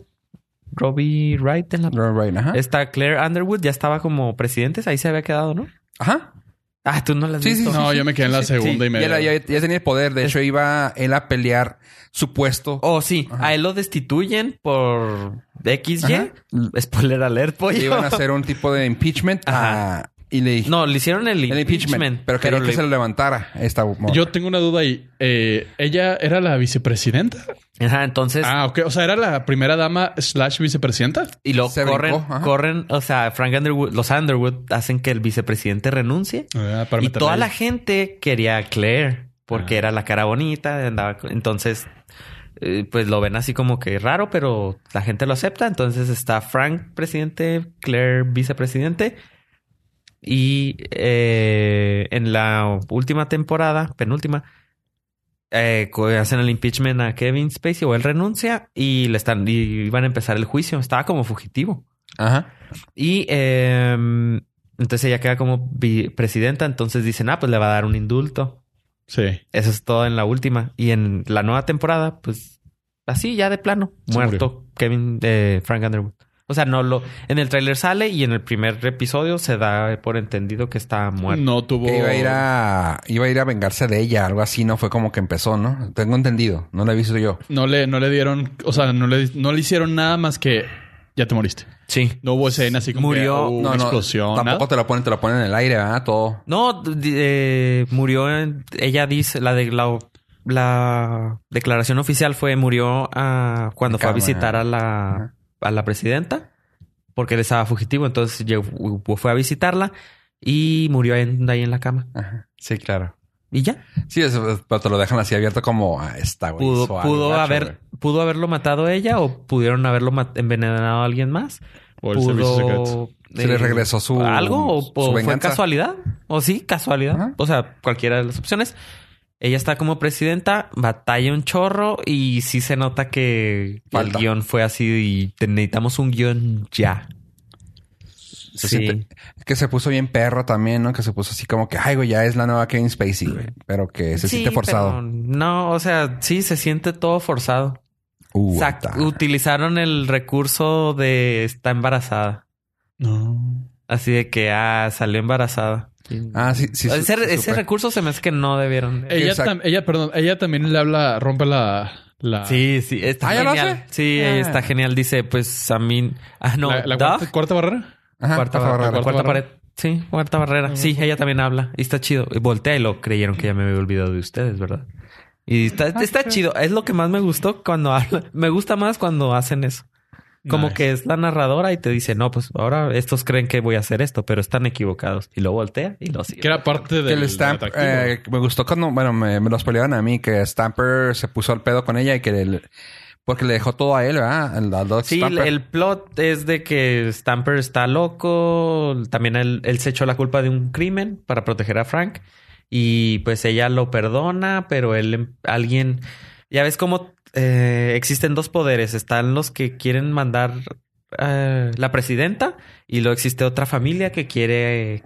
[SPEAKER 4] Robbie Wright en la.
[SPEAKER 2] Right, right, ajá.
[SPEAKER 4] Está Claire Underwood, ya estaba como presidente, ahí se había quedado, ¿no?
[SPEAKER 2] Ajá.
[SPEAKER 4] Ah, tú no la has
[SPEAKER 2] Sí, sí,
[SPEAKER 4] visto.
[SPEAKER 3] No, yo me quedé en la segunda y
[SPEAKER 2] Ya,
[SPEAKER 3] media.
[SPEAKER 2] la- ya- ya tenía el poder. De hecho, iba él a pelear su puesto.
[SPEAKER 4] Oh, sí,
[SPEAKER 2] Ajá.
[SPEAKER 4] a él lo destituyen por XY.
[SPEAKER 2] Ajá.
[SPEAKER 4] Spoiler alert, pollo.
[SPEAKER 2] Le iban a hacer un tipo de impeachment.
[SPEAKER 4] Ajá.
[SPEAKER 2] ah, y le dije...
[SPEAKER 4] No, le hicieron el,
[SPEAKER 2] el
[SPEAKER 4] impeachment,
[SPEAKER 2] impeachment. Pero quería que
[SPEAKER 4] lo-
[SPEAKER 2] se lo levantara esta morra.
[SPEAKER 3] Yo tengo una duda ahí. Eh, ¿Ella era la vicepresidenta?
[SPEAKER 4] Ajá, entonces...
[SPEAKER 3] Ah, ok. O sea, ¿era la primera dama slash vicepresidenta?
[SPEAKER 4] y lo
[SPEAKER 2] se
[SPEAKER 4] corren,
[SPEAKER 2] brincó, ajá.
[SPEAKER 4] corren... O sea, Frank Underwood... Los Underwood hacen que el vicepresidente renuncie.
[SPEAKER 3] Ah, para
[SPEAKER 4] y
[SPEAKER 3] meterla
[SPEAKER 4] toda
[SPEAKER 3] ahí.
[SPEAKER 4] la gente quería a Claire. Porque era la cara bonita. andaba con- Entonces... eh, Pues lo ven así como que raro, pero la gente lo acepta. Entonces está Frank presidente, Claire vicepresidente. Y eh, en la última temporada, penúltima, eh, co- hacen el impeachment a Kevin Spacey o él renuncia y le están y van a empezar el juicio. Estaba como fugitivo.
[SPEAKER 2] Ajá.
[SPEAKER 4] Y eh, entonces ella queda como vi- presidenta. Entonces dicen, ah, pues le va a dar un indulto.
[SPEAKER 3] Sí.
[SPEAKER 4] Eso es todo en la última. Y en la nueva temporada, pues así ya de plano,
[SPEAKER 3] Se
[SPEAKER 4] muerto Kevin eh, Frank Underwood. O sea, no lo. En el tráiler sale y en el primer episodio se da por entendido que está muerto.
[SPEAKER 3] No tuvo.
[SPEAKER 2] Que iba a ir a... Iba a ir a vengarse de ella. Algo así, ¿no? Fue como que empezó, ¿no? Tengo entendido. No lo he visto yo.
[SPEAKER 3] No le, no le dieron, o sea, no le, no le hicieron nada más que ya te moriste.
[SPEAKER 4] Sí.
[SPEAKER 3] No hubo escena así como
[SPEAKER 4] Murió.
[SPEAKER 3] que, "Oh, una
[SPEAKER 2] no, no,
[SPEAKER 3] explosión.
[SPEAKER 2] Tampoco
[SPEAKER 3] nada".
[SPEAKER 2] te lo ponen, te lo ponen en el aire, ¿verdad? Todo.
[SPEAKER 4] No, di- eh, murió. en- ella dice la de la, la declaración oficial fue murió ah, cuando fue a
[SPEAKER 2] Cámara.
[SPEAKER 4] visitar a la a la presidenta porque él estaba fugitivo, entonces llegó- fue a visitarla y murió en- ahí en la cama
[SPEAKER 2] Ajá. Sí, claro.
[SPEAKER 4] y ya.
[SPEAKER 2] Sí, es- es- pero te lo dejan así abierto como ah, está, güey.
[SPEAKER 4] pudo,
[SPEAKER 2] suave,
[SPEAKER 4] pudo
[SPEAKER 2] gacho,
[SPEAKER 4] haber
[SPEAKER 2] güey.
[SPEAKER 4] pudo haberlo matado ella o pudieron haberlo mat- envenenado a alguien más.
[SPEAKER 3] O el servicio secreto.
[SPEAKER 4] pudo
[SPEAKER 2] Se le
[SPEAKER 4] eh,
[SPEAKER 2] regresó su.
[SPEAKER 4] algo o,
[SPEAKER 2] su
[SPEAKER 4] o fue
[SPEAKER 2] venganza.
[SPEAKER 4] casualidad o sí casualidad.
[SPEAKER 2] Ajá.
[SPEAKER 4] O sea, cualquiera de las opciones. Ella está como presidenta, batalla un chorro y sí se nota que el
[SPEAKER 2] Falta.
[SPEAKER 4] guión fue así y te- necesitamos un guión ya.
[SPEAKER 2] Se
[SPEAKER 4] Sí.
[SPEAKER 2] siente- que se puso bien perro también, ¿no? Que se puso así como que, ay, güey, ya es la nueva Kevin Spacey, güey. Pero que se
[SPEAKER 4] Sí,
[SPEAKER 2] siente
[SPEAKER 4] pero
[SPEAKER 2] forzado.
[SPEAKER 4] No, o sea, sí se siente todo forzado.
[SPEAKER 2] Uh,
[SPEAKER 4] Sac-
[SPEAKER 2] está.
[SPEAKER 4] utilizaron el recurso de está embarazada.
[SPEAKER 3] No.
[SPEAKER 4] Así de que, ah, salió embarazada.
[SPEAKER 2] Ah, sí, sí.
[SPEAKER 4] ese
[SPEAKER 2] sí,
[SPEAKER 4] ese
[SPEAKER 2] supe.
[SPEAKER 4] recurso se me hace que no debieron. de-
[SPEAKER 3] Ella,
[SPEAKER 2] exacto.
[SPEAKER 3] tam- ella, perdón, ella también le habla, rompe la. la
[SPEAKER 4] Sí, sí, está
[SPEAKER 2] Ah, ¿ya lo
[SPEAKER 4] genial.
[SPEAKER 2] hace?
[SPEAKER 4] Sí,
[SPEAKER 2] Ah.
[SPEAKER 4] está genial. Dice, pues a mí. Ah, no,
[SPEAKER 3] la, la
[SPEAKER 4] Duff,
[SPEAKER 3] cuarta, cuarta barrera.
[SPEAKER 2] Ajá,
[SPEAKER 4] cuarta,
[SPEAKER 2] por
[SPEAKER 4] barrera,
[SPEAKER 2] favor,
[SPEAKER 4] cuarta,
[SPEAKER 2] Rafa.
[SPEAKER 4] pared. Sí, cuarta barrera. Sí, ella también habla. Y está chido. Y Voltea y lo creyeron que ya me había olvidado de ustedes, ¿verdad?
[SPEAKER 2] Ah,
[SPEAKER 4] Y está, está chido. Es lo que más me gustó cuando habla. Me gusta más cuando hacen eso. Como
[SPEAKER 3] Nice.
[SPEAKER 4] que es la narradora y te dice, no, pues ahora estos creen que voy a hacer esto, pero están equivocados. Y lo voltea y lo sigue.
[SPEAKER 3] Que era parte del
[SPEAKER 2] Que el Stamp,
[SPEAKER 3] atractivo.
[SPEAKER 2] eh, me gustó cuando, bueno, me, me lo spoilearon a mí, que Stamper se puso al pedo con ella y que el- porque le dejó todo a él, ¿verdad? Al- al Doc
[SPEAKER 4] Sí, el,
[SPEAKER 2] Stamper.
[SPEAKER 4] el plot es de que Stamper está loco. También él, él se echó la culpa de un crimen para proteger a Frank. Y pues ella lo perdona, pero él, em, alguien. Ya ves cómo eh, existen dos poderes. Están los que quieren mandar eh, la presidenta, y luego existe otra familia que quiere eh,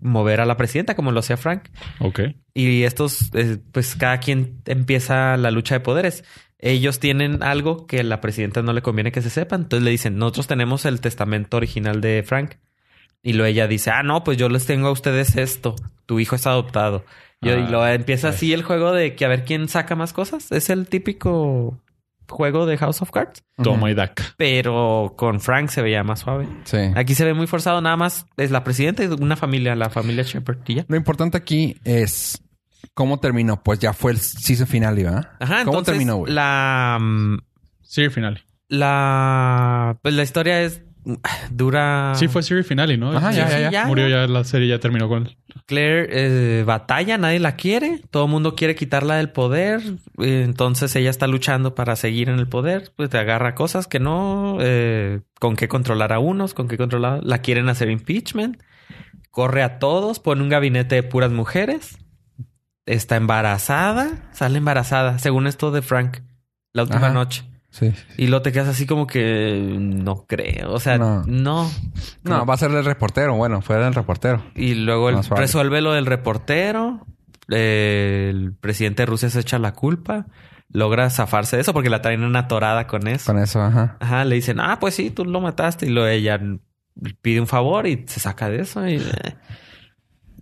[SPEAKER 4] mover a la presidenta, como lo hacía Frank.
[SPEAKER 3] Ok.
[SPEAKER 4] Y estos, eh, pues cada quien empieza la lucha de poderes. Ellos tienen algo que a la presidenta no le conviene que se sepa. Entonces le dicen, nosotros tenemos el testamento original de Frank. Y luego ella dice, ah, no, pues yo les tengo a ustedes esto. Tu hijo es adoptado. Y,
[SPEAKER 3] Ah,
[SPEAKER 4] y lo empieza
[SPEAKER 3] ok.
[SPEAKER 4] así el juego de que a ver quién saca más cosas. Es el típico juego de House of Cards.
[SPEAKER 2] Ujú.
[SPEAKER 3] Toma y daca.
[SPEAKER 4] Pero con Frank se veía más suave.
[SPEAKER 2] Sí.
[SPEAKER 4] Aquí se ve muy forzado. Nada más es la presidenta y una familia, la familia Shepard. y ya.
[SPEAKER 2] Lo importante aquí es cómo terminó. Pues ya fue el season final, ¿verdad?
[SPEAKER 4] Ajá,
[SPEAKER 2] ¿Cómo
[SPEAKER 4] entonces
[SPEAKER 2] terminó, güey?
[SPEAKER 4] la, mm,
[SPEAKER 3] Serie final.
[SPEAKER 4] la pues la historia es dura
[SPEAKER 3] Sí, fue serie final, ¿no?
[SPEAKER 2] Ah. Ajá,
[SPEAKER 3] Sí,
[SPEAKER 2] ya,
[SPEAKER 3] sí,
[SPEAKER 2] ya, ya.
[SPEAKER 3] Murió ya la serie, ya terminó con él.
[SPEAKER 4] Claire eh, batalla nadie la quiere todo el mundo quiere quitarla del poder eh, entonces ella está luchando para seguir en el poder pues te agarra cosas que no eh, con qué controlar a unos con qué controlar la quieren hacer impeachment corre a todos pone un gabinete de puras mujeres está embarazada sale embarazada según esto de Frank la última
[SPEAKER 2] Ajá.
[SPEAKER 4] noche
[SPEAKER 2] Sí.
[SPEAKER 4] Y luego te quedas así como que no creo. O sea,
[SPEAKER 2] No.
[SPEAKER 4] no.
[SPEAKER 2] No, va a ser el reportero. Bueno, fue el reportero.
[SPEAKER 4] Y luego el-
[SPEAKER 2] Más vale.
[SPEAKER 4] resuelve lo del reportero. eh, El presidente de Rusia se echa la culpa. Logra zafarse de eso porque la traen una torada con eso.
[SPEAKER 2] Con eso, ajá.
[SPEAKER 4] Ajá, le dicen, ah, pues sí, tú lo mataste. Y luego ella pide un favor y se saca de eso. y, eh.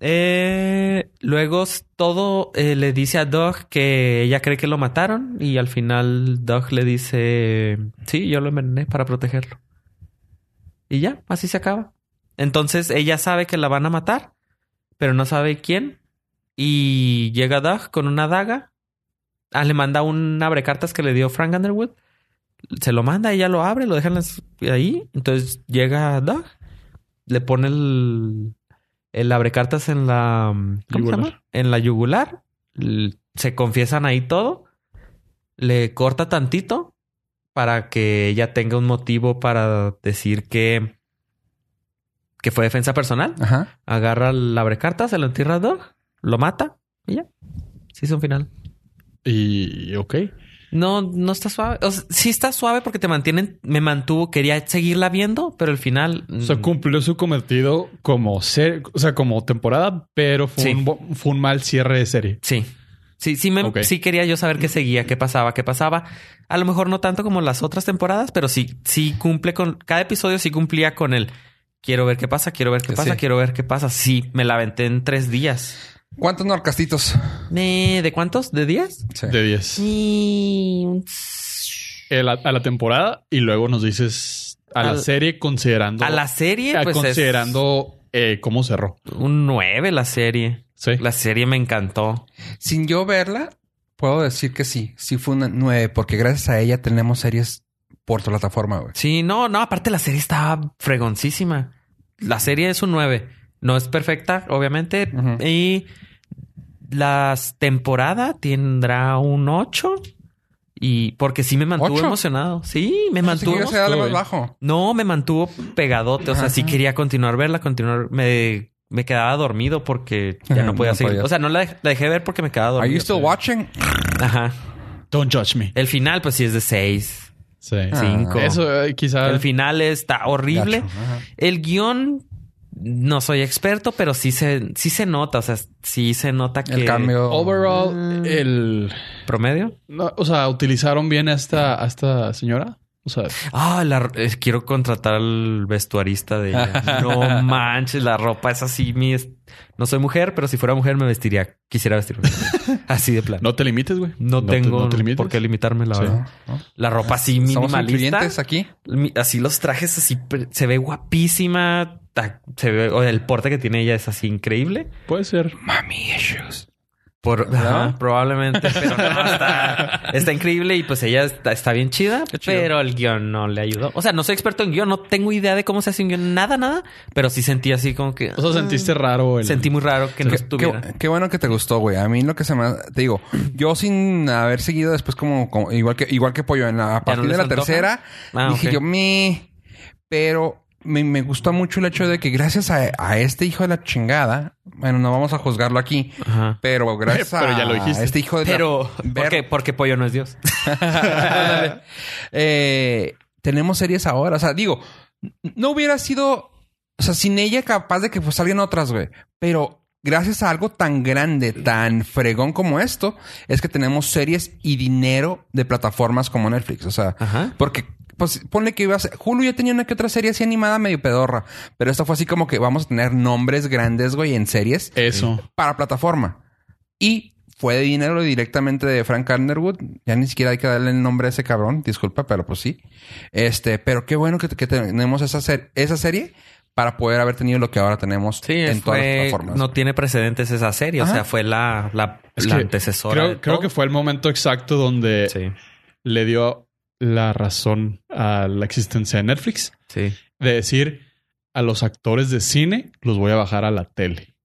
[SPEAKER 4] Eh, luego s- todo eh, le dice a Doug que ella cree que lo mataron. Y al final Doug le dice, sí, yo lo envenené para protegerlo. Y ya, así se acaba. Entonces ella sabe que la van a matar, pero no sabe quién. Y llega Doug con una daga. Ah, le manda un abrecartas que le dio Frank Underwood se lo manda, ella lo abre, lo dejan las- ahí. Entonces llega Doug, le pone el, el abrecartas en la. mm, ¿Cómo se
[SPEAKER 3] Yugular.
[SPEAKER 4] llama? En la yugular. l- Se confiesan ahí todo. Le corta tantito para que ella tenga un motivo para decir que. que fue defensa personal.
[SPEAKER 2] Ajá.
[SPEAKER 4] Agarra el abrecartas, se lo entierra a Doug, lo mata y ya. Sí, es un final.
[SPEAKER 3] Y ok.
[SPEAKER 4] No, no está suave. O sea, sí está suave porque te mantienen, me mantuvo, quería seguirla viendo, pero al final. mm,
[SPEAKER 3] O sea, cumplió su cometido como ser, o sea, como temporada, pero fue,
[SPEAKER 4] Sí.
[SPEAKER 3] un, bo- fue un mal cierre de serie.
[SPEAKER 4] Sí. Sí, sí, me,
[SPEAKER 3] Ok.
[SPEAKER 4] sí quería yo saber qué seguía, qué pasaba, qué pasaba. A lo mejor no tanto como las otras temporadas, pero sí, sí cumple con. Cada episodio sí cumplía con el quiero ver qué pasa, quiero ver qué
[SPEAKER 2] Sí.
[SPEAKER 4] pasa, quiero ver qué pasa. Sí, me la aventé en tres días.
[SPEAKER 2] ¿Cuántos norcastitos?
[SPEAKER 4] Eh, ¿De cuántos? ¿De días?
[SPEAKER 2] Sí.
[SPEAKER 3] De 10.
[SPEAKER 4] Sí, un-
[SPEAKER 3] El- a la temporada y luego nos dices a la
[SPEAKER 4] Al-
[SPEAKER 3] serie considerando.
[SPEAKER 4] A la serie,
[SPEAKER 3] a-
[SPEAKER 4] pues. es
[SPEAKER 3] considerando eh, cómo cerró.
[SPEAKER 4] un 9 la serie.
[SPEAKER 3] Sí.
[SPEAKER 4] La serie me encantó.
[SPEAKER 2] Sin yo verla, puedo decir que sí. Sí fue una nueve, porque gracias a ella tenemos series por plataforma, güey.
[SPEAKER 4] Sí, no, no, aparte la serie estaba fregoncísima. La serie es un 9. No es perfecta, obviamente.
[SPEAKER 2] Ujú.
[SPEAKER 4] Y las temporadas tendrá un 8. Y porque sí me mantuvo
[SPEAKER 2] ¿Ocho?
[SPEAKER 4] emocionado. Sí, me
[SPEAKER 2] Pensé que
[SPEAKER 4] mantuvo.
[SPEAKER 2] iba a ser algo más
[SPEAKER 3] güey.
[SPEAKER 2] bajo.
[SPEAKER 4] No, me mantuvo pegadote. O sea, sí
[SPEAKER 2] Ajá.
[SPEAKER 4] quería continuar verla, continuar. Me, me quedaba dormido porque ya no
[SPEAKER 2] No
[SPEAKER 4] podía seguir.
[SPEAKER 2] podías.
[SPEAKER 4] O sea, no la, dej- la dejé ver porque me quedaba
[SPEAKER 2] Are
[SPEAKER 4] dormido.
[SPEAKER 2] you still watching?
[SPEAKER 4] Ajá.
[SPEAKER 3] Don't judge me.
[SPEAKER 4] El final, pues sí es de 6,
[SPEAKER 3] Sí.
[SPEAKER 2] Ah,
[SPEAKER 4] 5.
[SPEAKER 3] Eso eh, quizá.
[SPEAKER 4] El final está horrible.
[SPEAKER 2] Gacho, ajá.
[SPEAKER 4] El guión, no soy experto, pero sí se, sí se nota. O sea, sí se nota que.
[SPEAKER 2] El cambio.
[SPEAKER 3] Overall,
[SPEAKER 4] Mm.
[SPEAKER 3] el.
[SPEAKER 4] ¿Promedio?
[SPEAKER 3] no, o sea, utilizaron bien a esta, a esta señora. O sea,
[SPEAKER 4] Ah, la- eh, quiero contratar al vestuarista de ella. No manches, la ropa es así. Mi es- No soy mujer, pero si fuera mujer me vestiría. Quisiera vestirme. así de plano.
[SPEAKER 3] no te limites, güey.
[SPEAKER 4] No,
[SPEAKER 3] te-
[SPEAKER 4] tengo
[SPEAKER 3] no te limites.
[SPEAKER 4] por qué limitarme, la
[SPEAKER 3] Sí.
[SPEAKER 4] verdad.
[SPEAKER 2] ¿no?
[SPEAKER 4] La ropa así
[SPEAKER 2] Somos
[SPEAKER 4] minimalista.
[SPEAKER 2] incluyentes aquí.
[SPEAKER 4] Mi- Así los trajes así pre- se ve guapísima. ta- Se ve, o el porte que tiene ella es así increíble.
[SPEAKER 3] Puede ser.
[SPEAKER 2] Mami issues.
[SPEAKER 4] Por, ajá, probablemente, pero no, está, está increíble y pues ella está, está bien chida, pero el guión no le ayudó. O sea, no soy experto en guión, no tengo idea de cómo se hace un guión, nada, nada, pero sí sentí así como que... mm,
[SPEAKER 3] O sea, sentiste raro el...
[SPEAKER 4] Sentí muy raro que no
[SPEAKER 2] Qué-
[SPEAKER 4] estuviera.
[SPEAKER 2] Qué, qué bueno que te gustó, güey. A mí lo que se me... Te digo, yo sin haber seguido después como... como- igual, que, igual que Pollo, en la, a partir
[SPEAKER 4] les
[SPEAKER 2] de la
[SPEAKER 4] antoja?
[SPEAKER 2] tercera,
[SPEAKER 4] Ah,
[SPEAKER 2] dije
[SPEAKER 4] ok.
[SPEAKER 2] yo, me... Pero me, me gusta mucho el hecho de que gracias a, a este hijo de la chingada... Bueno, no vamos a juzgarlo aquí.
[SPEAKER 4] Ajá.
[SPEAKER 2] Pero gracias
[SPEAKER 3] Pero ya
[SPEAKER 2] a-
[SPEAKER 3] lo dijiste.
[SPEAKER 2] a este hijo de la-
[SPEAKER 4] Pero,
[SPEAKER 2] ver-
[SPEAKER 4] porque, porque Pollo no es Dios.
[SPEAKER 2] Ándale. Eh, tenemos series ahora. O sea, digo, no hubiera sido. O sea, sin ella capaz de que pues salgan otras, güey. Pero gracias a algo tan grande, tan fregón como esto, es que tenemos series y dinero de plataformas como Netflix. O sea,
[SPEAKER 4] Ajá.
[SPEAKER 2] porque. Pues ponle que iba a ser. Hulu ya tenía una que otra serie así animada medio pedorra. Pero esto fue así como que vamos a tener nombres grandes, güey, en series
[SPEAKER 3] Eso.
[SPEAKER 2] para plataforma. Y fue de dinero directamente de Frank Underwood. Ya ni siquiera hay que darle el nombre a ese cabrón. Disculpa, pero pues sí. Este, pero qué bueno que, que tenemos esa, ser- esa serie para poder haber tenido lo que ahora tenemos
[SPEAKER 4] Sí,
[SPEAKER 2] en todas las
[SPEAKER 4] fue-
[SPEAKER 2] plataformas.
[SPEAKER 4] no tiene precedentes esa serie.
[SPEAKER 2] Ajá.
[SPEAKER 4] O sea, fue la, la,
[SPEAKER 3] Es
[SPEAKER 4] la
[SPEAKER 3] que
[SPEAKER 4] antecesora. de
[SPEAKER 3] Creo, creo
[SPEAKER 4] todo.
[SPEAKER 3] que fue el momento exacto donde
[SPEAKER 4] Sí,
[SPEAKER 3] le dio la razón a la existencia de Netflix.
[SPEAKER 4] sí.
[SPEAKER 3] De decir a los actores de cine los voy a bajar a la tele.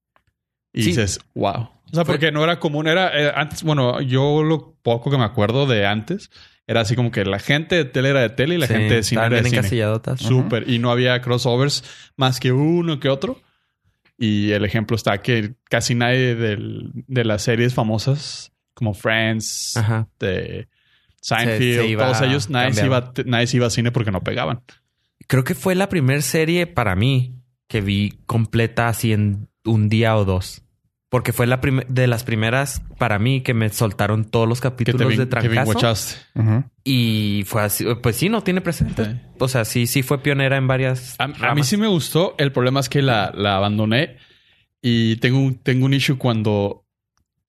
[SPEAKER 3] Y
[SPEAKER 4] Sí.
[SPEAKER 3] dices, wow. O sea, porque no era común, era eh, antes, bueno, yo lo poco que me acuerdo de antes, era así como que la gente de tele era de tele y la
[SPEAKER 4] Sí,
[SPEAKER 3] gente de cine
[SPEAKER 4] estaban
[SPEAKER 3] era de
[SPEAKER 4] bien
[SPEAKER 3] cine.
[SPEAKER 4] encasilladotas.
[SPEAKER 3] Súper. Y no había crossovers más que uno que otro. Y el ejemplo está que casi nadie del- de las series famosas como Friends,
[SPEAKER 4] Ajá.
[SPEAKER 3] de Seinfeld,
[SPEAKER 4] se iba
[SPEAKER 3] todos ellos, nadie se, iba,
[SPEAKER 4] cambiando.
[SPEAKER 3] a te- nadie se iba a cine porque no pegaban.
[SPEAKER 4] Creo que fue la primera serie para mí que vi completa así en un día o dos. Porque fue la prim- de las primeras para mí que me soltaron todos los
[SPEAKER 3] Que te
[SPEAKER 4] capítulos
[SPEAKER 3] vin-
[SPEAKER 4] de
[SPEAKER 3] te
[SPEAKER 4] trancazo.
[SPEAKER 3] vinguachaste.
[SPEAKER 2] Ujú.
[SPEAKER 4] Y fue así. Pues sí, no tiene precedentes.
[SPEAKER 3] Sí.
[SPEAKER 4] O sea, sí, sí fue pionera en varias.
[SPEAKER 3] A, a mí
[SPEAKER 4] ramas.
[SPEAKER 3] sí me gustó. El problema es que la, la abandoné y tengo un, tengo un issue cuando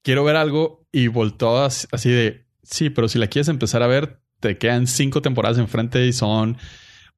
[SPEAKER 3] quiero ver algo y volteo as- así de sí, pero si la quieres empezar a ver, te quedan cinco temporadas enfrente y son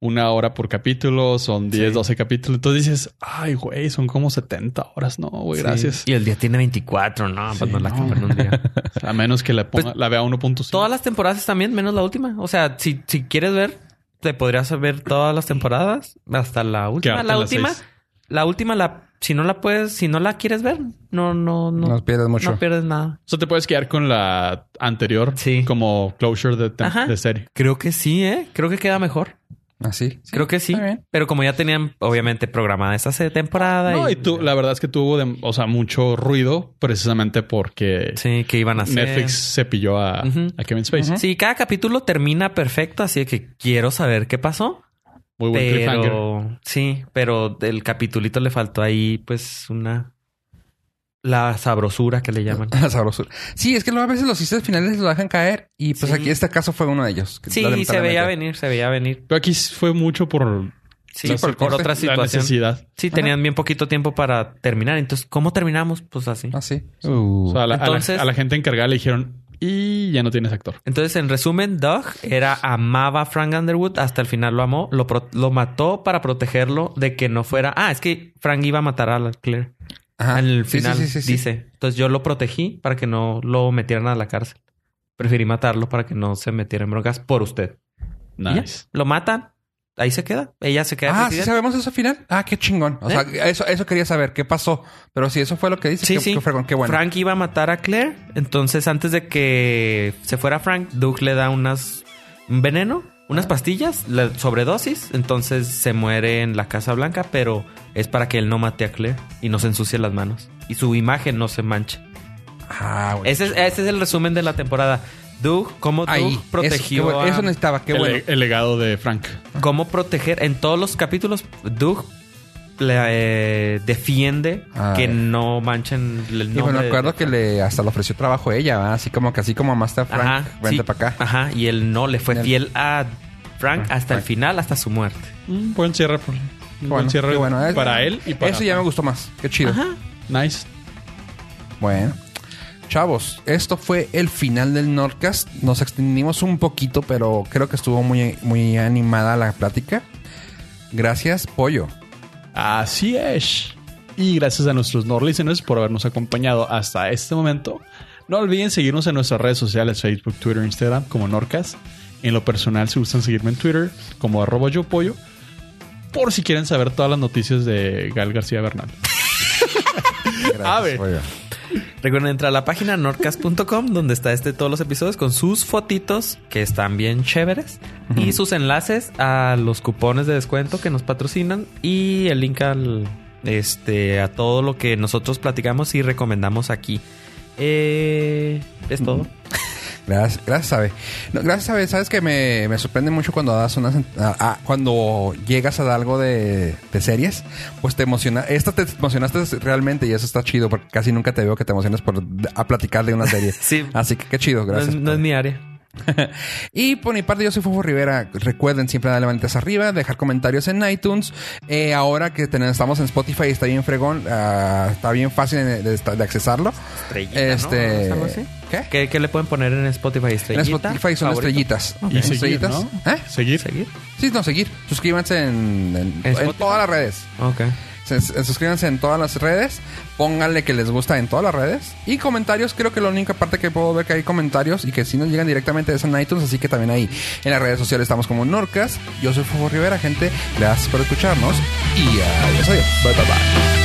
[SPEAKER 3] una hora por capítulo, son 10,
[SPEAKER 4] Sí.
[SPEAKER 3] 12 capítulos. Entonces dices, ay, güey, son como 70 horas. No, güey,
[SPEAKER 4] Sí.
[SPEAKER 3] gracias.
[SPEAKER 4] Y el día tiene 24, no, pues
[SPEAKER 3] Sí,
[SPEAKER 4] no la
[SPEAKER 3] no.
[SPEAKER 4] acabo en un día.
[SPEAKER 3] A menos que la,
[SPEAKER 4] pues
[SPEAKER 3] ponga- la vea 1.5.
[SPEAKER 4] Todas las temporadas también, menos la última. O sea, si, si quieres ver, te podrías ver todas las temporadas hasta la última.
[SPEAKER 3] Quedarte
[SPEAKER 4] La
[SPEAKER 3] en las
[SPEAKER 4] última,
[SPEAKER 3] seis.
[SPEAKER 4] la última, la si no la puedes, si no la quieres ver, no, no, no,
[SPEAKER 2] Nos pierdes mucho.
[SPEAKER 4] no pierdes nada.
[SPEAKER 3] O sea, te puedes quedar con la anterior
[SPEAKER 4] Sí.
[SPEAKER 3] como closure de, tem-
[SPEAKER 4] Ajá.
[SPEAKER 3] de serie.
[SPEAKER 4] Creo que sí, eh. Creo que queda mejor.
[SPEAKER 2] Así.
[SPEAKER 4] Creo que sí.
[SPEAKER 2] ¿Ah, Está bien.
[SPEAKER 4] Pero como ya tenían, obviamente, programada esa se- temporada.
[SPEAKER 3] No, y tú, la verdad es que tuvo, de- o sea, mucho ruido precisamente porque
[SPEAKER 4] Sí, que iban a hacer.
[SPEAKER 3] Netflix cepilló a,
[SPEAKER 4] Ujú.
[SPEAKER 3] a Kevin Spacey.
[SPEAKER 4] Sí, cada capítulo termina perfecto, así que quiero saber qué pasó.
[SPEAKER 3] Muy buen cliffhanger.
[SPEAKER 4] Pero sí, pero del capitulito le faltó ahí, pues, una la sabrosura que le llaman.
[SPEAKER 2] Sabrosura. Sí, es que luego a veces los chistes finales lo dejan caer y pues
[SPEAKER 4] Sí.
[SPEAKER 2] aquí este caso fue uno de ellos. que
[SPEAKER 4] Sí, se
[SPEAKER 2] lamentablemente-
[SPEAKER 4] veía venir, se veía venir.
[SPEAKER 3] Pero aquí fue mucho por
[SPEAKER 4] Sí,
[SPEAKER 2] Sí, por
[SPEAKER 4] por,
[SPEAKER 2] el corte,
[SPEAKER 4] otra
[SPEAKER 3] la
[SPEAKER 4] situación.
[SPEAKER 3] necesidad.
[SPEAKER 4] Sí, tenían bien poquito tiempo para terminar. Entonces, ¿cómo terminamos? Pues así.
[SPEAKER 2] Así. Uh.
[SPEAKER 3] O sea, a la, a la-
[SPEAKER 4] Entonces-
[SPEAKER 3] a la gente encargada le dijeron, y ya no tienes actor.
[SPEAKER 4] Entonces, en resumen, Doug era amaba a Frank Underwood, hasta el final lo amó, lo, pro- lo mató para protegerlo de que no fuera. Ah, es que Frank iba a matar a la Claire.
[SPEAKER 2] Ajá.
[SPEAKER 4] Al
[SPEAKER 2] Ah, Sí, sí,
[SPEAKER 4] final
[SPEAKER 2] sí, sí, sí.
[SPEAKER 4] dice. Entonces yo lo protegí para que no lo metieran a la cárcel. Preferí matarlo para que no se metiera en broncas por usted. Y ya,
[SPEAKER 3] Nice.
[SPEAKER 4] lo matan. Ahí se queda. Ella se queda.
[SPEAKER 2] Ah, sí
[SPEAKER 4] presidenta.
[SPEAKER 2] sabemos eso al final. Ah, qué chingón. O
[SPEAKER 4] ¿Eh?
[SPEAKER 2] sea, eso, eso quería saber qué pasó. Pero sí, eso fue lo que dice.
[SPEAKER 4] Sí,
[SPEAKER 2] qué,
[SPEAKER 4] sí.
[SPEAKER 2] Qué, fregón, qué bueno.
[SPEAKER 4] Frank iba a matar a Claire. Entonces, antes de que se fuera Frank, Doug le da unas un veneno,
[SPEAKER 2] Ah.
[SPEAKER 4] unas pastillas, la sobredosis. Entonces se muere en la Casa Blanca, pero es para que él no mate a Claire y no se ensucie las manos. Y su imagen no se manche.
[SPEAKER 2] Ah, güey.
[SPEAKER 4] Ese es, ese es el resumen de la temporada. Doug, cómo Doug
[SPEAKER 2] Ahí. eso, qué
[SPEAKER 4] protegió
[SPEAKER 2] bueno.
[SPEAKER 4] a-
[SPEAKER 2] Eso necesitaba. Qué
[SPEAKER 3] el,
[SPEAKER 2] bueno.
[SPEAKER 3] el legado de Frank.
[SPEAKER 4] cómo proteger en todos los capítulos Doug le, eh, defiende
[SPEAKER 2] Ah, eh.
[SPEAKER 4] que no manchen el
[SPEAKER 2] Y
[SPEAKER 4] nombre
[SPEAKER 2] bueno,
[SPEAKER 4] de-
[SPEAKER 2] acuerdo que le hasta le ofreció trabajo ella, ¿verdad? así como que así como Master Frank,
[SPEAKER 4] Ajá, sí.
[SPEAKER 2] vente para acá.
[SPEAKER 4] Ajá, y él no le fue
[SPEAKER 2] Del-
[SPEAKER 4] fiel a Frank
[SPEAKER 2] Frank,
[SPEAKER 4] hasta el
[SPEAKER 2] Frank.
[SPEAKER 4] final, hasta su muerte.
[SPEAKER 3] Un buen cierre. por- un buen cierre
[SPEAKER 2] qué bueno. Es-
[SPEAKER 3] para él y para
[SPEAKER 2] Eso ya me gustó más. Qué chido.
[SPEAKER 4] Ajá.
[SPEAKER 3] Nice.
[SPEAKER 2] Bueno. Chavos, esto fue el final del Nordcast. Nos extendimos un poquito, pero creo que estuvo muy, muy animada la plática. Gracias, Pollo.
[SPEAKER 3] Así es. Y gracias a nuestros Nord listeners por habernos acompañado hasta este momento. No olviden seguirnos en nuestras redes sociales, Facebook, Twitter, Instagram, como Norcas. En lo personal, si gustan seguirme en Twitter, como arroba yo pollo. Por si quieren saber todas las noticias de Gal García Bernal.
[SPEAKER 2] Gracias,
[SPEAKER 5] Ave.
[SPEAKER 2] pollo.
[SPEAKER 4] Recuerden entrar a la página norcas.com donde está este todos los episodios con sus fotitos que están bien chéveres y sus enlaces a los cupones de descuento que nos patrocinan y el link al este a todo lo que nosotros platicamos y recomendamos aquí. Eh, es todo.
[SPEAKER 2] Gracias, gracias, Abe. No, gracias, Abe. Sabes que me, me sorprende mucho cuando das unas, a- a- cuando llegas a dar algo de, de series, pues te emociona. Esta te emocionaste realmente y eso está chido porque casi nunca te veo que te emociones por a platicar de una serie.
[SPEAKER 4] Sí.
[SPEAKER 2] Así que qué chido,
[SPEAKER 4] No es-
[SPEAKER 2] gracias.
[SPEAKER 4] no es mi área.
[SPEAKER 2] Y por mi parte, yo soy Fofo Rivera. Recuerden siempre darle manitas arriba, dejar comentarios en iTunes. Eh, ahora que tenemos, estamos en Spotify, está bien fregón, ah, está bien fácil de, de- de accesarlo.
[SPEAKER 4] Estrellita, ¿no?
[SPEAKER 2] este,
[SPEAKER 4] ¿Es algo así?
[SPEAKER 2] ¿Qué?
[SPEAKER 4] ¿Qué, qué le pueden poner en Spotify?
[SPEAKER 2] En
[SPEAKER 4] Estrellita.
[SPEAKER 2] Spotify son
[SPEAKER 4] favorito.
[SPEAKER 2] estrellitas.
[SPEAKER 3] Y
[SPEAKER 2] Son
[SPEAKER 3] seguir,
[SPEAKER 2] estrellitas.
[SPEAKER 3] ¿no?
[SPEAKER 2] ¿Eh?
[SPEAKER 3] Seguir.
[SPEAKER 4] Seguir.
[SPEAKER 2] Sí, no, seguir. Suscríbanse en, en- en
[SPEAKER 4] Spotify?
[SPEAKER 2] todas las redes.
[SPEAKER 4] Ok.
[SPEAKER 2] Se- se- suscríbanse en todas las redes. Pónganle que les gusta en todas las redes. Y comentarios, creo que la única parte que puedo ver que hay comentarios y que si nos llegan directamente es en iTunes. Así que también ahí en las redes sociales estamos como Norcas. Yo soy Fuego Rivera, gente. Gracias por escucharnos. Y adiós. adiós. Bye, bye, bye.